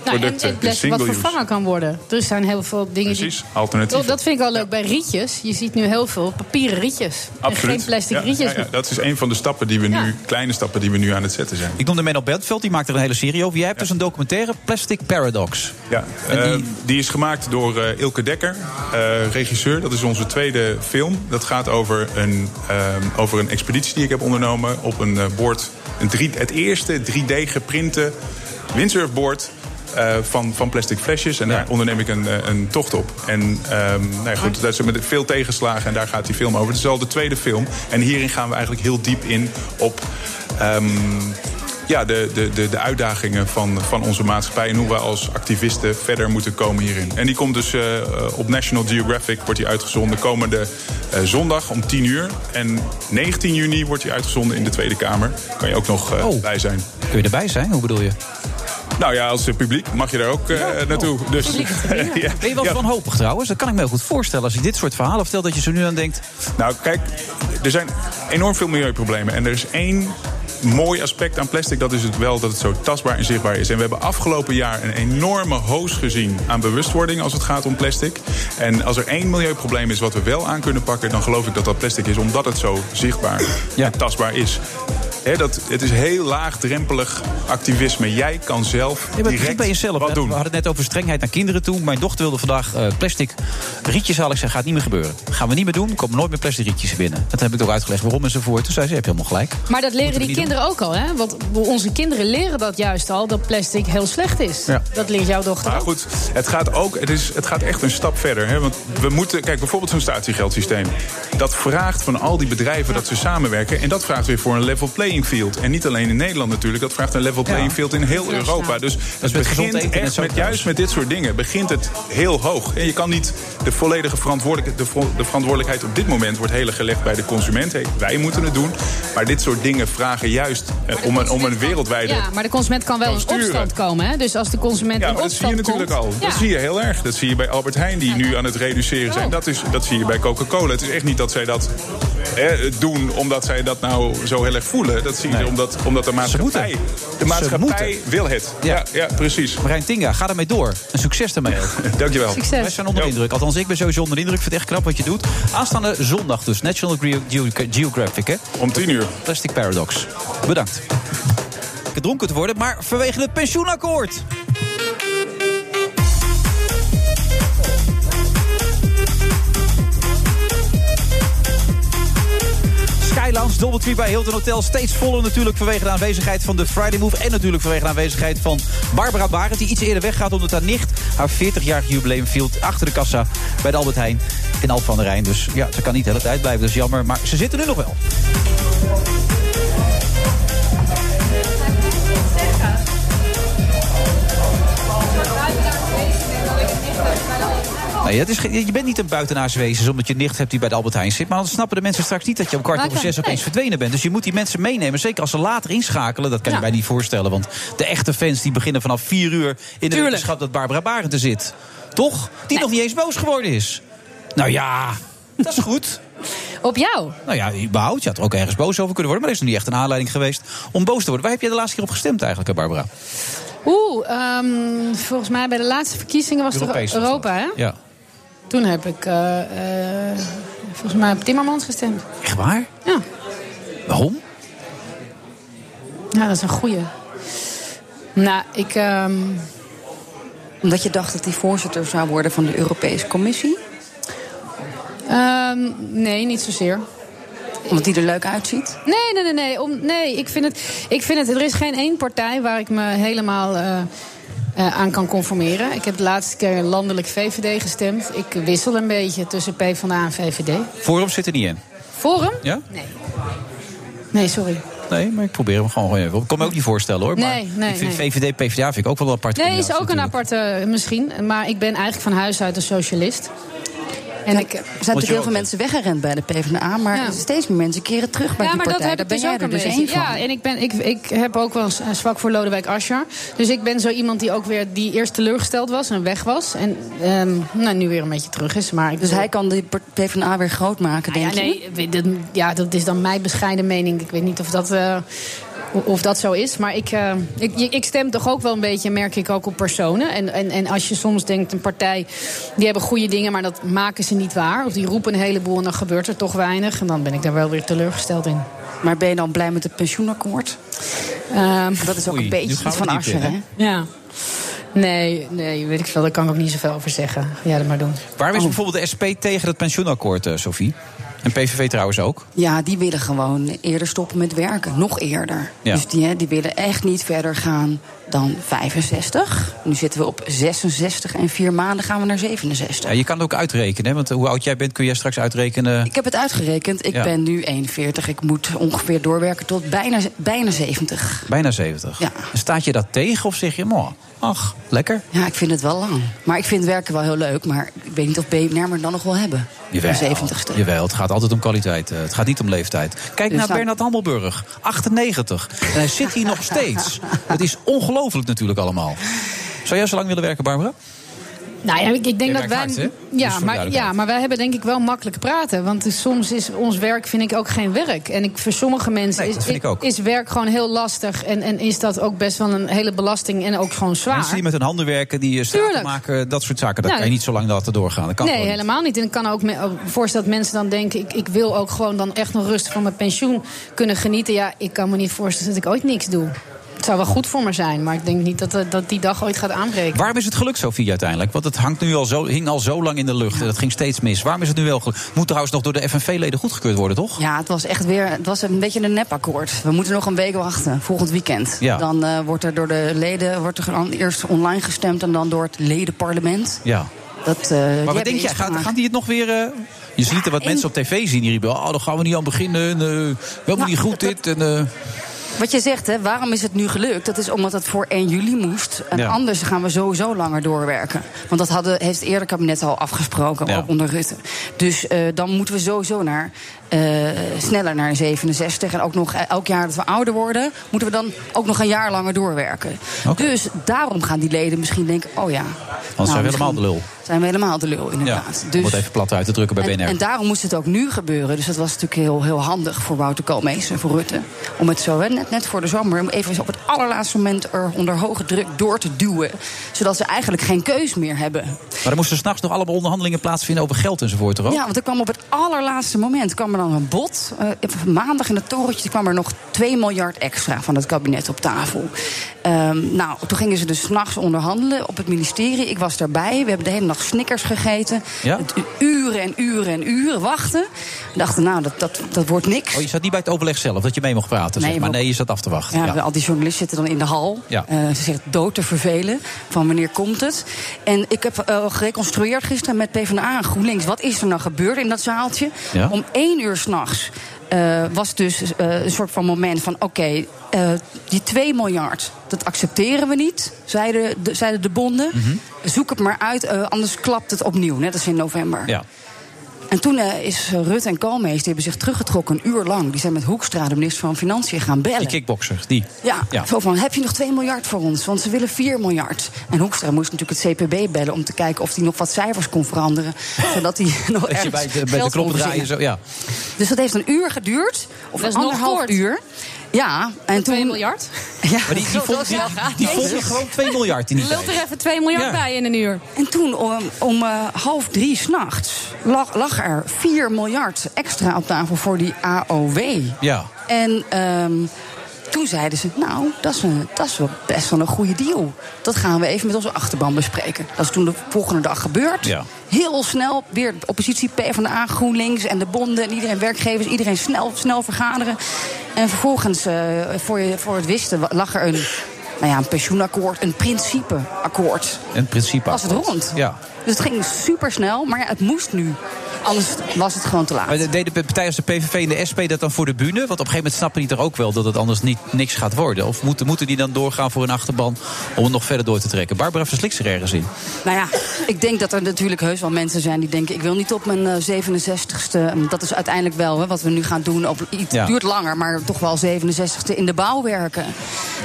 Speaker 8: Nou, en-
Speaker 17: producten.
Speaker 8: en
Speaker 17: de
Speaker 8: plastic wat
Speaker 17: single use.
Speaker 8: vervangen kan worden. Er zijn heel veel dingen
Speaker 17: Precies,
Speaker 8: die...
Speaker 17: alternatieven.
Speaker 8: Dat vind ik wel leuk bij rietjes. Je ziet nu heel veel papieren rietjes. En geen plastic
Speaker 17: Ja,
Speaker 8: rietjes.
Speaker 17: ja, ja, dat is een van de stappen die we nu, kleine stappen die we nu aan het zetten zijn.
Speaker 7: Ik noemde Menno Bentveld, die maakt er een hele serie over. Jij hebt dus een documentaire, Plastic Paradox.
Speaker 17: Ja, eh, die... is gemaakt door eh, Ilke Dekker, eh, regisseur. Dat is onze tweede film. Dat gaat over een, eh, over een expeditie die ik heb ondernomen op een eh, board. Een drie, het eerste 3D-geprinte windsurfboard. eh, van, van plastic flesjes. En daar onderneem ik een, eh, een tocht op. En ehm, nou ja, goed, dat is met veel tegenslagen. En daar gaat die film over. Het is al de tweede film. En hierin gaan we eigenlijk heel diep in op ehm, ja, de, de, de, de uitdagingen van, van onze maatschappij en hoe we als activisten verder moeten komen hierin. En die komt dus eh, op National Geographic, wordt die uitgezonden komende eh, zondag om 10 uur. En 19 juni wordt die uitgezonden in de Tweede Kamer. Kan je ook nog eh, bij zijn.
Speaker 7: Oh. Kun je erbij zijn? Hoe bedoel je?
Speaker 17: Nou ja, als eh, publiek mag je daar ook eh, naartoe.
Speaker 7: Oh.
Speaker 17: Dus, [LAUGHS] ja.
Speaker 7: Ben je wel wanhopig trouwens? Dat kan ik me heel goed voorstellen. Als je dit soort verhalen vertelt, dat je zo nu aan denkt...
Speaker 17: Nou, kijk, er zijn enorm veel milieuproblemen. En er is één mooi aspect aan plastic. Dat is het wel dat het zo tastbaar en zichtbaar is. En we hebben afgelopen jaar een enorme hoos gezien aan bewustwording als het gaat om plastic. En als er één milieuprobleem is wat we wel aan kunnen pakken, dan geloof ik dat dat plastic is, omdat het zo zichtbaar en tastbaar is. Hè, dat, het is heel laagdrempelig activisme. Jij kan zelf
Speaker 7: Nee, maar het begint
Speaker 17: direct
Speaker 7: bij jezelf.
Speaker 17: wat
Speaker 7: hè.
Speaker 17: doen.
Speaker 7: We hadden het net over strengheid naar kinderen toe. Mijn dochter wilde vandaag eh, plastic rietjes halen. Ik zei, gaat niet meer gebeuren. Gaan we niet meer doen. Komen nooit meer plastic rietjes binnen. En toen heb ik het ook uitgelegd waarom enzovoort. Toen zei ze, je hebt helemaal gelijk.
Speaker 18: Maar dat leren
Speaker 7: Moeten we
Speaker 18: die
Speaker 7: niet
Speaker 18: kinderen ook al, hè? Want onze kinderen leren dat juist al, dat plastic heel slecht is.
Speaker 17: Ja.
Speaker 18: Dat leert jouw dochter
Speaker 17: Maar goed, het gaat ook, het, is, het gaat echt een stap verder. Hè? Want we moeten, kijk, bijvoorbeeld zo'n statiegeldsysteem. Dat vraagt van al die bedrijven dat ze samenwerken. En dat vraagt weer voor een level playing field. En niet alleen in Nederland natuurlijk, dat vraagt een level playing field in heel
Speaker 7: Internationaal.
Speaker 17: Europa. Dus
Speaker 7: met
Speaker 17: het
Speaker 7: gezond
Speaker 17: begint
Speaker 7: eten en
Speaker 17: echt
Speaker 7: zo
Speaker 17: met, juist met dit soort dingen, begint het heel hoog. En je kan niet de volledige verantwoordelijkheid, de, vo- de verantwoordelijkheid op dit moment wordt heel erg gelegd bij de consument. Hey, wij moeten het doen. Maar dit soort dingen vragen juist eh, om, een, om een wereldwijde.
Speaker 18: Ja, maar de consument kan wel
Speaker 17: Kan
Speaker 18: in
Speaker 17: sturen.
Speaker 18: opstand komen, hè? Dus als de consument
Speaker 17: Ja,
Speaker 18: in
Speaker 17: maar dat zie
Speaker 18: opstand
Speaker 17: je natuurlijk
Speaker 18: komt...
Speaker 17: al.
Speaker 18: Ja. Oh.
Speaker 17: Dat zie je heel erg. Dat zie je bij Albert Heijn, die nu aan het reduceren zijn. Dat, is, dat zie je bij Coca-Cola. Het is echt niet dat zij dat hè, doen omdat zij dat nou zo heel erg voelen. Dat zie je omdat, omdat de maatschappij... De
Speaker 7: Ze
Speaker 17: maatschappij
Speaker 7: moeten.
Speaker 17: wil het. [LAUGHS] Ja, ja, precies.
Speaker 7: Marijn Tinga, ga ermee door. En succes daarmee ook.
Speaker 17: Dankjewel.
Speaker 18: Succes.
Speaker 7: Wij zijn onder de indruk. Althans, ik ben sowieso onder de indruk. Ik vind het echt knap wat je doet. Aanstaande zondag dus. National Geo- Geo- Geographic, hè?
Speaker 17: Om tien uur.
Speaker 7: Plastic Paradox. Bedankt. Gedronken te worden, maar vanwege het pensioenakkoord. Skylands, Doubletree bij Hilton Hotel. Steeds voller natuurlijk vanwege de aanwezigheid van de Friday Move. En natuurlijk vanwege de aanwezigheid van Barbara Barend. Die iets eerder weggaat omdat haar nicht haar 40-jarig jubileum viel achter de kassa bij de Albert Heijn in Alphen aan de Rijn. Dus ja, ze kan niet de hele tijd blijven. Dat is jammer. Maar ze zitten nu nog wel. Nee, dat Nou is, ge- je bent niet een buitenaars wezen omdat je nicht hebt die bij de Albert Heijn zit. Maar dan snappen de mensen straks niet dat je om kwart
Speaker 18: Maar
Speaker 7: over
Speaker 18: kan-
Speaker 7: zes opeens
Speaker 18: nee.
Speaker 7: verdwenen bent. Dus je moet die mensen meenemen. Zeker als ze later inschakelen. Dat kan je
Speaker 18: Ja.
Speaker 7: mij niet voorstellen. Want de echte fans die beginnen vanaf vier uur in de
Speaker 18: Tuurlijk.
Speaker 7: wetenschap dat Barbara Barend er zit. Toch? Die nog niet eens boos geworden is. Nou ja, dat is goed.
Speaker 18: Op jou?
Speaker 7: Nou ja, überhaupt. Je had er ook ergens boos over kunnen worden. Maar er is nog niet echt een aanleiding geweest om boos te worden. Waar heb jij de laatste keer op gestemd eigenlijk, hè, Barbara?
Speaker 18: Oeh, ehm, volgens mij bij de laatste verkiezingen was
Speaker 7: Europees
Speaker 18: het
Speaker 7: was
Speaker 18: Europa, hè?
Speaker 7: Ja.
Speaker 18: Toen heb ik eh, eh, volgens mij op Timmermans gestemd.
Speaker 7: Echt waar?
Speaker 18: Ja.
Speaker 7: Waarom?
Speaker 8: Nou, dat is een goeie. Nou, ik... ehm,
Speaker 16: Mm. Omdat je dacht dat hij voorzitter zou worden van de Europese Commissie?
Speaker 8: ehm, nee, niet zozeer.
Speaker 16: Omdat hij er leuk uitziet?
Speaker 8: Nee, nee, nee. nee. Om, nee ik, vind het, ik vind het... Er is geen één partij waar ik me helemaal eh, eh, aan kan conformeren. Ik heb de laatste keer landelijk VVD gestemd. Ik wissel een beetje tussen PvdA en VVD.
Speaker 7: Forum zit er niet in.
Speaker 8: Forum?
Speaker 7: Ja?
Speaker 8: Nee, sorry.
Speaker 7: Nee, maar ik probeer hem gewoon even. Ik kan me ook niet voorstellen hoor. Maar
Speaker 8: Nee, nee,
Speaker 7: ik vind
Speaker 8: nee.
Speaker 7: VVD, PvdA vind ik ook wel een apart.
Speaker 8: Nee, is ook een aparte eh, misschien. Maar ik ben eigenlijk van huis uit een socialist. En ik,
Speaker 16: Er zijn natuurlijk heel veel mensen weggerend bij de PvdA, maar steeds meer mensen keren terug bij
Speaker 8: ja,
Speaker 16: die
Speaker 8: maar dat
Speaker 16: partij. Daar
Speaker 8: heb
Speaker 16: ben
Speaker 8: ik dus
Speaker 16: jij
Speaker 8: ook
Speaker 16: er
Speaker 8: een
Speaker 16: dus
Speaker 8: beetje.
Speaker 16: één van.
Speaker 8: Ja, en ik, ben, ik, ik heb ook wel eens eh, zwak voor Lodewijk Asscher. Dus ik ben zo iemand die ook weer die eerst teleurgesteld was en weg was. En ehm, nou, nu weer een beetje terug is. Maar ik
Speaker 16: Dus hij kan de PvdA weer groot maken,
Speaker 8: Nou ja,
Speaker 16: denk je?
Speaker 8: nee, we- dat, ja, dat is dan mijn bescheiden mening. Ik weet niet of dat, eh, of dat zo is. Maar ik, eh, ik, je- ik stem toch ook wel een beetje, merk ik ook, op personen. En, en, en als je soms denkt, een partij, die hebben goede dingen... maar dat maken ze niet waar. Of die roepen een heleboel en dan gebeurt er toch weinig. En dan ben ik daar wel weer teleurgesteld in.
Speaker 16: Maar ben je dan blij met het pensioenakkoord? dat is ook
Speaker 8: Oei,
Speaker 16: een
Speaker 8: nu
Speaker 16: beetje
Speaker 8: gaan
Speaker 16: iets
Speaker 8: we
Speaker 16: van
Speaker 8: diep
Speaker 16: Asscher,
Speaker 8: in,
Speaker 16: hè?
Speaker 8: Ehm, Ja. Nee, nee, weet ik veel. Daar kan ik ook niet zoveel over zeggen. Ja, dat maar doen.
Speaker 16: Oh.
Speaker 7: Waarom is bijvoorbeeld de SP tegen het pensioenakkoord, eh, Sophie? En PVV trouwens ook.
Speaker 16: Ja, die willen gewoon eerder stoppen met werken. Nog eerder.
Speaker 7: Ja.
Speaker 16: Dus die, hè, die willen echt niet verder gaan dan 65. Nu zitten we op 66 en vier maanden gaan we naar 67.
Speaker 7: Ja, je kan het ook uitrekenen, hè, want eh, hoe oud jij bent kun je straks uitrekenen.
Speaker 16: Ik heb het uitgerekend. Ik
Speaker 7: Ja.
Speaker 16: ben nu 41. Ik moet ongeveer doorwerken tot bijna, bijna 70.
Speaker 7: Bijna 70.
Speaker 16: Ja.
Speaker 7: Staat je dat tegen of zeg je, "Moh, ach, lekker?
Speaker 16: Ja, ik vind het wel lang. Maar ik vind werken wel heel leuk. Maar ik weet niet of BNR me dan nog wel hebben.
Speaker 7: Jawel,
Speaker 16: De 70ste.
Speaker 7: Jawel, het gaat altijd om kwaliteit. eh, Het gaat niet om leeftijd. Kijk
Speaker 16: Dus
Speaker 7: naar
Speaker 16: nou-
Speaker 7: Bernard Hammelburg, 98. En hij zit hier nog
Speaker 16: [LAUGHS]
Speaker 7: steeds. Het is ongelooflijk natuurlijk allemaal. Zou jij zo lang willen werken, Barbara?
Speaker 8: Nou ja, ik, ik denk
Speaker 7: Jij
Speaker 8: dat wij.
Speaker 7: werkt hard, hè? Dus
Speaker 8: ja,
Speaker 7: voor
Speaker 8: maar,
Speaker 7: duidelijkheid.
Speaker 8: ja, maar wij hebben denk ik wel makkelijk praten. Want dus soms is ons werk, vind ik, ook geen werk. En ik, voor sommige mensen
Speaker 7: Nee, dat
Speaker 8: is,
Speaker 7: vind ik ook.
Speaker 8: is werk gewoon heel lastig. En, en is dat ook best wel een hele belasting en ook gewoon zwaar.
Speaker 7: Mensen die met hun handen werken, die eh, straten
Speaker 8: Tuurlijk.
Speaker 7: maken, dat soort zaken. Dat
Speaker 8: Nou,
Speaker 7: kan je niet zo lang laten doorgaan. Dat kan
Speaker 8: nee,
Speaker 7: gewoon niet.
Speaker 8: helemaal niet. En ik kan ook me ook voorstellen dat mensen dan denken... Ik, ik wil ook gewoon dan echt nog rustig van mijn pensioen kunnen genieten. Ja, ik kan me niet voorstellen dat ik ooit niks doe. Het zou wel goed voor me zijn, maar ik denk niet dat, eh, dat die dag ooit gaat aanbreken.
Speaker 7: Waarom is het gelukt, Sophie, uiteindelijk? Want het hangt nu al zo, hing al zo lang in de lucht en dat ging steeds mis. Waarom is het nu wel gelukt? Moet trouwens nog door de FNV-leden goedgekeurd worden, toch?
Speaker 16: Ja, het was echt weer het was een beetje een nepakkoord. We moeten nog een week wachten, volgend weekend.
Speaker 7: Ja.
Speaker 16: Dan eh, wordt er door de leden wordt er gewoon eerst online gestemd... en dan door het ledenparlement.
Speaker 7: Ja.
Speaker 16: Dat, eh
Speaker 7: maar wat denk jij? Gaat, gaat die het nog weer... eh, Je ziet er wat mensen op tv zien die riepen... Oh, daar gaan we niet aan beginnen. En, eh, we hebben
Speaker 16: Nou,
Speaker 7: niet goed dit. En, eh,
Speaker 16: Wat je zegt, hè, waarom is het nu gelukt? Dat is omdat het voor 1 juli moest. En
Speaker 7: Ja.
Speaker 16: anders gaan we sowieso langer doorwerken. Want dat hadden, heeft het eerder kabinet al afgesproken, ook onder Rutte. Dus eh, dan moeten we sowieso naar, eh, sneller naar 67. En ook nog eh, elk jaar dat we ouder worden... moeten we dan ook nog een jaar langer doorwerken. Dus daarom gaan die leden misschien denken... oh ja,
Speaker 7: Anders zijn we
Speaker 16: misschien
Speaker 7: helemaal de lul.
Speaker 16: zijn we helemaal de lul, inderdaad.
Speaker 7: Ja, om
Speaker 16: dus,
Speaker 7: het even plat uit te drukken bij
Speaker 16: en,
Speaker 7: BNR.
Speaker 16: en daarom moest het ook nu gebeuren. Dus dat was natuurlijk heel, heel handig voor Wouter Koolmees en voor Rutte. Om het zo hè, net, net voor de zomer om even op het allerlaatste moment er onder hoge druk door te duwen. Zodat ze eigenlijk geen keus meer hebben.
Speaker 7: Maar er moesten s'nachts nog allemaal onderhandelingen plaatsvinden over geld enzovoort, toch? ook?
Speaker 16: Ja, want er kwam op het allerlaatste moment kwam er dan een bod. Eh, maandag in het torentje kwam er nog 2 miljard extra van het kabinet op tafel. Ehm, nou, toen gingen ze dus 's nachts onderhandelen op het ministerie. Ik was daarbij. We hebben de hele nacht snickers gegeten.
Speaker 7: Ja?
Speaker 16: Het, uren en uren en uren wachten. We dachten, nou, dat, dat, dat wordt niks.
Speaker 7: Oh, je zat niet bij het overleg zelf, dat je mee mocht praten.
Speaker 16: Nee,
Speaker 7: zeg. Maar
Speaker 16: maar-
Speaker 7: nee, je zat af te wachten.
Speaker 16: Ja,
Speaker 7: Ja.
Speaker 16: Al die journalisten zitten dan in de hal.
Speaker 7: Ja.
Speaker 16: Eh, ze zegt dood te vervelen. Van wanneer komt het? En ik heb eh, gereconstrueerd gisteren met PvdA en GroenLinks. Wat is er nou gebeurd in dat zaaltje?
Speaker 3: Ja.
Speaker 16: Om één uur s'nachts eh was dus eh, een soort van moment van... oké, eh, die 2 miljard, dat accepteren we niet, zeiden de, zeiden de bonden.
Speaker 7: Hm. Mhm.
Speaker 16: Zoek het maar uit, eh, anders klapt het opnieuw, net als in november.
Speaker 7: Ja.
Speaker 16: En toen eh, is eh, Rutte en Koolmees, die hebben zich teruggetrokken een uur lang. Die zijn met Hoekstra, de minister van Financiën, gaan bellen.
Speaker 7: Die kickboxer, die.
Speaker 16: Ja, [LAUGHS]
Speaker 7: Ja.
Speaker 16: zo van, heb je nog 2 miljard voor ons? Want ze willen 4 miljard. En Hoekstra moest natuurlijk het CPB bellen... om te kijken of hij nog wat cijfers kon
Speaker 7: [LAUGHS]
Speaker 16: veranderen. zodat hij nog
Speaker 7: Dat je
Speaker 16: ergens
Speaker 7: bij de, bij de
Speaker 16: geld kon
Speaker 7: knoppen draaien.
Speaker 16: verzinnen.
Speaker 7: Zo, ja.
Speaker 16: Dus dat heeft een uur geduurd. Of
Speaker 8: Dat is
Speaker 16: een
Speaker 8: nog
Speaker 16: anderhalf
Speaker 8: kort.
Speaker 16: uur. Ja, en toen... 2
Speaker 8: miljard?
Speaker 16: [LAUGHS] Ja,
Speaker 7: Maar
Speaker 8: [LAUGHS]
Speaker 7: die, die vond, die, die vond er gewoon 2 miljard in die
Speaker 16: Lult
Speaker 7: tijd.
Speaker 16: er
Speaker 8: Even 2 miljard
Speaker 16: Ja.
Speaker 8: bij in een uur.
Speaker 16: En toen om, om eh, half drie s'nachts lag, lag er 4 miljard extra op tafel voor die AOW.
Speaker 7: Ja.
Speaker 16: En ehm, toen zeiden ze, nou, dat is, een, dat is wel best wel een goede deal. Dat gaan we even met onze achterban bespreken. Dat is toen de volgende dag gebeurd.
Speaker 7: Ja.
Speaker 16: Heel snel weer de oppositie, PvdA, GroenLinks en de bonden en iedereen werkgevers, iedereen snel, snel vergaderen. En vervolgens, eh, voor, je, voor het wisten, wa- lag er een, nou ja, een pensioenakkoord, een principeakkoord.
Speaker 7: In principe.
Speaker 16: Was het rond?
Speaker 7: Ja.
Speaker 16: Dus het ging super snel, maar ja, het moest nu. Anders was het gewoon te laat.
Speaker 7: Maar de- deden partijen als de PVV en de SP dat dan voor de bühne? Want op een gegeven moment snappen die toch ook wel dat het anders niet, niks gaat worden? Of moeten, moeten die dan doorgaan voor een achterban om het nog verder door te trekken? Barbara verslikt zich ergens in.
Speaker 16: Nou ja, ik denk dat er natuurlijk heus wel mensen zijn die denken... ik wil niet op mijn eh, 67ste... want Dat is uiteindelijk wel hè, wat we nu gaan doen. Op, het
Speaker 19: Ja.
Speaker 16: duurt langer, maar toch wel 67ste in de bouw werken.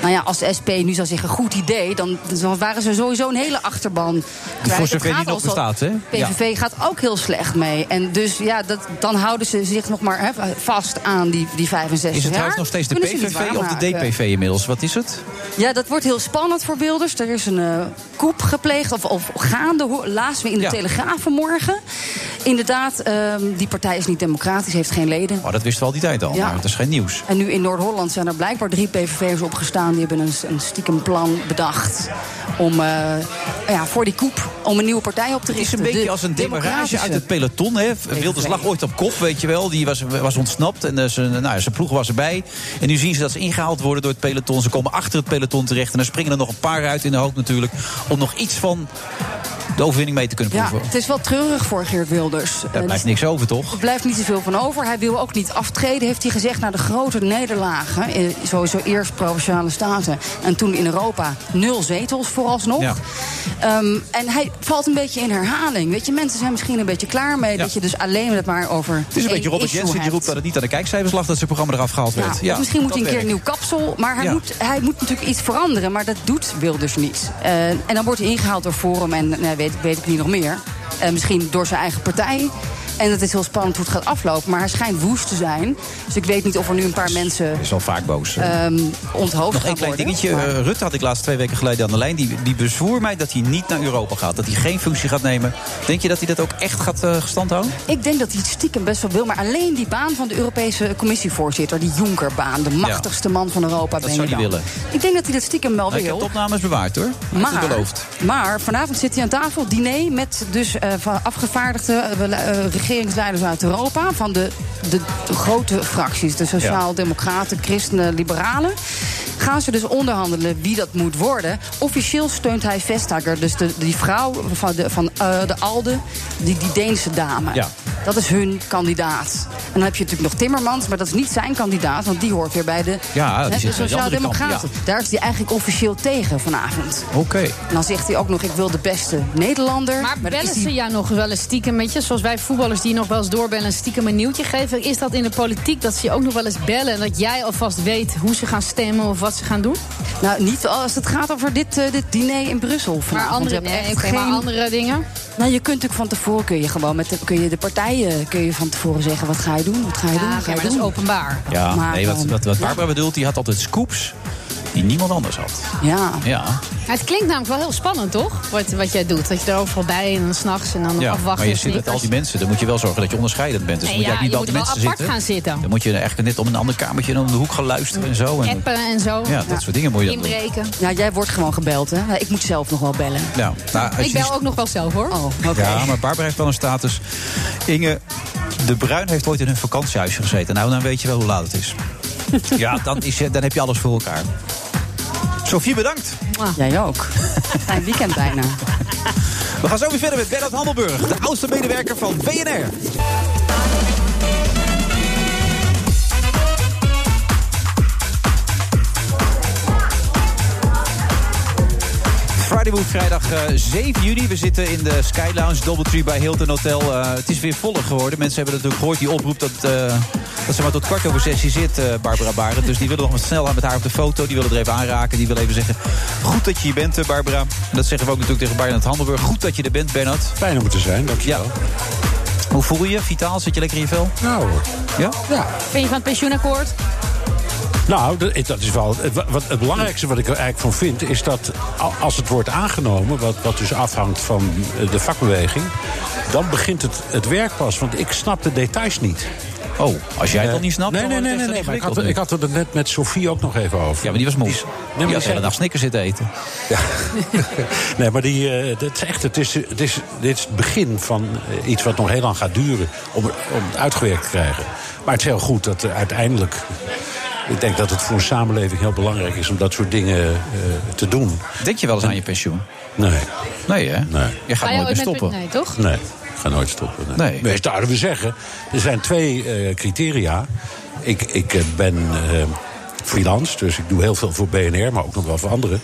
Speaker 16: Nou ja, als de SP nu zou zeggen goed idee... dan, dan waren ze sowieso een hele achterban kwijt.
Speaker 7: Voor
Speaker 16: Het
Speaker 7: zover die
Speaker 16: gaat
Speaker 7: nog
Speaker 16: al zo-
Speaker 7: bestaat, hè? Ja.
Speaker 16: PVV gaat ook heel slecht mee. En dus ja, dat, dan houden ze zich nog maar hè, vast aan die, die 65
Speaker 7: Is het
Speaker 16: jaar.
Speaker 7: trouwens nog steeds de
Speaker 16: Kunnen ze niet
Speaker 7: PVV of de
Speaker 16: waarmaken.
Speaker 7: DPV inmiddels? Wat is het?
Speaker 16: Ja, dat wordt heel spannend voor Wilders. Er is een eh koep gepleegd, of, of gaande, ho- lazen we in de
Speaker 7: Ja.
Speaker 16: Telegraaf vanmorgen. Inderdaad, ehm, die partij is niet democratisch, heeft geen leden.
Speaker 7: Oh, dat wisten we al die tijd al,
Speaker 16: Ja.
Speaker 7: maar het is geen nieuws.
Speaker 16: En nu in Noord-Holland zijn er blijkbaar drie PVV'ers opgestaan. Die hebben een, een stiekem plan bedacht om, eh, ja, voor die koep om een nieuwe partij op te
Speaker 7: Het is
Speaker 16: richten.
Speaker 7: een beetje
Speaker 16: De
Speaker 7: als een demarrage
Speaker 16: democratische.
Speaker 7: uit het peloton. Hè. Wilders lag ooit op kop, weet je wel. Die was, was ontsnapt en eh, zijn, nou, ja, zijn ploeg was erbij. En nu zien ze dat ze ingehaald worden door het peloton. Ze komen achter het peloton terecht. En dan springen er nog een paar uit in de hoop natuurlijk... om nog iets van de overwinning mee te kunnen
Speaker 16: Ja,
Speaker 7: proeven.
Speaker 16: het is wel treurig voor Geert Wilders.
Speaker 7: Daar
Speaker 16: Eh,
Speaker 7: blijft niks over, toch?
Speaker 16: Er blijft niet zoveel van over. Hij wil ook niet aftreden, heeft hij gezegd, na de grote nederlagen. Eh, Sowieso eerst Provinciale Staten en toen in Europa. Nul zetels vooralsnog.
Speaker 7: Ja.
Speaker 16: Ehm, en hij valt een beetje in herhaling. Weet je, mensen zijn misschien een beetje klaar mee... dat je dus alleen het maar over
Speaker 7: Het is een beetje Robert Jensen die roept dat het niet aan de kijkcijfers lag... dat zijn programma eraf gehaald werd.
Speaker 16: ja, of misschien moet
Speaker 7: dat
Speaker 16: hij een keer een
Speaker 7: werkt.
Speaker 16: nieuw kapsel. Maar hij,
Speaker 7: Ja.
Speaker 16: moet, hij moet natuurlijk iets veranderen. Maar dat doet Wilders niet. Eh, en dan wordt hij ingehaald door Forum en nee, weet, weet ik niet nog meer. Eh, misschien door zijn eigen partij. En het is heel spannend hoe het gaat aflopen. Maar hij schijnt woest te zijn. Dus ik weet niet of er nu een paar mensen
Speaker 7: is al vaak boos.
Speaker 16: ehm onthoofd
Speaker 7: Nog
Speaker 16: gaan
Speaker 7: een klein
Speaker 16: worden.
Speaker 7: dingetje.
Speaker 16: Maar-
Speaker 7: Eh, Rutte had ik laatst twee weken geleden aan de lijn. Die, die bezwoer mij dat hij niet naar Europa gaat. Dat hij geen functie gaat nemen. Denk je dat hij dat ook echt gaat eh gestand houden?
Speaker 16: Ik denk dat hij het stiekem best wel wil. Maar alleen die baan van de Europese commissievoorzitter, die Jonkerbaan, de machtigste man van Europa,
Speaker 7: Dat
Speaker 16: ben
Speaker 7: zou
Speaker 16: je
Speaker 7: hij
Speaker 16: dan.
Speaker 7: willen.
Speaker 16: Ik denk dat hij dat stiekem wel
Speaker 7: Nou, ik
Speaker 16: wil.
Speaker 7: heb de opnames bewaard hoor. Hij heeft
Speaker 16: Maar,
Speaker 7: het beloofd.
Speaker 16: maar vanavond zit hij aan tafel, diner met dus eh, van afgevaardigde eh, bele- eh, regeringsleiders uit Europa. Van de, de grote fracties, de Sociaal-Democraten, Christenen, Liberalen. Gaan ze dus onderhandelen wie dat moet worden. Officieel steunt hij Vestager, dus de, die vrouw van de, van, eh, de Alde, die, die Deense dame.
Speaker 7: Ja.
Speaker 16: Dat is hun kandidaat. En dan heb je natuurlijk nog Timmermans, maar dat is niet zijn kandidaat, want die hoort weer bij de,
Speaker 7: Ja, die
Speaker 16: hè,
Speaker 7: zit
Speaker 16: de
Speaker 7: bij de andere kant,
Speaker 16: Sociaal-Democraten.
Speaker 7: ja.
Speaker 16: Daar is hij eigenlijk officieel tegen vanavond.
Speaker 7: Oké.
Speaker 16: En dan zegt hij ook nog, ik wil de beste Nederlander.
Speaker 18: Maar
Speaker 16: dat
Speaker 18: bellen ze
Speaker 16: is die-
Speaker 18: ja nog wel eens stiekem met je? Zoals wij voetballers die nog wel eens doorbellen en stiekem een nieuwtje geven. Is dat in de politiek dat ze je ook nog wel eens bellen... en dat jij alvast weet hoe ze gaan stemmen of wat ze gaan doen?
Speaker 16: Nou, niet als het gaat over dit, eh, dit diner in Brussel vanavond.
Speaker 18: Maar
Speaker 16: Je
Speaker 18: andere,
Speaker 16: hebt
Speaker 18: nee,
Speaker 16: echt
Speaker 18: oké, maar
Speaker 16: geen-
Speaker 18: andere dingen?
Speaker 16: Nou, je kunt natuurlijk van tevoren kun je gewoon met de, kun je de partijen kun je van tevoren zeggen wat ga je doen, wat ga je doen, wat ga je
Speaker 18: maar dat
Speaker 16: doen.
Speaker 18: is openbaar.
Speaker 7: Ja,
Speaker 16: Maar
Speaker 7: nee, wat,
Speaker 16: dan-
Speaker 7: wat, wat Barbara bedoelt, die had altijd scoops die niemand anders had.
Speaker 16: Ja.
Speaker 7: Ja,
Speaker 18: Het klinkt namelijk wel heel spannend, toch? Wat, wat jij doet. Dat je er overal bij en dan s'nachts en dan nog
Speaker 7: ja.
Speaker 18: afwachten.
Speaker 7: maar je
Speaker 18: en
Speaker 8: dus
Speaker 7: zit met al
Speaker 18: sneakers.
Speaker 7: die mensen. Dan moet je wel zorgen dat je onderscheidend bent. Dus
Speaker 18: Nee,
Speaker 7: dan moet je
Speaker 18: ja,
Speaker 7: eigenlijk
Speaker 18: je
Speaker 7: niet bij al die
Speaker 18: moet
Speaker 7: mensen
Speaker 18: wel apart
Speaker 7: zitten.
Speaker 18: gaan zitten.
Speaker 7: Dan moet je echt net om een ander kamertje en om de hoek gaan luisteren en zo. En,
Speaker 18: Appen en zo.
Speaker 7: Ja, dat soort dingen moet je dan doen.
Speaker 18: Inbreken.
Speaker 16: Ja, jij wordt gewoon gebeld, hè? Ik moet zelf nog wel bellen.
Speaker 7: ja, nou, als
Speaker 18: Ik
Speaker 7: je die
Speaker 18: bel ook nog wel zelf, hoor.
Speaker 16: Oh,
Speaker 7: Ja, maar Barbara heeft wel een status. Inge de Bruin heeft ooit in een vakantiehuisje gezeten. Nou, dan weet je wel hoe laat het is. Ja, dan, is, je- dan heb je alles voor elkaar. Sofie, bedankt.
Speaker 16: Jij
Speaker 18: [LAUGHS]
Speaker 16: ook. Fijn weekend bijna.
Speaker 7: We gaan zo weer verder met Bernard Handelburg, de oudste medewerker van BNR. Friday Move, vrijdag eh, 7 juni. We zitten in de Sky Lounge Doubletree bij Hilton Hotel. Eh, het is weer voller geworden. Mensen hebben natuurlijk gehoord die oproep dat, eh, dat ze maar tot kwart over zes hier zit, eh, Barbara Barend. Dus die willen nog wat snel aan met haar op de foto. Die willen er even aanraken. Die willen even zeggen, goed dat je hier bent, eh, Barbara. En dat zeggen we ook natuurlijk tegen Bernard Handelburg. Goed dat je er bent, Bernard.
Speaker 13: Fijn om er te zijn, dankjewel.
Speaker 7: Hoe voel je je? Vitaal? Zit je lekker in je vel?
Speaker 13: Nou hoor.
Speaker 7: Ja?
Speaker 13: Ja.
Speaker 18: Vind je van het pensioenakkoord?
Speaker 13: Nou, dat- dat is wel. het- Wat het belangrijkste wat ik er eigenlijk van vind, is dat a- als het wordt aangenomen, wat, wat dus afhangt van eh, de vakbeweging, dan begint het, het werk pas. Want ik snap de details niet.
Speaker 7: Oh, als jij het dan niet snapt.
Speaker 13: Nee,
Speaker 7: dan
Speaker 13: nee,
Speaker 7: wordt het echt
Speaker 13: nee. nee, nee,
Speaker 7: een
Speaker 13: maar ik, had,
Speaker 7: ingewikkeld
Speaker 13: ik had het er net met Sofie ook nog even over. Ja, maar
Speaker 7: die was moe.
Speaker 13: Nee, maar
Speaker 7: Die
Speaker 13: die
Speaker 7: had de hele
Speaker 13: zei-
Speaker 7: dag snickers zitten eten.
Speaker 13: [LAUGHS] nee, maar die, eh, dat is echt, het is, het is, dit is het begin van eh, iets wat nog heel lang gaat duren. Om, om het uitgewerkt te krijgen. Maar het is heel goed dat er uiteindelijk. Ik denk dat het voor een samenleving heel belangrijk is om dat soort dingen eh, te doen.
Speaker 7: Denk je wel eens aan je pensioen?
Speaker 13: Nee.
Speaker 7: Nee, hè?
Speaker 13: Nee.
Speaker 7: Je gaat
Speaker 18: Ga je
Speaker 7: nooit
Speaker 18: ooit
Speaker 7: meer
Speaker 18: met-
Speaker 7: stoppen.
Speaker 18: Nee, toch?
Speaker 13: Nee, ik ga nooit stoppen. Nee.
Speaker 7: Nee.
Speaker 13: Nee, zouden we zeggen. Er zijn twee eh, criteria. Ik, ik eh, ben eh, freelance, dus ik doe heel veel voor BNR, maar ook nog wel voor anderen.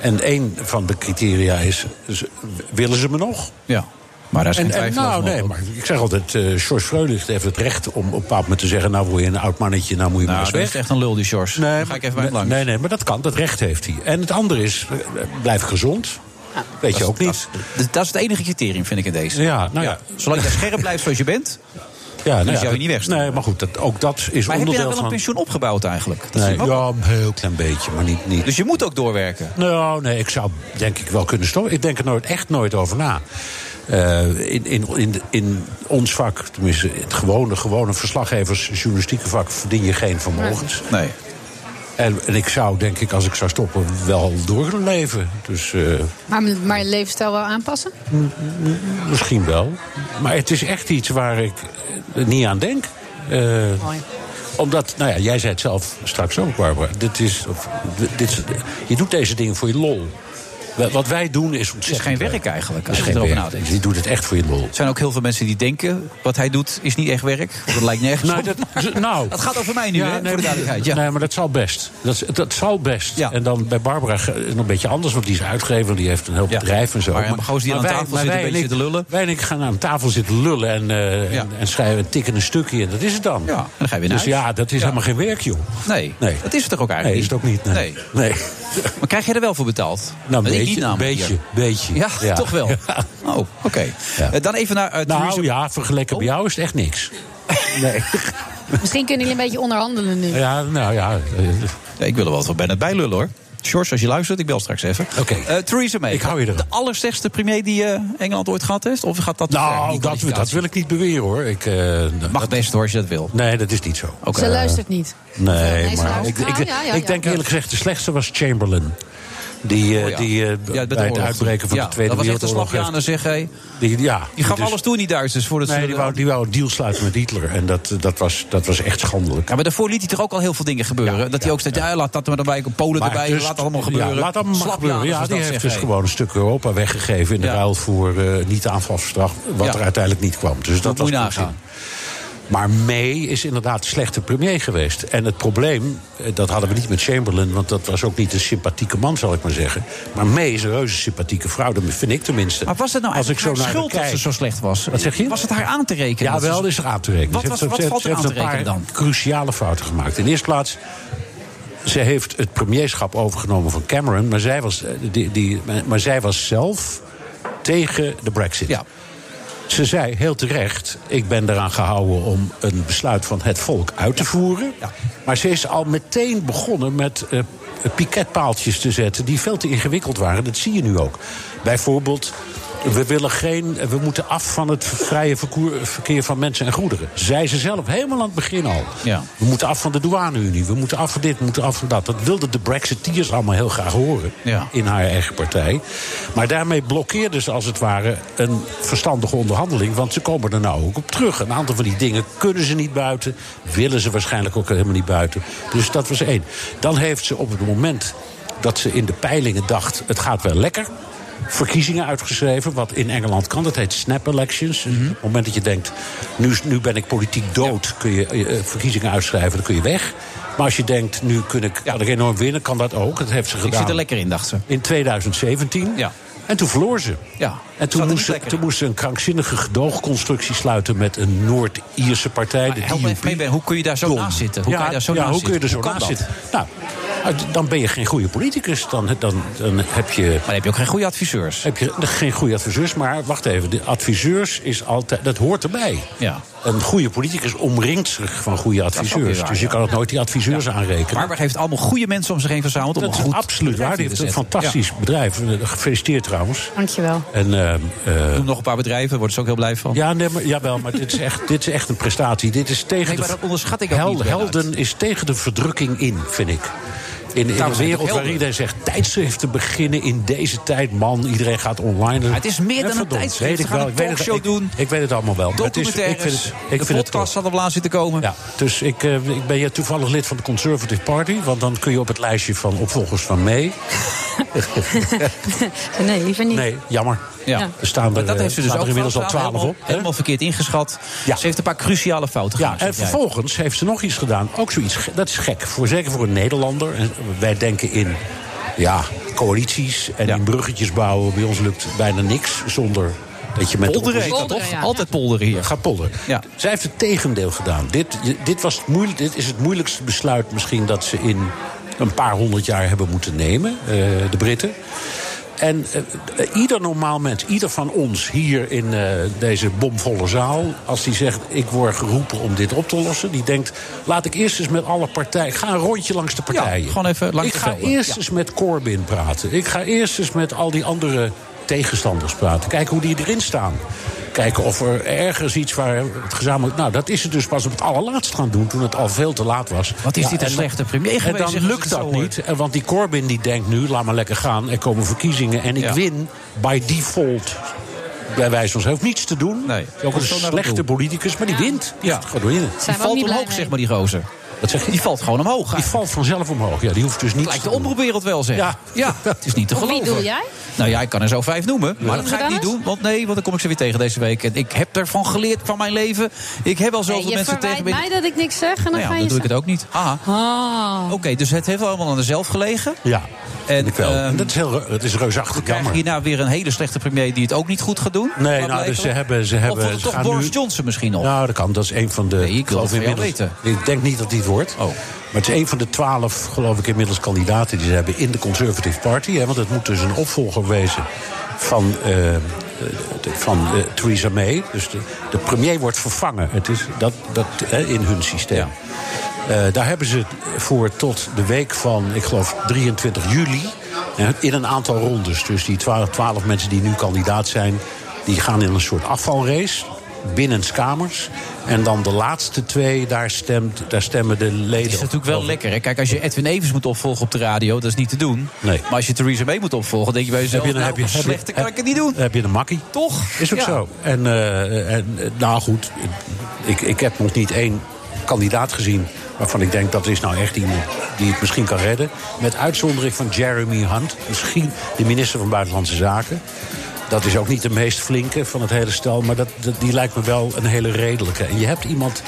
Speaker 13: En één van de criteria is, is, willen ze me nog?
Speaker 7: Ja, maar daar is
Speaker 13: en,
Speaker 7: geen
Speaker 13: en-
Speaker 7: twijfel
Speaker 13: Nou,
Speaker 7: over
Speaker 13: nee, maar
Speaker 7: mogelijk.
Speaker 13: ik zeg altijd, eh George Freulich heeft het recht om op een bepaald moment te zeggen... nou word je een oud mannetje, nou moet je maar
Speaker 7: Nou,
Speaker 13: eens
Speaker 7: dat
Speaker 13: weg.
Speaker 7: is echt een lul, die Sjors.
Speaker 13: Nee,
Speaker 7: Dan ga ik even bij hem langs.
Speaker 13: Nee, nee, maar dat kan, dat recht heeft hij. En het andere is, eh, blijf gezond. Weet je ook niet.
Speaker 7: Dat, dat is het enige criterium, vind ik in deze.
Speaker 13: Ja, nou ja.
Speaker 7: Zolang je scherp blijft zoals je bent,
Speaker 13: Ja,
Speaker 7: dan
Speaker 13: nou
Speaker 7: is jou
Speaker 13: dat-
Speaker 7: niet weg.
Speaker 13: Nee, maar goed, dat, ook dat is
Speaker 7: Maar heb je
Speaker 13: onderdeel
Speaker 7: daar wel
Speaker 13: van...
Speaker 7: een pensioen opgebouwd eigenlijk? Dat is
Speaker 13: [LAUGHS] Nee,
Speaker 7: ook-
Speaker 13: ja, een heel klein beetje, maar niet, niet.
Speaker 7: Dus je moet ook doorwerken?
Speaker 13: Nou, nee, ik zou denk ik wel kunnen stoppen. Ik denk er nooit, echt nooit over na. Eh, in, in, in, in ons vak, tenminste het gewone, gewone verslaggeversjournalistieke vak... verdien je geen vermogens.
Speaker 7: Nee.
Speaker 13: En, en ik zou denk ik, als ik zou stoppen, wel doorleven. Dus eh,
Speaker 18: Maar, maar je levensstijl wel
Speaker 7: [LAUGHS]
Speaker 18: aanpassen?
Speaker 13: misschien wel. Maar het is echt iets waar ik eh, niet aan denk. Eh,
Speaker 18: Mooi.
Speaker 13: omdat, nou ja, jij zei het zelf straks ook, Barbara. Dit is, of, dit is, je doet deze dingen voor je lol. Wa- Wat wij doen is ontzettend.
Speaker 7: geen
Speaker 13: leuk.
Speaker 7: werk eigenlijk,
Speaker 13: Het
Speaker 7: als
Speaker 13: is
Speaker 7: je
Speaker 13: geen
Speaker 7: erover
Speaker 13: werk.
Speaker 7: nadenkt.
Speaker 13: Je doet het echt voor je lol.
Speaker 7: Er zijn ook heel veel mensen die denken... wat hij doet is niet echt werk. want Dat lijkt nergens
Speaker 13: Nou,
Speaker 7: op.
Speaker 13: dat,
Speaker 7: [LAUGHS]
Speaker 13: nou,
Speaker 7: Dat gaat over mij nu, hè, voor de
Speaker 13: maar-
Speaker 7: duidelijkheid, ja.
Speaker 13: Nee, maar dat zal best. Dat, is- dat zal best. En dan bij Barbara ge- nog een beetje anders, want die is uitgever, die heeft een heel bedrijf en zo.
Speaker 7: Maar, ja, maar gozer die aan tafel zit een
Speaker 13: wij en
Speaker 7: beetje
Speaker 13: ik- Wij en ik gaan aan tafel zitten lullen en, eh, en, en schrijven en tikken een stukje en dat is het dan. Ja,
Speaker 7: dan ga je weer naar
Speaker 13: Dus
Speaker 7: huis.
Speaker 13: ja, dat is helemaal geen werk, joh.
Speaker 7: Nee,
Speaker 13: Nee.
Speaker 7: dat is het toch ook
Speaker 13: Nee, is
Speaker 7: eigenlijk
Speaker 13: het ook niet. Nee.
Speaker 7: Nee.
Speaker 13: Nee.
Speaker 7: [LAUGHS] Maar krijg jij er wel voor betaald?
Speaker 13: Nou,
Speaker 7: Dat
Speaker 13: een
Speaker 7: ik
Speaker 13: beetje,
Speaker 7: niet
Speaker 13: een
Speaker 7: namelijk
Speaker 13: beetje,
Speaker 7: hier.
Speaker 13: beetje.
Speaker 7: Ja, toch
Speaker 13: [LAUGHS]
Speaker 7: wel. Oh, oké. Eh, dan even naar... eh,
Speaker 13: nou
Speaker 7: Theresa-
Speaker 13: ja, vergeleken bij jou is het echt niks.
Speaker 7: [LAUGHS]
Speaker 13: Nee.
Speaker 18: Misschien kunnen jullie een beetje onderhandelen nu.
Speaker 13: ja, nou ja. eh,
Speaker 7: Ja, ik wil er wel wat bij net bij lullen, hoor. George, als je luistert, ik bel straks even. Oké. Theresa May. Ik hou je De allerslechtste premier die eh, Engeland ooit gehad heeft? Of gaat dat te ver,
Speaker 13: Nou,
Speaker 7: die
Speaker 13: dat, dat
Speaker 7: kwalificatie?
Speaker 13: wil ik niet beweren hoor. Ik, Mag
Speaker 7: best hoor, als je dat wil.
Speaker 13: Nee, dat is niet zo.
Speaker 18: Ze luistert niet.
Speaker 13: Nee,
Speaker 18: Nee, ze
Speaker 13: maar ik,
Speaker 18: luistert-
Speaker 13: ik,
Speaker 18: Ah, ja, ja,
Speaker 13: ik denk
Speaker 18: ja.
Speaker 13: eerlijk gezegd, de slechtste was Chamberlain. Die, eh,
Speaker 7: Oh, ja.
Speaker 13: die
Speaker 7: Ja,
Speaker 13: eh,
Speaker 7: met de
Speaker 13: bij het
Speaker 7: oorlog.
Speaker 13: uitbreken van
Speaker 7: Ja,
Speaker 13: de Tweede
Speaker 7: dat was echt een
Speaker 13: Wereldoorlog...
Speaker 7: slagje aan de zeg, hé.
Speaker 13: Die, ja,
Speaker 7: Die gaf
Speaker 13: dus-
Speaker 7: alles toe in die Duitsers voordat
Speaker 13: Nee,
Speaker 7: ze...
Speaker 13: die wou, die wou een deal sluiten met Hitler. En dat, eh, dat, was, dat was echt schandelijk.
Speaker 7: Ja, maar daarvoor liet hij toch ook al heel veel dingen gebeuren. dat hij ook zei, ja, laat dat maar erbij, Polen
Speaker 13: Maar
Speaker 7: erbij,
Speaker 13: dus-
Speaker 7: laat dat allemaal gebeuren.
Speaker 13: Ja, laat allemaal maar
Speaker 7: Slapjaners,
Speaker 13: gebeuren. Ja,
Speaker 7: zoals
Speaker 13: die
Speaker 7: dat
Speaker 13: heeft dus
Speaker 7: zeggen, hé.
Speaker 13: gewoon een stuk Europa weggegeven... in de ruil voor eh niet-aanvalsverdrag, wat
Speaker 7: Ja.
Speaker 13: er uiteindelijk niet kwam. Dus dat
Speaker 7: moet
Speaker 13: was
Speaker 7: je
Speaker 13: goed
Speaker 7: nagaan.
Speaker 13: zien. Maar May is inderdaad een slechte premier geweest. En het probleem, eh, dat hadden we niet met Chamberlain... want dat was ook niet een sympathieke man, zal ik maar zeggen. Maar May is een reuze sympathieke vrouw, dat vind ik tenminste.
Speaker 7: Maar was het nou
Speaker 13: Als ik
Speaker 7: eigenlijk
Speaker 13: zo
Speaker 7: haar
Speaker 13: naar haar
Speaker 7: schuld dat ze
Speaker 13: kijk-
Speaker 7: zo slecht was?
Speaker 13: Wat zeg je?
Speaker 7: Was het haar aan te rekenen?
Speaker 13: Ja,
Speaker 7: dat ze-
Speaker 13: wel is er aan te rekenen.
Speaker 7: Wat
Speaker 13: Ze
Speaker 7: was-
Speaker 13: heeft-
Speaker 7: wat
Speaker 13: ze
Speaker 7: valt
Speaker 13: heeft-
Speaker 7: er
Speaker 13: ze
Speaker 7: aan te
Speaker 13: heeft
Speaker 7: rekenen
Speaker 13: een
Speaker 7: dan?
Speaker 13: paar cruciale fouten gemaakt. In de eerste plaats, ze heeft het premierschap overgenomen van Cameron... maar zij was, eh, die, die, maar- maar zij was zelf tegen de brexit. Ze zei heel terecht, ik ben eraan gehouden om een besluit van het volk uit te voeren. Maar ze is al meteen begonnen met eh, piketpaaltjes te zetten die veel te ingewikkeld waren. Dat zie je nu ook. Bijvoorbeeld, we, willen geen, we moeten af van het vrije verkoer- verkeer van mensen en goederen. Zei ze zelf helemaal aan het begin al.
Speaker 7: Ja.
Speaker 13: We moeten af van de douaneunie, we moeten af van dit, we moeten af van dat. Dat wilden de Brexiteers allemaal heel graag horen
Speaker 7: Ja.
Speaker 13: in haar eigen partij. Maar daarmee blokkeerde ze als het ware een verstandige onderhandeling. Want ze komen er nou ook op terug. Een aantal van die dingen kunnen ze niet buiten. Willen ze waarschijnlijk ook helemaal niet buiten. Dus dat was één. Dan heeft ze op het moment dat ze in de peilingen dacht... het gaat wel lekker, verkiezingen uitgeschreven. Wat in Engeland kan, dat heet snap elections.
Speaker 7: Mhm.
Speaker 13: Op het moment dat je denkt, nu, is- nu ben ik politiek dood... kun je eh, verkiezingen uitschrijven, dan kun je weg... Maar als je denkt, nu kun ik, kan ik enorm winnen, kan dat ook. Dat heeft ze
Speaker 7: Ik
Speaker 13: gedaan.
Speaker 7: zit er lekker in, dacht ze.
Speaker 13: In 2017.
Speaker 7: Ja.
Speaker 13: En toen verloor ze.
Speaker 7: Ja.
Speaker 13: En toen moest, ze, toen moest ze een krankzinnige gedoogconstructie sluiten met een Noord-Ierse partij. de
Speaker 7: Help me
Speaker 13: DUP.
Speaker 7: even mee, Ben. Hoe kun je daar zo naast zitten? Hoe
Speaker 13: ja,
Speaker 7: kan je daar zo
Speaker 13: ja,
Speaker 7: naast
Speaker 13: hoe kun je er
Speaker 7: zitten?
Speaker 13: zo
Speaker 7: Hoe kan
Speaker 13: naast
Speaker 7: dat?
Speaker 13: zitten? Nou, Ah, d- Dan ben je geen goede politicus. Dan, dan, dan heb je. Maar
Speaker 7: heb je ook geen goede adviseurs?
Speaker 13: Heb je geen goede adviseurs, maar wacht even. De adviseurs is altijd. Dat hoort erbij.
Speaker 7: Ja.
Speaker 13: Een goede politicus omringt zich van goede
Speaker 7: is ook
Speaker 13: adviseurs.
Speaker 7: weer waar,
Speaker 13: dus je
Speaker 7: ja.
Speaker 13: kan het nooit die adviseurs aanrekenen.
Speaker 7: Maar heeft allemaal goede mensen om zich heen verzameld. Om
Speaker 13: dat
Speaker 7: een
Speaker 13: is
Speaker 7: goed
Speaker 13: absoluut
Speaker 7: bedrijf
Speaker 13: waar. Die
Speaker 7: neer
Speaker 13: heeft
Speaker 7: te
Speaker 13: een
Speaker 7: zetten.
Speaker 13: fantastisch bedrijf. Eh, Gefeliciteerd trouwens.
Speaker 18: Dankjewel.
Speaker 13: En, ehm, eh,
Speaker 7: Noem nog een paar bedrijven, worden ze ook heel blij van.
Speaker 13: Ja, nee, maar, jawel, maar dit is,
Speaker 7: [LAUGHS]
Speaker 13: echt, dit is echt een prestatie. Dit is tegen
Speaker 7: Nee,
Speaker 13: de,
Speaker 7: maar dat onderschat ik ook niet, Lennart.
Speaker 13: Helden is tegen de verdrukking in, vind ik. In, in een
Speaker 7: Daarom zijn het ook
Speaker 13: wereld waar
Speaker 7: helden.
Speaker 13: iedereen zegt... tijdschriften beginnen in deze tijd, man. Iedereen gaat online.
Speaker 7: het is meer
Speaker 13: En
Speaker 7: dan een
Speaker 13: verdomd,
Speaker 7: tijdschrift.
Speaker 13: weet
Speaker 7: Ze
Speaker 13: ik
Speaker 7: gaan
Speaker 13: wel,
Speaker 7: een
Speaker 13: ik weet het-
Speaker 7: talkshow
Speaker 13: ik- Ik weet het allemaal wel. Maar het is- ik
Speaker 7: Documentaires,
Speaker 13: vind het, ik
Speaker 7: de
Speaker 13: vind het
Speaker 7: podcast
Speaker 13: top.
Speaker 7: had op laatst zitten komen.
Speaker 13: Ja, dus ik, eh, ik ben hier toevallig lid van de Conservative Party... want dan kun je op het lijstje van opvolgers van mee.
Speaker 19: [LAUGHS] nee, liever niet.
Speaker 13: Nee, jammer.
Speaker 7: Ja.
Speaker 13: Er staan er,
Speaker 7: Maar dat heeft ze dus
Speaker 13: staan
Speaker 7: ook
Speaker 13: er inmiddels al
Speaker 7: fout gedaan,
Speaker 13: twaalf op.
Speaker 7: helemaal- Helemaal verkeerd ingeschat. Ze heeft een paar cruciale fouten
Speaker 13: Ja,
Speaker 7: gemaakt.
Speaker 13: en
Speaker 7: zeg Nou, jij.
Speaker 13: vervolgens heeft ze nog iets gedaan. Ook zoiets, ge- dat is gek. Voor, zeker voor een Nederlander. En wij denken in ja, coalities en in bruggetjes bouwen. Bij ons lukt bijna niks zonder dat je met
Speaker 7: Polderen
Speaker 13: de
Speaker 7: heet dat,
Speaker 13: oppositie...
Speaker 7: Polderen, toch? ja. Altijd polderen hier.
Speaker 13: Ga polderen. Zij heeft het tegendeel gedaan. Dit, dit, was het moeilijk, dit is het moeilijkste besluit misschien dat ze in een paar honderd jaar hebben moeten nemen. eh, de Britten. En eh, eh, ieder normaal mens, ieder van ons hier in eh, deze bomvolle zaal, als die zegt: Ik word geroepen om dit op te lossen, die denkt: Laat ik eerst eens met alle partijen. Ik ga een rondje langs de partijen.
Speaker 7: gewoon even langs
Speaker 13: ik
Speaker 7: de
Speaker 13: ga
Speaker 7: velden.
Speaker 13: eerst
Speaker 7: Ja.
Speaker 13: eens met Corbyn praten. Ik ga eerst eens met al die andere tegenstanders praten. Kijken hoe die erin staan. Kijken of er ergens iets waar het gezamenlijk. Nou, dat is het dus pas op het allerlaatst gaan doen. toen het al veel te laat was.
Speaker 7: Wat is dit een
Speaker 13: en-
Speaker 7: slechte premier geweest,
Speaker 13: En
Speaker 7: zeg,
Speaker 13: dan
Speaker 7: als
Speaker 13: lukt
Speaker 7: ik het
Speaker 13: dat
Speaker 7: zo hoor.
Speaker 13: niet. En Want die Corbyn die denkt nu, laat maar lekker gaan. Er komen verkiezingen en ik win by default. Bij wijze van hij hoeft niets te doen. Nee. Ook een
Speaker 7: Komt zo naar het
Speaker 13: slechte
Speaker 7: doel.
Speaker 13: politicus, maar die wint. Ja. Gaat winnen.
Speaker 7: Die valt omhoog, zeg maar, die gozer.
Speaker 13: Wat zeg je?
Speaker 7: Die valt gewoon omhoog.
Speaker 13: Die valt vanzelf omhoog. Ja, die hoeft dus niet.
Speaker 7: Het lijkt de omroepwereld wel, zeg. Ja. het is niet te
Speaker 18: Op
Speaker 7: geloven.
Speaker 18: wie doel jij?
Speaker 7: Nou ja, ik kan er zo vijf noemen. Maar dat
Speaker 18: Noem
Speaker 7: ga
Speaker 18: ze
Speaker 7: ik
Speaker 18: dan
Speaker 7: niet
Speaker 18: eens?
Speaker 7: doen. Want nee, want dan kom ik ze weer tegen deze week. En ik heb ervan geleerd van mijn leven. Ik heb al zoveel
Speaker 18: je
Speaker 7: mensen tegen
Speaker 18: verwijt
Speaker 7: binnen-
Speaker 18: mij dat ik niks zeg en dan
Speaker 7: Nou ja,
Speaker 18: ga je
Speaker 7: dan doe ik het ook niet. Ah. Oké, dus het heeft allemaal aan de zelf gelegen.
Speaker 13: Ja,
Speaker 7: en, ehm,
Speaker 13: dat is heel, het is reusachtig
Speaker 7: jammer. hierna nou weer een hele slechte premier die het ook niet goed gaat doen.
Speaker 13: Nee,
Speaker 7: Laat
Speaker 13: nou, dus
Speaker 7: blijken.
Speaker 13: ze hebben. Ze
Speaker 7: Of
Speaker 13: hebben
Speaker 7: wordt het
Speaker 13: ze
Speaker 7: toch
Speaker 13: gaan
Speaker 7: Boris
Speaker 13: nu-
Speaker 7: Johnson misschien nog?
Speaker 13: Nou, dat kan. Dat is een van de. ik
Speaker 7: wil
Speaker 13: geloof
Speaker 7: het van jou Oh.
Speaker 13: inmiddels- Ik denk niet dat die het wordt. Maar het is een van de twaalf, geloof ik, inmiddels kandidaten die ze hebben in de Conservative Party. Hè, want het moet dus een opvolger wezen van, eh, eh, de- van eh, Theresa May. Dus de, de premier wordt vervangen. Het is dat, dat, hè, in hun systeem. Eh, daar hebben ze voor tot de week van, ik geloof, 23 juli. hè, in een aantal rondes. Dus die twa- twaalf mensen die nu kandidaat zijn, die gaan in een soort afvalrace binnenskamers. En dan de laatste twee, daar, stemt, daar stemmen de leden
Speaker 7: Het is natuurlijk wel lekker. Hè? Kijk, als je Edwin Evers moet opvolgen op de radio, dat is niet te doen. Maar als je Theresa May moet opvolgen, denk je bij jezelf...
Speaker 13: Heb je-
Speaker 7: nou,
Speaker 13: heb je- heb je-
Speaker 7: slechter kan
Speaker 13: heb-
Speaker 7: ik het niet doen.
Speaker 13: Heb je een makkie?
Speaker 7: Toch?
Speaker 13: Is ook
Speaker 7: Ja.
Speaker 13: zo. En, eh, en eh, nou goed, ik, ik heb nog niet één kandidaat gezien waarvan ik denk dat is nou echt iemand die het misschien kan redden. Met uitzondering van Jeremy Hunt, misschien de minister van Buitenlandse Zaken. Dat is ook niet de meest flinke van het hele stel, maar dat, dat- die lijkt me wel een hele redelijke. En je hebt iemand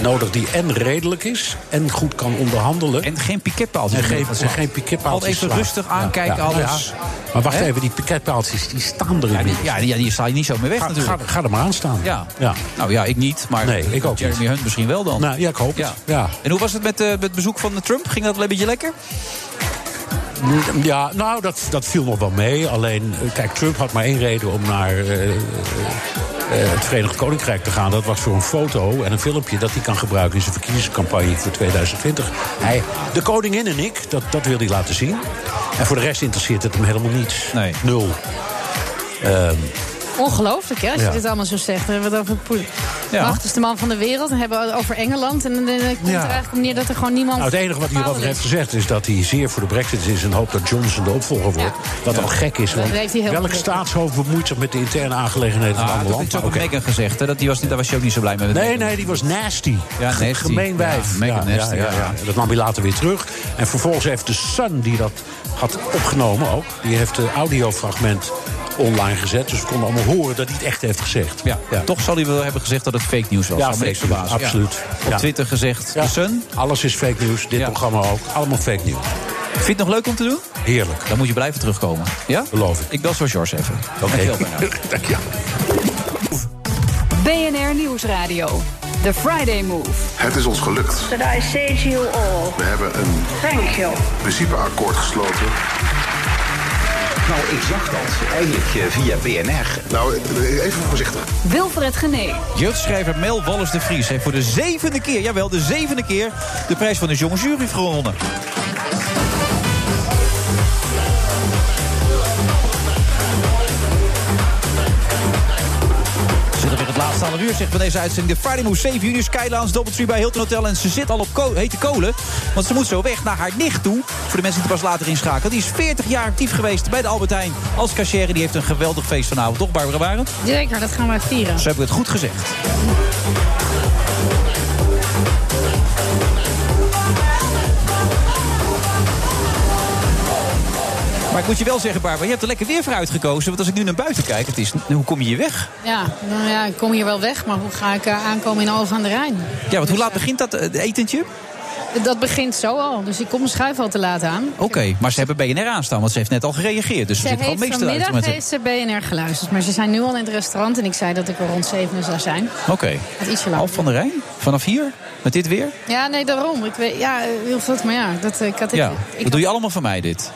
Speaker 13: nodig die en redelijk is en goed kan onderhandelen.
Speaker 7: En geen piketpaaltjes.
Speaker 13: En geen,
Speaker 7: meer gaat slaan.
Speaker 13: geen piketpaaltjes
Speaker 7: Altijd even
Speaker 13: slaan.
Speaker 7: rustig
Speaker 13: Ja,
Speaker 7: aankijken,
Speaker 13: ja, nou
Speaker 7: alles.
Speaker 13: ja. Maar wacht
Speaker 7: Hè?
Speaker 13: even, die piketpaaltjes die staan er
Speaker 7: Ja, die,
Speaker 13: inmiddels.
Speaker 7: ja, die, ja, die sta je niet zo mee weg
Speaker 13: Ga-
Speaker 7: natuurlijk.
Speaker 13: Ga, ga er maar aan staan.
Speaker 7: Ja.
Speaker 13: Ja.
Speaker 7: Nou ja, ik niet, maar
Speaker 13: Nee, ik ook
Speaker 7: Jeremy
Speaker 13: niet.
Speaker 7: Hunt misschien wel dan.
Speaker 13: Nou, ja, ik hoop
Speaker 7: Ja.
Speaker 13: het. Ja.
Speaker 7: En hoe was het met eh, met het bezoek van Trump? Ging dat een beetje lekker?
Speaker 13: Ja, nou, dat, dat viel nog wel mee. Alleen, eh, kijk, Trump had maar één reden om naar eh, eh, het Verenigd Koninkrijk te gaan. Dat was voor een foto en een filmpje dat hij kan gebruiken in zijn verkiezingscampagne voor 2020. Hij, de koningin en ik, dat, dat wil hij laten zien. En voor de rest interesseert het hem helemaal niets. Nee. Nul. Ehm,
Speaker 8: "Ah,
Speaker 18: Ongelooflijk, hè, als je
Speaker 13: Ja.
Speaker 18: dit allemaal zo zegt. Dan hebben we het over poel.
Speaker 13: Ja.
Speaker 18: machtigste man van de wereld. Dan hebben we het over Engeland. En dan eh, komt
Speaker 13: Ja.
Speaker 18: er eigenlijk op neer dat er gewoon niemand...
Speaker 13: Nou, het enige wat hij
Speaker 18: bepaald
Speaker 13: hierover heeft
Speaker 18: is.
Speaker 13: gezegd is dat hij zeer voor de brexit is... en hoopt dat Johnson de opvolger wordt. Wat al gek is, want
Speaker 18: Dat heeft hij heel
Speaker 13: welk
Speaker 18: goed.
Speaker 13: staatshoofd bemoeit zich met de interne aangelegenheden van
Speaker 7: Ah,
Speaker 13: een
Speaker 7: dat
Speaker 13: ander land?
Speaker 7: heeft ook Megan gezegd. Hè? Dat die was, niet- daar was je ook niet zo blij mee. met
Speaker 13: Nee,
Speaker 7: Meghan.
Speaker 13: nee, die was nasty.
Speaker 7: Ja,
Speaker 13: G-
Speaker 7: nasty.
Speaker 13: Gemeen wijf.
Speaker 7: Ja, Megan
Speaker 13: ja,
Speaker 7: nasty, ja, ja.
Speaker 13: Dat nam hij later weer terug. En vervolgens heeft de Sun, die dat had opgenomen ook... die heeft een audiofragment online gezet. Dus we konden allemaal horen dat hij het echt heeft gezegd.
Speaker 7: Ja, Toch zal hij wel hebben gezegd dat het fake news was.
Speaker 13: Ja,
Speaker 7: Zou me
Speaker 13: fake
Speaker 7: niks
Speaker 13: news,
Speaker 7: verbazen.
Speaker 13: absoluut.
Speaker 7: Op
Speaker 13: Ja.
Speaker 7: Twitter gezegd,
Speaker 13: Ja.
Speaker 7: de Sun.
Speaker 13: Alles is fake news, dit programma ook. Allemaal fake news.
Speaker 7: Vind je het nog leuk om te doen?
Speaker 13: Heerlijk.
Speaker 7: Dan moet je blijven terugkomen. Ja?
Speaker 13: Beloof ik.
Speaker 7: Ik bel zo George even.
Speaker 13: Oké. [LAUGHS]
Speaker 7: Dankjewel, Bernard.
Speaker 3: BNR Nieuwsradio.
Speaker 20: The Friday Move.
Speaker 4: Het is ons gelukt.
Speaker 3: That I say to you all,
Speaker 4: We hebben een
Speaker 3: thank you.
Speaker 4: principeakkoord gesloten.
Speaker 21: Nou, ik zag dat eigenlijk eh, via BNR.
Speaker 4: Nou, even voorzichtig.
Speaker 20: Wilfred Gené.
Speaker 7: Jeugdschrijver Mel Wallis de Vries heeft voor de zevende keer, jawel, de zevende keer... de prijs van de jonge jury gewonnen. We Zitten weer het laatste half uur, zegt bij deze uitzending. De Friday Move 7 juni, Skylands, Doubletree bij Hilton Hotel. En ze zit al op ko- hete kolen, want ze moet zo weg naar haar nicht toe. Voor de mensen die er pas later inschakelen. Die is 40 jaar actief geweest bij de Albert Heijn als cashier. Die heeft een geweldig feest vanavond, toch Barbara Barend?
Speaker 8: Zeker, dat gaan wij vieren.
Speaker 7: Ze hebben het goed gezegd. Maar ik moet je wel zeggen, Barbara, je hebt er lekker weer voor uitgekozen. Want als ik nu naar buiten kijk, het is, hoe kom je hier weg?
Speaker 8: Ja, nou ja, ik kom hier wel weg, maar hoe ga ik eh, aankomen in Alphen aan de Rijn?
Speaker 7: Ja, want hoe laat begint dat eh, etentje?
Speaker 8: Dat begint zo al, dus ik kom mijn schuif al te laat aan.
Speaker 7: Oké, maar Oh, ze hebben BNR aanstaan, want ze heeft net al gereageerd. Dus ze,
Speaker 8: Ze
Speaker 7: zit al
Speaker 8: heeft
Speaker 7: meestal uit
Speaker 8: vanmiddag
Speaker 7: met
Speaker 8: heeft ze BNR geluisterd, maar ze zijn nu al in het restaurant en ik zei dat ik er rond zeven zou zijn.
Speaker 7: Oké.
Speaker 8: Wat ietsje langer.
Speaker 7: Alf van der Rijn, vanaf hier, met dit weer?
Speaker 8: Ja, nee, daarom. Ik weet, ja, eh, Wilfred, maar ja, dat, eh, ik had dit,
Speaker 7: ja,
Speaker 8: ik
Speaker 7: dat doe je allemaal van mij, dit.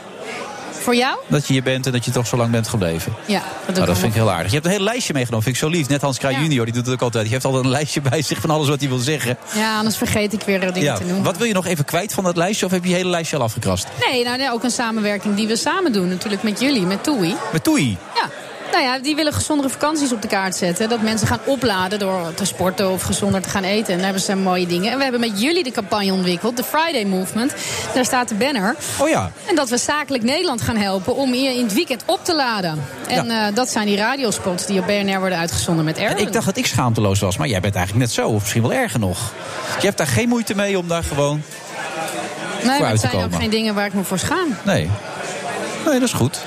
Speaker 8: voor jou?
Speaker 7: Dat je hier bent en dat je toch zo lang bent gebleven.
Speaker 8: Ja, dat doe
Speaker 7: Nou,
Speaker 8: ik
Speaker 7: dat
Speaker 8: allemaal.
Speaker 7: vind ik heel aardig. Je hebt een heel lijstje meegenomen, vind ik zo lief. Net Hans Kraaij junior, die doet het ook altijd. Die heeft altijd een lijstje bij zich van alles wat hij wil zeggen.
Speaker 8: Ja, anders vergeet ik weer eh, dingen
Speaker 7: Ja.
Speaker 8: te noemen.
Speaker 7: Wat wil je nog even kwijt van dat lijstje? Of heb je je hele lijstje al afgekrast?
Speaker 8: Nee, nou nee, ook een samenwerking die we samen doen. Natuurlijk met jullie, met TUI.
Speaker 7: Met Toei.
Speaker 8: Ja. Nou ja, die willen gezondere vakanties op de kaart zetten. Dat mensen gaan opladen door te sporten of gezonder te gaan eten. En daar hebben ze mooie dingen. En we hebben met jullie de campagne ontwikkeld, de Friday Movement. Daar staat de banner.
Speaker 7: Oh ja.
Speaker 8: En dat we zakelijk Nederland gaan helpen om hier in het weekend op te laden. En eh, dat zijn die radiospots die op BNR worden uitgezonden met
Speaker 7: En
Speaker 8: Erwin.
Speaker 7: ik dacht dat ik schaamteloos was, maar jij bent eigenlijk net zo. Of misschien wel erger nog. Je hebt daar geen moeite mee om daar gewoon...
Speaker 8: nee, maar
Speaker 7: uit
Speaker 8: het
Speaker 7: te
Speaker 8: zijn ook
Speaker 7: komen.
Speaker 8: geen dingen waar ik me voor schaam.
Speaker 7: Nee. Nee, dat is goed.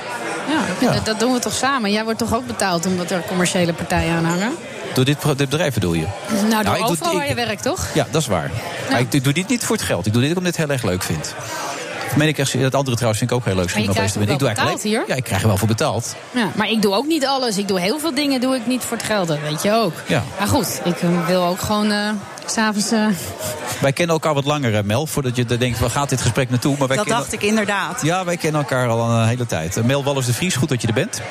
Speaker 8: Ja, Dat, dat doen we toch samen. Jij wordt toch ook betaald omdat er commerciële partijen aan hangen?
Speaker 7: Door dit, pro- dit bedrijf bedoel je?
Speaker 8: Nou, door
Speaker 7: ik doe-
Speaker 8: overal
Speaker 7: ik-
Speaker 8: waar je werkt, toch?
Speaker 7: Ja, dat is waar. Maar ik doe dit niet voor het geld. Ik doe dit omdat ik het heel erg leuk vind. Dat Meen ik echt, dat andere trouwens vind ik ook heel leuk.
Speaker 8: Maar je
Speaker 7: Schiet me
Speaker 8: krijgt
Speaker 7: opeens te
Speaker 8: ook wel
Speaker 7: binnen. ik doe eigenlijk
Speaker 8: betaald
Speaker 7: le- Ja, ik krijg er wel voor betaald.
Speaker 8: Ja, maar ik doe ook niet alles. Ik doe heel veel dingen doe ik niet voor het geld, dat weet je ook.
Speaker 7: Ja.
Speaker 8: Maar goed, ik eh, wil ook gewoon eh, s s'avonds... eh,
Speaker 7: Wij kennen elkaar wat langer, hè, Mel. Voordat je denkt, waar gaat dit gesprek naartoe? Maar wij
Speaker 19: Dat
Speaker 7: kennen-
Speaker 19: dacht ik inderdaad.
Speaker 7: Ja, wij kennen elkaar al een hele tijd. Eh, Mel Wallis de Vries, goed dat je er bent.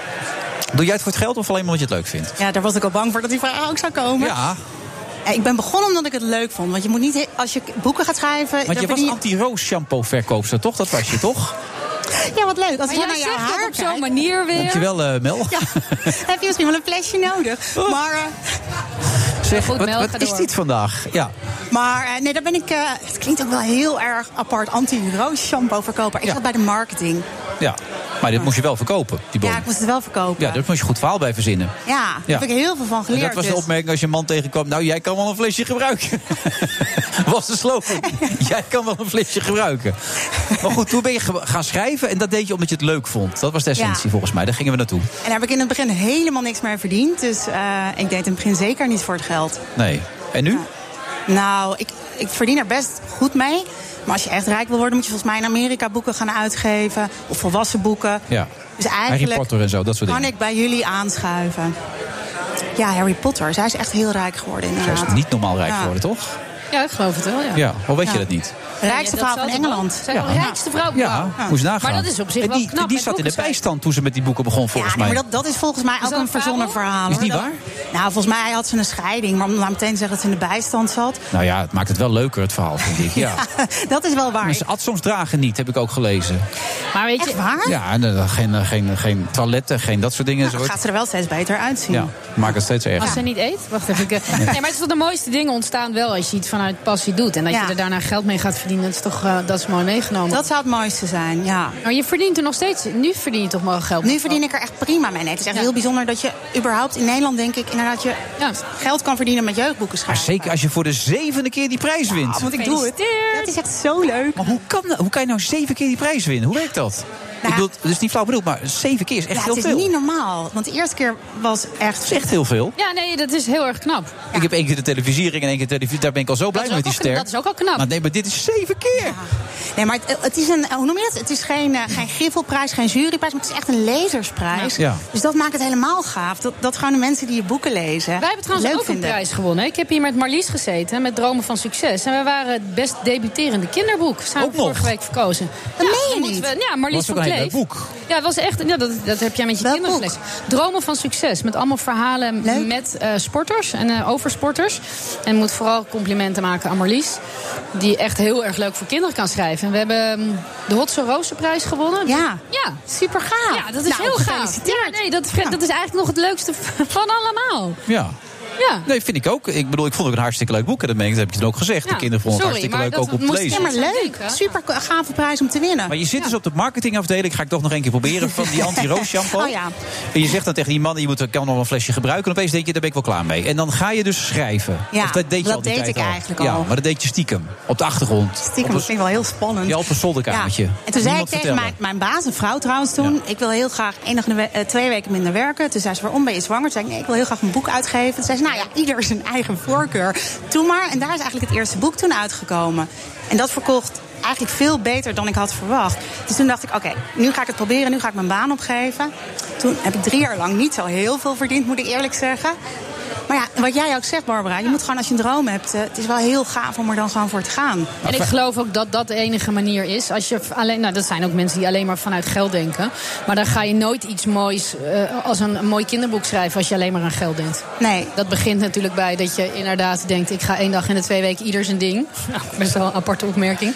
Speaker 7: Doe jij het voor het geld of alleen maar omdat je het leuk vindt?
Speaker 19: Ja, daar was ik al bang voor dat die vraag ook zou komen.
Speaker 7: Ja,
Speaker 19: Eh, Ik ben begonnen omdat ik het leuk vond. Want je moet niet, he- als je boeken gaat schrijven...
Speaker 7: want
Speaker 19: dan
Speaker 7: je was
Speaker 19: verdien
Speaker 7: anti-roos shampoo verkoopster, toch? Dat was je, toch?
Speaker 19: Ja, wat leuk. Als
Speaker 8: Maar
Speaker 19: ik
Speaker 8: jij
Speaker 19: naar je
Speaker 8: zegt dat
Speaker 19: haar
Speaker 8: op zo'n
Speaker 19: kijk-
Speaker 8: manier weer.
Speaker 7: Dankjewel, eh, Mel.
Speaker 19: Ja, [LAUGHS] heb je misschien wel een flesje nodig. Maar, eh,
Speaker 7: Zeg,
Speaker 19: Goed,
Speaker 7: wat,
Speaker 19: Mel,
Speaker 7: wat
Speaker 19: ga
Speaker 7: is
Speaker 19: door.
Speaker 7: dit vandaag? Ja,
Speaker 19: maar eh, nee, daar ben ik... eh, het klinkt ook wel heel erg apart. Anti-roos shampoo verkoper. Ik zat bij de marketing.
Speaker 7: ja. Maar dit moest je wel verkopen, die bon.
Speaker 19: Ja, ik moest het wel verkopen.
Speaker 7: Ja, daar moest je goed verhaal bij verzinnen.
Speaker 19: Ja, daar heb ik heel veel van geleerd.
Speaker 7: En dat was de
Speaker 19: dus.
Speaker 7: opmerking als je een man tegenkwam. Nou, jij kan wel een flesje gebruiken. [LAUGHS] was de
Speaker 19: [LAUGHS]
Speaker 7: slogan. jij kan wel een flesje gebruiken. Maar goed, toen ben je ge- gaan schrijven. En dat deed je omdat je het leuk vond. Dat was de essentie
Speaker 19: Ja.
Speaker 7: volgens mij. Daar gingen we naartoe.
Speaker 19: En daar heb ik in het begin helemaal niks meer verdiend. Dus eh, ik deed in het begin zeker niet voor het geld.
Speaker 7: Nee. En nu?
Speaker 19: Nou, ik, ik verdien er best goed mee. Maar als je echt rijk wil worden, moet je volgens mij in Amerika boeken gaan uitgeven. Of volwassen boeken.
Speaker 7: Ja.
Speaker 19: Dus eigenlijk
Speaker 7: Harry Potter en zo, dat soort
Speaker 19: kan
Speaker 7: dingen.
Speaker 19: ik bij jullie aanschuiven. Ja, Harry Potter. Zij is echt heel rijk geworden
Speaker 7: Zij
Speaker 19: inderdaad.
Speaker 7: is niet normaal rijk
Speaker 19: Ja.
Speaker 7: geworden, toch?
Speaker 8: ja, ik geloof het wel, ja.
Speaker 7: Ja, hoe weet je
Speaker 19: Ja.
Speaker 7: dat niet?
Speaker 19: Rijkste
Speaker 8: Ja, dat
Speaker 19: vrouw van
Speaker 8: zal
Speaker 19: Engeland.
Speaker 8: toch wel- zij is de rijkste vrouw.
Speaker 7: Ja, moest nagaan.
Speaker 8: Maar dat is op zich
Speaker 7: En
Speaker 8: wel
Speaker 7: die,
Speaker 8: knap.
Speaker 7: Die
Speaker 8: met
Speaker 7: zat in de
Speaker 8: boeken
Speaker 7: bijstand toen ze met die boeken begon, volgens
Speaker 19: ja, nee,
Speaker 7: mij.
Speaker 19: maar dat, dat is volgens mij ook een verzonnen verhaal.
Speaker 7: Is die
Speaker 19: hoor.
Speaker 7: waar?
Speaker 19: Nou, volgens mij had ze een scheiding. Maar om nou meteen te zeggen dat ze in de bijstand zat.
Speaker 7: Nou ja, het maakt het wel leuker, het verhaal, vind ik.
Speaker 19: [LAUGHS]
Speaker 7: Ja.
Speaker 19: dat is wel waar.
Speaker 7: Maar ze at soms dragen niet, heb ik ook gelezen.
Speaker 8: Maar weet
Speaker 19: je, waar?
Speaker 7: Ja, en, eh, geen, eh, geen, geen toiletten, geen dat soort dingen.
Speaker 19: Dan
Speaker 7: zo.
Speaker 19: Nou, gaat ze er wel steeds beter uitzien.
Speaker 7: Ja, maakt het steeds
Speaker 8: Als
Speaker 7: erger.
Speaker 8: ze niet eet? Wacht even. ik, eh,
Speaker 7: Nee.
Speaker 8: Nee, maar het is toch de mooiste dingen ontstaan wel als je iets vanuit passie doet. En dat je er daarna geld mee gaat verdienen, dat is toch eh, dat is mooi meegenomen.
Speaker 19: Dat zou het mooiste zijn, ja.
Speaker 8: Maar je verdient er nog steeds, nu verdien je toch wel geld
Speaker 19: Nu verdien ik er echt prima mee. Nee, het is echt heel bijzonder dat je überhaupt in Nederland, denk ik, inderdaad je geld kan verdienen met jeugdboeken
Speaker 7: Maar
Speaker 19: schrijven.
Speaker 7: zeker als je voor de zevende keer die prijs wint.
Speaker 19: want ik doe het. Dat is echt zo leuk.
Speaker 7: Maar hoe kan, dat- hoe kan je nou zeven keer die prijs winnen? Hoe werkt dat? ik bedoel, dus die flauw bedoeld, maar zeven keer is echt
Speaker 19: ja,
Speaker 7: heel
Speaker 19: het is
Speaker 7: veel.
Speaker 19: niet normaal. Want de eerste keer was echt...
Speaker 7: is echt heel veel.
Speaker 8: Ja, nee, dat is heel erg knap.
Speaker 7: Ik heb één keer de televisiering en één keer de televisie. Daar ben ik al zo blij mee met die ster.
Speaker 19: knap. Dat is ook al knap.
Speaker 7: Maar nee, maar dit is zeven keer.
Speaker 19: Nee, maar het, het is een, hoe noem je dat? Het is geen, eh, geen griffelprijs, geen juryprijs, maar het is echt een lezersprijs.
Speaker 8: Ja. Ja.
Speaker 19: Dus dat maakt het helemaal gaaf. Dat, dat gewoon de mensen die je boeken lezen.
Speaker 8: Wij hebben trouwens
Speaker 19: leuk
Speaker 8: ook
Speaker 19: vinden.
Speaker 8: een prijs gewonnen. Ik heb hier met Marlies gezeten, met Dromen van Succes. En wij waren het best debuterende kinderboek. Zijn we vorige week verkozen. Dat ja, meen je niet? ja, Marlies
Speaker 7: Was ook een
Speaker 8: van
Speaker 7: heel
Speaker 8: Kleef.
Speaker 7: leuk boek.
Speaker 8: Ja, het was echt, ja, dat, dat heb jij met je kinderen gelezen. Dromen van Succes, met allemaal verhalen met eh, sporters en eh, over sporters. En moet vooral complimenten maken aan Marlies. Die echt heel erg leuk voor kinderen kan schrijven. En we hebben mm, de Hotse Rozenprijs gewonnen.
Speaker 19: Ja.
Speaker 8: ja, super gaaf. Ja, dat is
Speaker 19: Nou,
Speaker 8: heel gaaf.
Speaker 19: gefeliciteerd.
Speaker 8: Ja, nee, dat, dat is eigenlijk nog het leukste [LAUGHS] van allemaal.
Speaker 7: Ja.
Speaker 8: Ja.
Speaker 7: Nee, vind ik ook. Ik bedoel, ik vond het ook een hartstikke leuk boek. En dat, meen ik, dat heb je het ook gezegd. de kinderen vonden het hartstikke leuk ook om te lezen.
Speaker 19: Ja, maar leuk. Super gave prijs om te winnen.
Speaker 7: Maar je zit dus op de marketingafdeling, ga ik toch nog een keer proberen, van
Speaker 19: [LAUGHS]
Speaker 7: die anti-roos shampoo.
Speaker 19: Oh ja.
Speaker 7: En je zegt dan tegen die man, je moet, ik kan nog wel een flesje gebruiken. En opeens denk je, daar ben ik wel klaar mee. En dan ga je dus schrijven.
Speaker 19: Ja,
Speaker 7: of dat deed je
Speaker 19: dat
Speaker 7: al die
Speaker 19: deed
Speaker 7: tijd
Speaker 19: ik eigenlijk
Speaker 7: Ja,
Speaker 19: al.
Speaker 7: maar dat deed je stiekem. Op de achtergrond.
Speaker 19: Stiekem, dat vind ik wel heel spannend.
Speaker 7: Ja, op een zolderkamertje.
Speaker 19: Ja. En toen zei ik
Speaker 7: Niemand
Speaker 19: tegen
Speaker 7: vertellen.
Speaker 19: mijn, mijn baas, een vrouw trouwens toen... ik wil heel graag enige we- eh, twee weken minder werken. Toen zei ze, waarom ben je zwanger? Toen zei ik, nee, ik wil heel graag een boek uitgeven. Toen zei ze, nou ja, ieder zijn eigen voorkeur. Toen maar, en daar is eigenlijk het eerste boek toen uitgekomen. En dat verkocht eigenlijk veel beter dan ik had verwacht. Dus toen dacht ik, oké, nu ga ik het proberen. Nu ga ik mijn baan opgeven. Toen heb ik drie jaar lang niet zo heel veel verdiend, moet ik eerlijk zeggen. Maar ja, wat jij ook zegt, Barbara, je moet gewoon als je een droom hebt... eh, het is wel heel gaaf om er dan gewoon voor te gaan.
Speaker 8: En ik geloof ook dat dat de enige manier is. Als je v- alleen, nou, dat zijn ook mensen die alleen maar vanuit geld denken. Maar dan ga je nooit iets moois eh, als een, een mooi kinderboek schrijven als je alleen maar aan geld denkt.
Speaker 19: Nee.
Speaker 8: Dat begint natuurlijk bij dat je inderdaad denkt: ik ga één dag in de twee weken ieder zijn ding. [LAUGHS] Nou, best wel een aparte opmerking.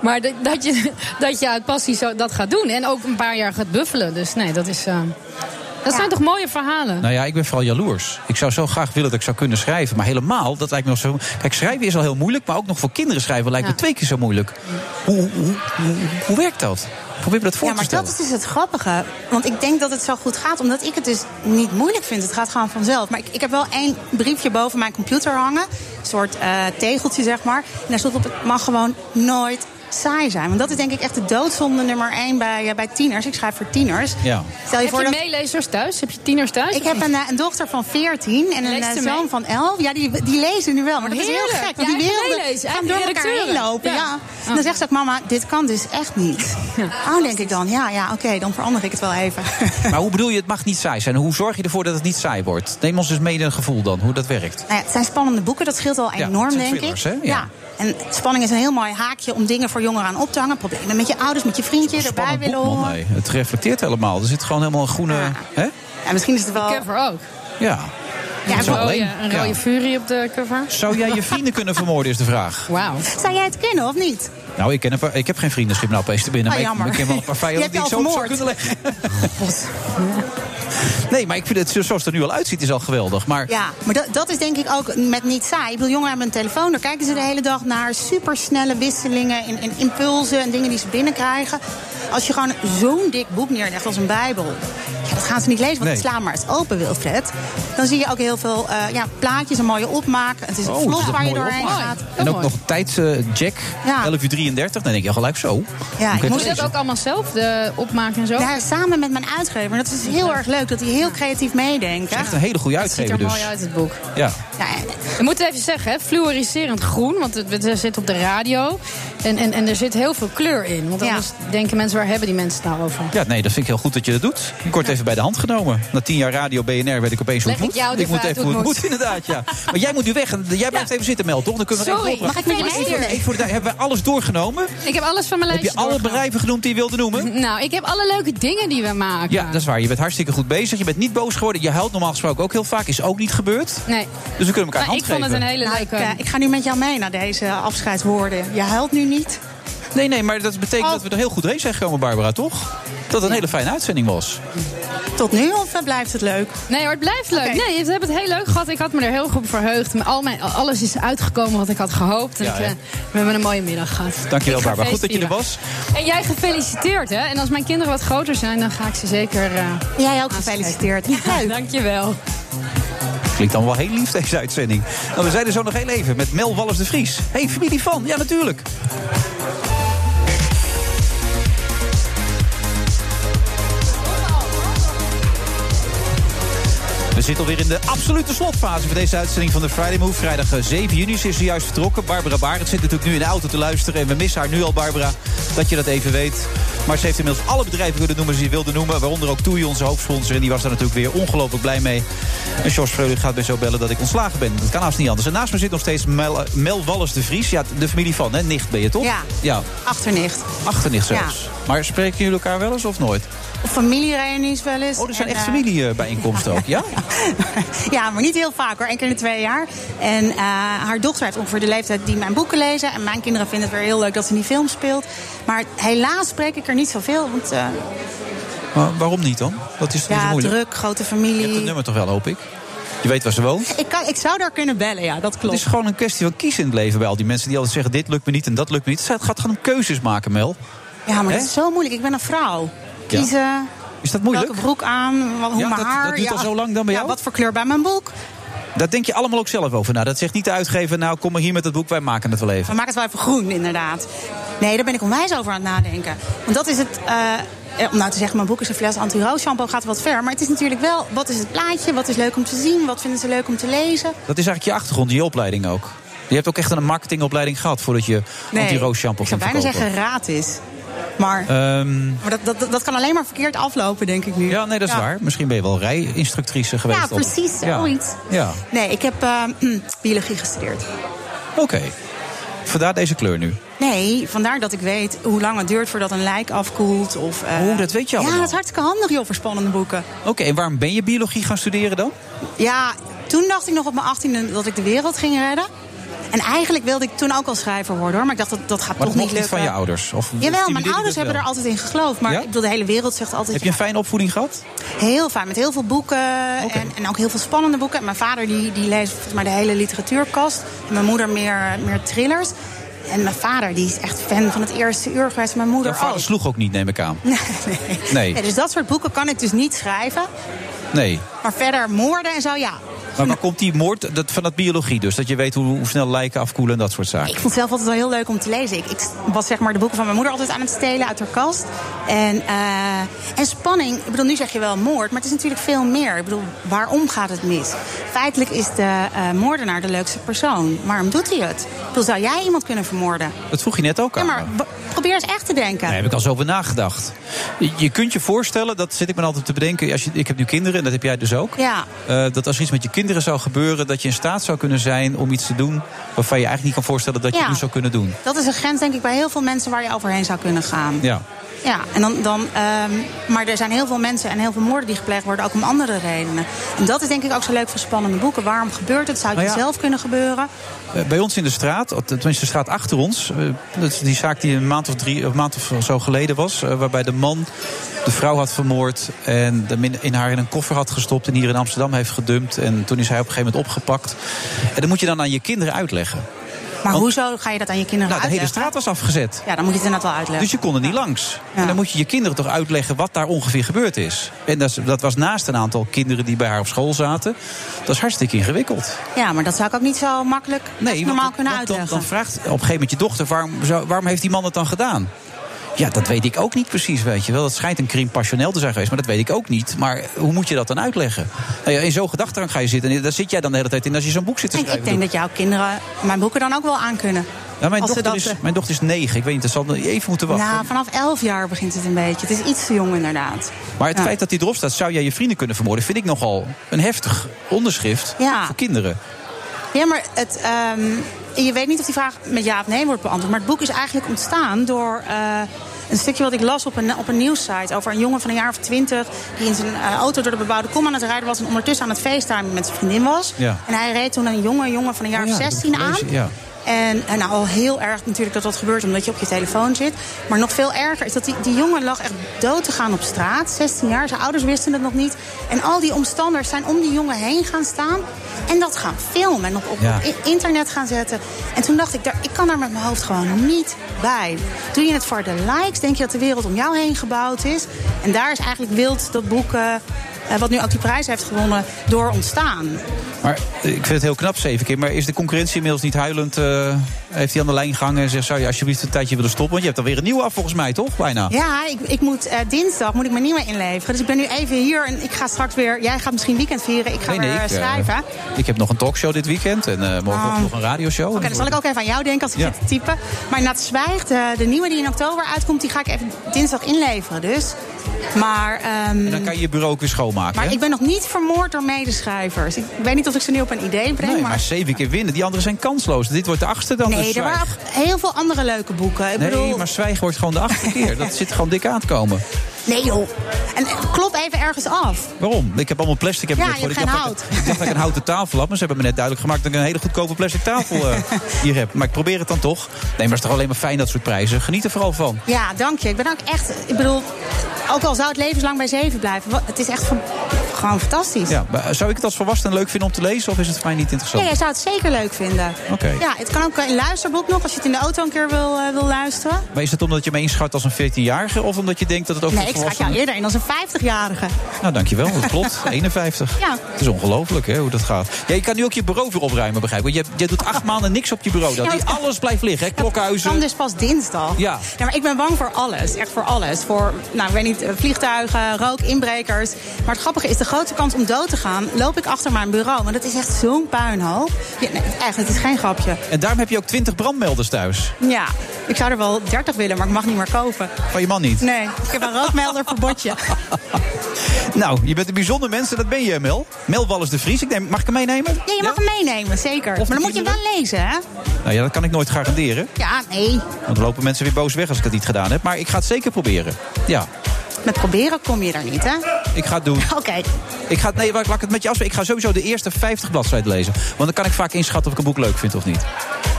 Speaker 8: Maar dat, dat, je, dat je uit passie zo, dat gaat doen. En ook een paar jaar gaat buffelen. Dus nee, dat is. eh, dat zijn toch mooie verhalen?
Speaker 7: Nou ja, ik ben vooral jaloers. Ik zou zo graag willen dat ik zou kunnen schrijven. Maar helemaal, dat lijkt me nog zo... Kijk, schrijven is al heel moeilijk. Maar ook nog voor kinderen schrijven lijkt me twee keer zo moeilijk. Hoe, hoe, hoe, hoe werkt dat? Probeer me dat voor
Speaker 19: Ja,
Speaker 7: te
Speaker 19: maar
Speaker 7: stellen.
Speaker 19: dat is dus het grappige. Want ik denk dat het zo goed gaat, omdat ik het dus niet moeilijk vind. Het gaat gewoon vanzelf. Maar ik, ik heb wel één briefje boven mijn computer hangen. Een soort eh, tegeltje, zeg maar. En daar stond op, het mag gewoon nooit saai zijn. Want dat is denk ik echt de doodzonde nummer één bij, eh, bij tieners. Ik schrijf voor tieners.
Speaker 7: Ja.
Speaker 19: Stel je
Speaker 8: Heb
Speaker 19: voor
Speaker 8: je
Speaker 19: dat-
Speaker 8: meelezers thuis? Heb je tieners thuis?
Speaker 19: Ik heb een, eh, een dochter van 14 en een
Speaker 8: Leest
Speaker 19: eh,
Speaker 8: ze mee?
Speaker 19: zoon van 11. Ja, die, die lezen nu wel. Maar dat is
Speaker 8: Heerlijk.
Speaker 19: heel gek. Want
Speaker 8: Je
Speaker 19: die
Speaker 8: eigen
Speaker 19: werelden
Speaker 8: meelezen,
Speaker 19: gaan
Speaker 8: eigen
Speaker 19: door elkaar heen
Speaker 8: redacteuren.
Speaker 19: lopen. Ja.
Speaker 8: Ja. Ah.
Speaker 19: En dan zegt ze ook, mama, dit kan dus echt niet. Oh, denk ik dan. Ja, ja oké, dan verander ik het wel even. [LAUGHS]
Speaker 7: Maar hoe bedoel je, het mag niet saai zijn? Hoe zorg je ervoor dat het niet saai wordt? Neem ons dus mee in een gevoel dan, hoe dat werkt.
Speaker 19: Nou ja, het zijn spannende boeken, dat scheelt al
Speaker 7: Ja,
Speaker 19: enorm,
Speaker 7: het zijn
Speaker 19: denk
Speaker 7: thrillers,
Speaker 19: ik.
Speaker 7: hè? Ja.
Speaker 19: En spanning is een heel mooi haakje om dingen voor jongeren aan op te hangen. Problemen met je ouders, met je vriendje, erbij willen
Speaker 7: Man,
Speaker 19: horen.
Speaker 7: nee, het reflecteert helemaal. Er zit gewoon helemaal een groene... Hè?
Speaker 19: Ja, misschien is het wel...
Speaker 8: cover ook.
Speaker 7: Ja. Dat
Speaker 8: een
Speaker 7: is wel
Speaker 8: rode,
Speaker 7: alleen.
Speaker 8: een
Speaker 7: Ja.
Speaker 8: rode furie op de cover.
Speaker 7: Zou jij je vrienden [LAUGHS] kunnen vermoorden, is de vraag.
Speaker 8: Wauw.
Speaker 19: Zou jij het kennen of niet?
Speaker 7: Nou, ik, ken een paar- ik heb geen vriendenschip nou opeens te binnen.
Speaker 19: Oh,
Speaker 7: maar ik-
Speaker 19: jammer.
Speaker 7: ik, ken wel een paar
Speaker 19: [LAUGHS] Je
Speaker 7: vijanden
Speaker 19: hebt
Speaker 7: die ik
Speaker 19: je
Speaker 7: zo
Speaker 19: al
Speaker 7: op zou kunnen leggen. Nee, maar ik vind het zo- zoals het er nu al uitziet, is al geweldig. Maar
Speaker 19: Ja, maar dat, dat is denk ik ook met niet saai. Ik bedoel, jongeren hebben een telefoon, daar kijken ze de hele dag naar. Supersnelle wisselingen en, en impulsen en dingen die ze binnenkrijgen. Als je gewoon zo'n dik boek neerlegt als een bijbel... Ja, dat gaan ze niet lezen, want
Speaker 22: Nee.
Speaker 19: het sla maar eens open, Wilfred. Dan zie je ook heel veel eh, ja, plaatjes, een mooie opmaak. Het is een
Speaker 7: Oh,
Speaker 19: vlog
Speaker 7: dat is
Speaker 19: waar je
Speaker 7: mooi
Speaker 19: doorheen
Speaker 7: opmaak.
Speaker 19: gaat.
Speaker 7: En ook nog tijdsjack,
Speaker 19: Ja.
Speaker 7: 11 uur 33. Dan denk je al gelijk zo.
Speaker 19: Ja,
Speaker 7: Hoe
Speaker 19: ik
Speaker 7: kan
Speaker 19: moest
Speaker 7: dit?
Speaker 19: dat ook
Speaker 8: allemaal zelf de opmaken en zo?
Speaker 19: Ja, samen met mijn uitgever. Dat is heel erg leuk, dat hij heel creatief meedenkt. hè?
Speaker 7: Echt een hele goede
Speaker 8: ziet er
Speaker 7: uitgever dus.
Speaker 8: mooi uit, het boek.
Speaker 7: Ja.
Speaker 8: We moeten even zeggen, hè, fluoriserend groen, want het, het zit op de radio. En, en, en er zit heel veel kleur in. Want anders denken mensen, waar hebben die mensen het nou over?
Speaker 7: Ja, nee, dat vind ik heel goed dat je dat doet. Ik word even bij de hand genomen. Na tien jaar radio BNR weet ik opeens hoe het
Speaker 8: Leg
Speaker 7: moet.
Speaker 8: ik jou even
Speaker 7: moet
Speaker 8: uit
Speaker 7: even
Speaker 8: hoe het
Speaker 7: moet, inderdaad,
Speaker 8: [LAUGHS]
Speaker 7: ja. Maar jij moet nu weg. en Jij blijft even zitten, Mel, toch? Dan kunnen we
Speaker 8: Sorry,
Speaker 7: even
Speaker 8: mag ik met je
Speaker 7: Even-
Speaker 8: meedoen?
Speaker 7: even voor de tijd. Hebben we alles doorgenomen?
Speaker 8: Ik heb alles van mijn
Speaker 7: Heb
Speaker 8: lijstje
Speaker 7: je alle
Speaker 8: doorgenomen.
Speaker 7: bedrijven genoemd die je wilde noemen?
Speaker 8: Nou, ik heb alle leuke dingen die we maken.
Speaker 7: Ja, dat is waar. Je bent hartstikke goed bezig. Je bent niet boos geworden. Je huilt normaal gesproken ook heel vaak. Is ook niet gebeurd.
Speaker 8: Nee.
Speaker 7: Dus we kunnen elkaar
Speaker 8: Maar
Speaker 7: hand
Speaker 8: ik vond het
Speaker 7: geven.
Speaker 8: een hele
Speaker 19: Nou,
Speaker 8: leuke...
Speaker 19: ik, eh, ik ga nu met jou mee naar deze afscheidswoorden. Je huilt nu niet.
Speaker 7: Nee, nee, maar dat
Speaker 8: Oh.
Speaker 7: betekent dat we er heel goed heen zijn gekomen, Barbara, toch? Dat het een hele fijne uitzending was.
Speaker 19: Tot nu of eh, blijft het leuk?
Speaker 8: Nee hoor, het blijft leuk. Nee, we hebben het heel leuk gehad. Ik had me er heel goed op verheugd. Maar Al mijn, alles is uitgekomen wat ik had gehoopt. En
Speaker 7: Ja,
Speaker 8: ik,
Speaker 7: hè?
Speaker 8: eh, we hebben een mooie middag gehad.
Speaker 7: Dankjewel,
Speaker 8: Ik ga
Speaker 7: Barbara. Goed dat je er was.
Speaker 8: feestvieren. En jij gefeliciteerd, hè? En als mijn kinderen wat groter zijn, dan ga ik ze zeker...
Speaker 19: jij ook
Speaker 8: [LAUGHS]
Speaker 19: gefeliciteerd.
Speaker 8: Ja, dankjewel.
Speaker 7: Klinkt dan wel heel lief, deze uitzending. Nou, we zijn er zo nog heel even met Mel Wallis de Vries. Hé, hey, familie van. Ja, natuurlijk. We zitten alweer in de absolute slotfase voor deze uitzending van de Friday Move. Vrijdag eh, 7 juni is ze juist vertrokken. Barbara Barend zit natuurlijk nu in de auto te luisteren. En we missen haar nu al, Barbara, dat je dat even weet. Maar ze heeft inmiddels alle bedrijven kunnen noemen die ze wilde noemen. Waaronder ook Toei, onze hoofdsponsor. En die was daar natuurlijk weer ongelooflijk blij mee. En George Freulich gaat mij zo bellen dat ik ontslagen ben. Dat kan haast niet anders. En naast me zit nog steeds Mel, eh, Mel Wallis de Vries. Ja, de familie van, hè? Nicht ben je toch?
Speaker 19: Ja.
Speaker 7: ja.
Speaker 19: Achternicht.
Speaker 7: Achternicht
Speaker 19: Ja.
Speaker 7: zelfs. Maar spreken jullie elkaar wel eens of nooit?
Speaker 19: Of familiereunies wel eens.
Speaker 7: Oh, er zijn
Speaker 19: En,
Speaker 7: echt
Speaker 19: eh,
Speaker 7: familiebijeenkomsten ook,
Speaker 19: [LAUGHS]
Speaker 7: ja?
Speaker 19: Ja, maar niet heel vaak hoor. Eén keer in de twee jaar. En eh, haar dochter heeft ongeveer de leeftijd die mijn boeken lezen. En mijn kinderen vinden het weer heel leuk dat ze in die film speelt. Maar helaas spreek ik er niet zoveel. Want eh,
Speaker 7: Maar waarom niet dan? Dat is toch zo
Speaker 19: ja,
Speaker 7: moeilijk?
Speaker 19: druk, grote
Speaker 7: Je hebt het
Speaker 19: familie.
Speaker 7: nummer toch wel, hoop ik? Je weet waar ze woont?
Speaker 19: Ik, kan, ik zou daar kunnen bellen, ja, dat
Speaker 7: Het
Speaker 19: klopt.
Speaker 7: is gewoon een kwestie van kiezen in het leven bij al die mensen die altijd zeggen: dit lukt me niet en dat lukt me niet. Het gaat gewoon om keuzes maken, Mel.
Speaker 19: Ja, maar
Speaker 7: Hè?
Speaker 19: dat is zo moeilijk. Ik ben een vrouw. Kiezen.
Speaker 7: Is dat moeilijk?
Speaker 19: Welke broek aan, wat, hoe
Speaker 7: Ja,
Speaker 19: mijn
Speaker 7: dat-
Speaker 19: haar.
Speaker 7: dat duurt al zo lang dan bij
Speaker 19: ja,
Speaker 7: jou?
Speaker 19: Wat voor kleur bij mijn boek.
Speaker 7: Daar denk je allemaal ook zelf over. Nou, dat zegt niet de uitgever: nou, kom maar hier met het boek, wij maken het wel
Speaker 19: We
Speaker 7: even.
Speaker 19: maken het wel even groen, inderdaad. Nee, daar ben ik onwijs over aan het nadenken. Want dat is het. eh, eh, om nou te zeggen, mijn boek is een fles anti-roos shampoo gaat wat ver. Maar het is natuurlijk wel, wat is het plaatje? Wat is leuk om te zien? Wat vinden ze leuk om te lezen?
Speaker 7: Dat is eigenlijk je achtergrond, je opleiding ook. Je hebt ook echt een marketingopleiding gehad voordat je anti-roos shampoo
Speaker 19: ik zou
Speaker 7: ging
Speaker 19: bijna
Speaker 7: verkopen.
Speaker 19: zeggen raad is. Maar,
Speaker 7: Ehm,
Speaker 19: maar dat, dat, dat kan alleen maar verkeerd aflopen, denk ik nu.
Speaker 7: ja, nee, dat is
Speaker 19: Ja.
Speaker 7: waar. Misschien ben je wel rijinstructrice geweest.
Speaker 19: Ja,
Speaker 7: op-
Speaker 19: precies, zoiets.
Speaker 7: Ja, ja.
Speaker 19: Nee, ik heb eh, [CLEARS THROAT] biologie gestudeerd.
Speaker 7: oké. Vandaar deze kleur nu.
Speaker 19: Nee, vandaar dat ik weet hoe lang het duurt voordat een lijk afkoelt. Of, eh,
Speaker 7: Oh, dat weet je allemaal.
Speaker 19: Ja, dat is hartstikke handig joh, voor spannende boeken.
Speaker 7: Oké, en waarom ben je biologie gaan studeren dan?
Speaker 19: Ja, toen dacht ik nog op mijn 18e dat ik de wereld ging redden. En eigenlijk wilde ik toen ook al schrijver worden hoor. Maar ik dacht, dat, dat gaat
Speaker 7: Maar
Speaker 19: toch
Speaker 7: dat mocht
Speaker 19: niet
Speaker 7: niet
Speaker 19: lukken.
Speaker 7: van je ouders? Of
Speaker 19: Jawel,
Speaker 7: stimuleerde
Speaker 19: mijn
Speaker 7: dat
Speaker 19: ouders hebben
Speaker 7: wel?
Speaker 19: er altijd in geloofd. Maar
Speaker 7: Ja?
Speaker 19: ik bedoel, de hele wereld zegt altijd...
Speaker 7: Heb je een fijne opvoeding gehad?
Speaker 19: Heel fijn, met heel veel boeken en, en ook heel veel spannende boeken. En mijn vader die, die leest volgens mij de hele literatuurkast. En mijn moeder meer, meer thrillers. En mijn vader die is echt fan van het eerste uur geweest. Mijn moeder
Speaker 7: Jouw vader
Speaker 19: ook.
Speaker 7: sloeg ook niet, neem ik
Speaker 19: [LAUGHS]
Speaker 7: aan. Nee.
Speaker 19: Ja, oh. dus dat soort boeken kan ik dus niet schrijven.
Speaker 7: Nee.
Speaker 19: Maar verder moorden en zo, ja.
Speaker 7: Maar waar komt die moord dat, van dat biologie dus? Dat je weet hoe, hoe snel lijken afkoelen en dat soort zaken.
Speaker 19: Ik vond het zelf altijd wel heel leuk om te lezen. Ik, ik was zeg maar de boeken van mijn moeder altijd aan het stelen uit haar kast. En, eh, en spanning, ik bedoel, nu zeg je wel moord, maar het is natuurlijk veel meer. Ik bedoel, waarom gaat het mis? Feitelijk is de eh, moordenaar de leukste persoon. Waarom doet hij het? Ik bedoel, zou jij iemand kunnen vermoorden?
Speaker 7: Dat vroeg je net ook
Speaker 19: Ja,
Speaker 7: aan.
Speaker 19: maar
Speaker 7: me.
Speaker 19: b- probeer eens echt te denken.
Speaker 7: Daar heb ik al zo over nagedacht. Je, je kunt je voorstellen, dat zit ik me altijd te bedenken. Als je, ik heb nu kinderen, en dat heb jij dus ook.
Speaker 19: Ja,
Speaker 7: eh, dat als er iets met je kinderen zou gebeuren, dat je in staat zou kunnen zijn om iets te doen waarvan je eigenlijk niet kan voorstellen dat je
Speaker 19: Ja.
Speaker 7: nu zou kunnen doen.
Speaker 19: dat is een grens denk ik bij heel veel mensen waar je overheen zou kunnen gaan.
Speaker 7: Ja.
Speaker 19: Ja, en dan, dan, ehm, maar er zijn heel veel mensen en heel veel moorden die gepleegd worden, ook om andere redenen. En dat is denk ik ook zo leuk van spannende boeken. Waarom gebeurt het? Zou het
Speaker 7: Nou ja.
Speaker 19: zelf kunnen gebeuren?
Speaker 7: Eh, Bij ons in de straat, of tenminste de straat achter ons, eh, dat is die zaak die een maand of drie, een maand of zo geleden was, eh, waarbij de man de vrouw had vermoord en de min- in haar in een koffer had gestopt en hier in Amsterdam heeft gedumpt. En toen is hij op een gegeven moment opgepakt. En dat moet je dan aan je kinderen uitleggen.
Speaker 19: Maar hoezo ga je dat aan je kinderen
Speaker 7: Nou, de hele
Speaker 19: uitleggen?
Speaker 7: straat was afgezet.
Speaker 19: Ja, dan moet je het inderdaad wel uitleggen.
Speaker 7: Dus je kon er niet langs. En dan moet je je kinderen toch uitleggen wat daar ongeveer gebeurd is. En dat, is- dat was naast een aantal kinderen die bij haar op school zaten. Dat is hartstikke ingewikkeld.
Speaker 19: Ja, maar dat zou ik ook niet zo makkelijk
Speaker 7: Nee,
Speaker 19: normaal
Speaker 7: want-
Speaker 19: kunnen
Speaker 7: want dan-
Speaker 19: uitleggen.
Speaker 7: Dan, vraagt op een gegeven moment je dochter, waarom, zou- waarom heeft die man het dan gedaan? Ja, dat weet ik ook niet precies, weet je wel. Dat schijnt een crime passioneel te zijn geweest, maar dat weet ik ook niet. Maar hoe moet je dat dan uitleggen? Nou ja, in zo'n gedachtegang ga je zitten en daar zit jij dan de hele tijd in als je zo'n boek zit te
Speaker 19: ik,
Speaker 7: schrijven.
Speaker 19: ik denk dat jouw kinderen mijn boeken dan ook wel aankunnen.
Speaker 7: Nou, mijn,
Speaker 19: Als
Speaker 7: dochter
Speaker 19: ze dat,
Speaker 7: is,
Speaker 19: eh,
Speaker 7: mijn dochter is negen, ik weet niet, dat zal even moeten wachten.
Speaker 19: nou, vanaf 11 jaar begint het een beetje. Het is iets te jong inderdaad.
Speaker 7: maar het
Speaker 19: ja.
Speaker 7: feit dat die erop staat, zou jij je vrienden kunnen vermoorden... vind ik nogal een heftig onderschrift
Speaker 19: Ja.
Speaker 7: voor kinderen.
Speaker 19: Ja, maar het, ehm, je weet niet of die vraag met ja of nee wordt beantwoord. Maar het boek is eigenlijk ontstaan door eh, een stukje wat ik las op een, op een nieuwssite... over een jongen van een jaar of twintig... die in zijn eh, auto door de bebouwde kom aan het rijden was... en ondertussen aan het facetimen met zijn vriendin was.
Speaker 7: Ja. Oh
Speaker 19: En hij reed toen een jonge jongen van een jaar of 16 aan.
Speaker 7: Ja.
Speaker 19: En, en nou, al heel erg natuurlijk dat dat gebeurt omdat je op je telefoon zit. Maar nog veel erger is dat die, die jongen lag echt dood te gaan op straat. 16 jaar, zijn ouders wisten het nog niet. En al die omstanders zijn om die jongen heen gaan staan. En dat gaan filmen en op, op,
Speaker 23: Ja.
Speaker 19: op i- internet gaan zetten. En toen dacht ik, daar, ik kan daar met mijn hoofd gewoon niet bij. Doe je het voor de likes? Denk je dat de wereld om jou heen gebouwd is? En daar is eigenlijk wild dat boek... eh, eh, wat nu ook die prijs heeft gewonnen, door ontstaan.
Speaker 7: Maar eh, ik vind het heel knap, zeven keer. Maar is de concurrentie inmiddels niet huilend? eh, heeft hij aan de lijn gehangen en zegt: Zou je alsjeblieft een tijdje willen stoppen? Want je hebt alweer een nieuwe af, volgens mij, toch? Bijna.
Speaker 19: Ja, ik, ik moet eh, dinsdag moet ik mijn nieuwe inleveren. Dus ik ben nu even hier en ik ga straks weer. Jij gaat misschien weekend vieren. Ik ga weer eh,
Speaker 7: ik, eh,
Speaker 19: schrijven.
Speaker 7: ik heb nog een talkshow dit weekend en eh morgen
Speaker 19: Ah.
Speaker 7: nog een radioshow.
Speaker 19: Oké, dan zal ik ook even aan jou denken als ik
Speaker 7: Ja.
Speaker 19: zit te typen. Maar inderdaad, Zwijgt, eh, de nieuwe die in oktober uitkomt, die ga ik even dinsdag inleveren. Dus. Maar, ehm,
Speaker 7: En dan kan je je bureau ook weer schoonmaken.
Speaker 19: maar
Speaker 7: hè?
Speaker 19: ik ben nog niet vermoord door medeschrijvers. Ik weet niet of ik ze nu op een idee breng.
Speaker 7: Nee,
Speaker 19: maar
Speaker 7: maar zeven keer winnen. Die anderen zijn kansloos. Dit wordt de achtste dan.
Speaker 19: nee,
Speaker 7: dus
Speaker 19: er
Speaker 7: Zwijg.
Speaker 19: waren ook heel veel andere leuke boeken. Ik
Speaker 7: Nee,
Speaker 19: bedoel,
Speaker 7: maar zwijgen wordt gewoon de achtste keer. Dat zit gewoon dik aan te komen.
Speaker 19: nee joh. En eh, klop even ergens af.
Speaker 7: Waarom? Ik heb allemaal plastic. Ik Heb
Speaker 19: Ja,
Speaker 7: net
Speaker 19: je
Speaker 7: voor-
Speaker 19: hebt
Speaker 7: ik
Speaker 19: geen
Speaker 7: dacht dat
Speaker 19: hout.
Speaker 7: Ik, ik dacht dat ik een houten tafel had, maar ze hebben me net duidelijk gemaakt dat ik een hele goedkope plastic tafel eh,
Speaker 19: [LAUGHS]
Speaker 7: hier heb. Maar ik probeer het dan toch. Nee, maar het is toch alleen maar fijn dat soort prijzen. Geniet er vooral van.
Speaker 19: Ja, dank je. Ik ben ook echt, ik bedoel, ook al zou het levenslang bij zeven blijven, wa- het is echt van- gewoon fantastisch.
Speaker 7: Ja, maar eh, zou ik het als volwassene leuk vinden om te lezen of is het voor mij niet
Speaker 19: Ja,
Speaker 7: interessant?
Speaker 19: jij zou het zeker leuk vinden.
Speaker 7: Oké.
Speaker 19: Ja, het kan ook eh, in luisterboek nog, als je het in de auto een keer wil, eh, wil luisteren.
Speaker 7: Maar is het omdat je me inschat als een 14-jarige of omdat je denkt dat het ook
Speaker 19: nee,
Speaker 7: voor
Speaker 19: ik schrijf jou
Speaker 7: volwassenen...
Speaker 19: eerder in als een 50-jarige.
Speaker 7: Nou, dankjewel. Dat
Speaker 19: [LAUGHS]
Speaker 7: klopt. 51.
Speaker 19: Ja.
Speaker 7: Het is ongelooflijk hè, hoe dat gaat. Ja, je kan nu ook je bureau weer opruimen, begrijp ik. Want Je, je doet acht maanden niks op je bureau. Dan.
Speaker 19: Ja,
Speaker 7: Die-
Speaker 19: dat-
Speaker 7: Alles blijft liggen, hè?
Speaker 19: Het kan
Speaker 7: klokhuizen.
Speaker 19: dus pas dinsdag.
Speaker 7: Ja.
Speaker 19: Nee, maar ik ben bang voor alles. Echt voor alles. Voor, nou, ik weet niet, eh, vliegtuigen, rook, inbrekers. Maar het grappige is, de grote kans om dood te gaan... loop ik achter mijn bureau. Want dat is echt zo'n puinhoop. Ja, nee, echt, het is geen grapje.
Speaker 7: En daarom heb je ook 20 brandmelders thuis.
Speaker 19: Ja, ik zou er wel 30 willen, maar ik mag niet meer kopen.
Speaker 7: Van je man niet.
Speaker 19: Nee, ik heb een rookmelder verbodje.
Speaker 7: Nou, je bent een bijzonder mens en dat ben je, Mel. Mel Wallis de Vries. Ik neem, mag ik hem meenemen?
Speaker 19: Ja, je mag hem meenemen, zeker. maar dan moet je hem wel lezen, hè?
Speaker 7: Nou ja, dat kan ik nooit garanderen.
Speaker 19: Ja, nee.
Speaker 7: Want dan lopen mensen weer boos weg als ik dat niet gedaan heb. Maar ik ga het zeker proberen. Ja,
Speaker 19: Met proberen kom je daar niet, hè?
Speaker 7: ik ga het doen.
Speaker 19: [LAUGHS] Oké.
Speaker 7: Ik ga, het- nee, laat ik het met je afspreken. Ik ga sowieso de eerste 50 bladzijden lezen. Want dan kan ik vaak inschatten of ik een boek leuk vind of niet.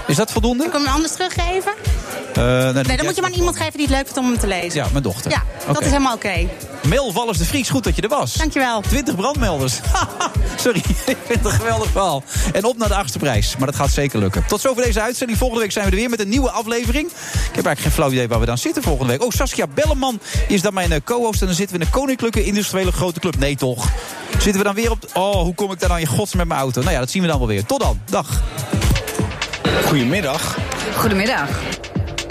Speaker 7: Is dat voldoende?
Speaker 19: Kan ik hem anders teruggeven?
Speaker 7: Eh, nou,
Speaker 19: Nee, dan moet je hem aan iemand geven die het leuk vindt om hem te lezen.
Speaker 7: Ja, mijn dochter.
Speaker 19: Ja, dat
Speaker 7: Oké.
Speaker 19: is helemaal oké.
Speaker 7: Mel Wallis de Vries, goed dat je er was.
Speaker 19: Dankjewel.
Speaker 7: 20 brandmelders. [LAUGHS] Sorry, [LAUGHS] ik vind het een geweldig verhaal. En op naar de achtste prijs. Maar dat gaat zeker lukken. Tot zover deze uitzending. Volgende week zijn we er weer met een nieuwe aflevering. Ik heb eigenlijk geen flauw idee waar we dan zitten volgende week. Oh, Saskia Belleman is dan mijn eh, co-host. En dan zitten we in een koninklijke industriële grote club. Nee, toch? Zitten we dan weer op... Oh, hoe kom ik daar dan in gods met mijn auto? Nou ja, dat zien we dan wel weer. Tot dan. Dag.
Speaker 6: Goedemiddag.
Speaker 3: Goedemiddag.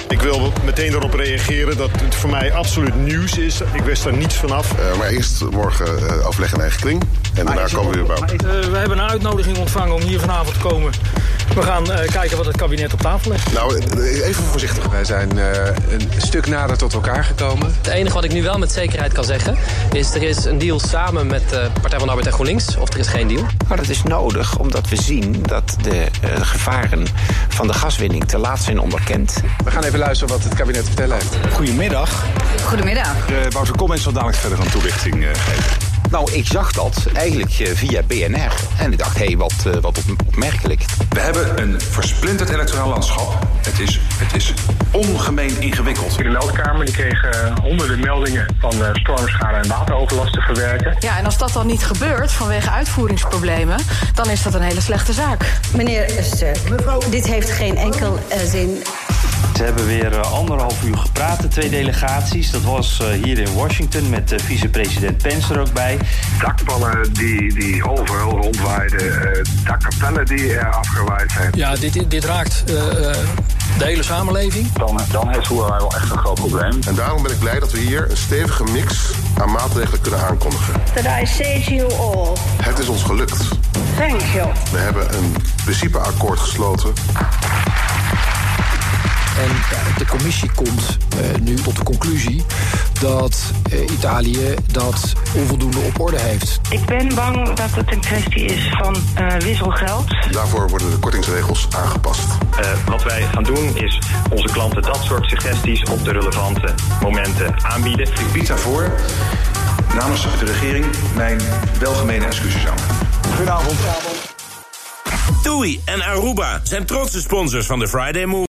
Speaker 23: Ik wil meteen erop reageren dat het voor mij absoluut nieuws is. Ik wist daar niets vanaf.
Speaker 4: Eh, maar eerst morgen eh, afleggen in eigen kring. En daarna komen we weer bij elkaar.
Speaker 24: Eh, we hebben een uitnodiging ontvangen om hier vanavond te komen. We gaan eh, kijken wat het kabinet op tafel legt.
Speaker 4: Nou, eh, even voorzichtig.
Speaker 25: Wij zijn eh, een stuk nader tot elkaar gekomen.
Speaker 26: Het enige wat ik nu wel met zekerheid kan zeggen is er is een deal samen met de Partij van de Arbeid en GroenLinks of er is geen deal.
Speaker 6: Maar dat is nodig omdat we zien dat de eh, gevaren van de gaswinning te laat zijn onderkend.
Speaker 25: We gaan even luisteren wat het kabinet te vertellen heeft.
Speaker 6: Goedemiddag.
Speaker 3: Goedemiddag.
Speaker 25: Eh, Wouter Koolmees zal dadelijk verder aan toelichting eh, geven.
Speaker 6: Nou, ik zag dat eigenlijk eh, via BNR. En ik dacht, hé, wat, eh, wat op- opmerkelijk.
Speaker 27: We hebben een versplinterd electoraal landschap. Het is, het is ongemeen ingewikkeld.
Speaker 28: De meldkamer die kreeg eh, honderden meldingen van eh, stormschade en wateroverlast te verwerken.
Speaker 29: Ja, en als dat dan niet gebeurt vanwege uitvoeringsproblemen, dan is dat een hele slechte zaak.
Speaker 30: Meneer Sturk, mevrouw, dit heeft geen enkel eh, zin.
Speaker 31: Ze hebben weer eh, anderhalf uur gepraat, de twee delegaties. Dat was eh, hier in Washington met eh, vicepresident Pence er ook bij.
Speaker 4: Dakpannen die, die overal rondwaaiden. eh dakkapellen die er afgewaaid zijn.
Speaker 24: Ja, dit, dit raakt eh, eh, de hele samenleving.
Speaker 4: Dan, dan heeft Huawei wel echt een groot probleem. En daarom ben ik blij dat we hier een stevige mix aan maatregelen kunnen aankondigen.
Speaker 32: that I say to you all,
Speaker 4: Het is ons gelukt.
Speaker 32: thank you.
Speaker 4: We hebben een principeakkoord gesloten.
Speaker 33: En ja, de commissie komt eh, nu tot de conclusie dat eh, Italië dat onvoldoende op orde heeft.
Speaker 5: Ik ben bang dat het een kwestie is van eh, wisselgeld.
Speaker 4: Daarvoor worden de kortingsregels aangepast.
Speaker 27: Eh, wat wij gaan doen is onze klanten dat soort suggesties op de relevante momenten aanbieden. Ik bied daarvoor namens de regering mijn welgemene excuses aan.
Speaker 2: Goedenavond. TUI en Aruba zijn trotse sponsors van de Friday Move.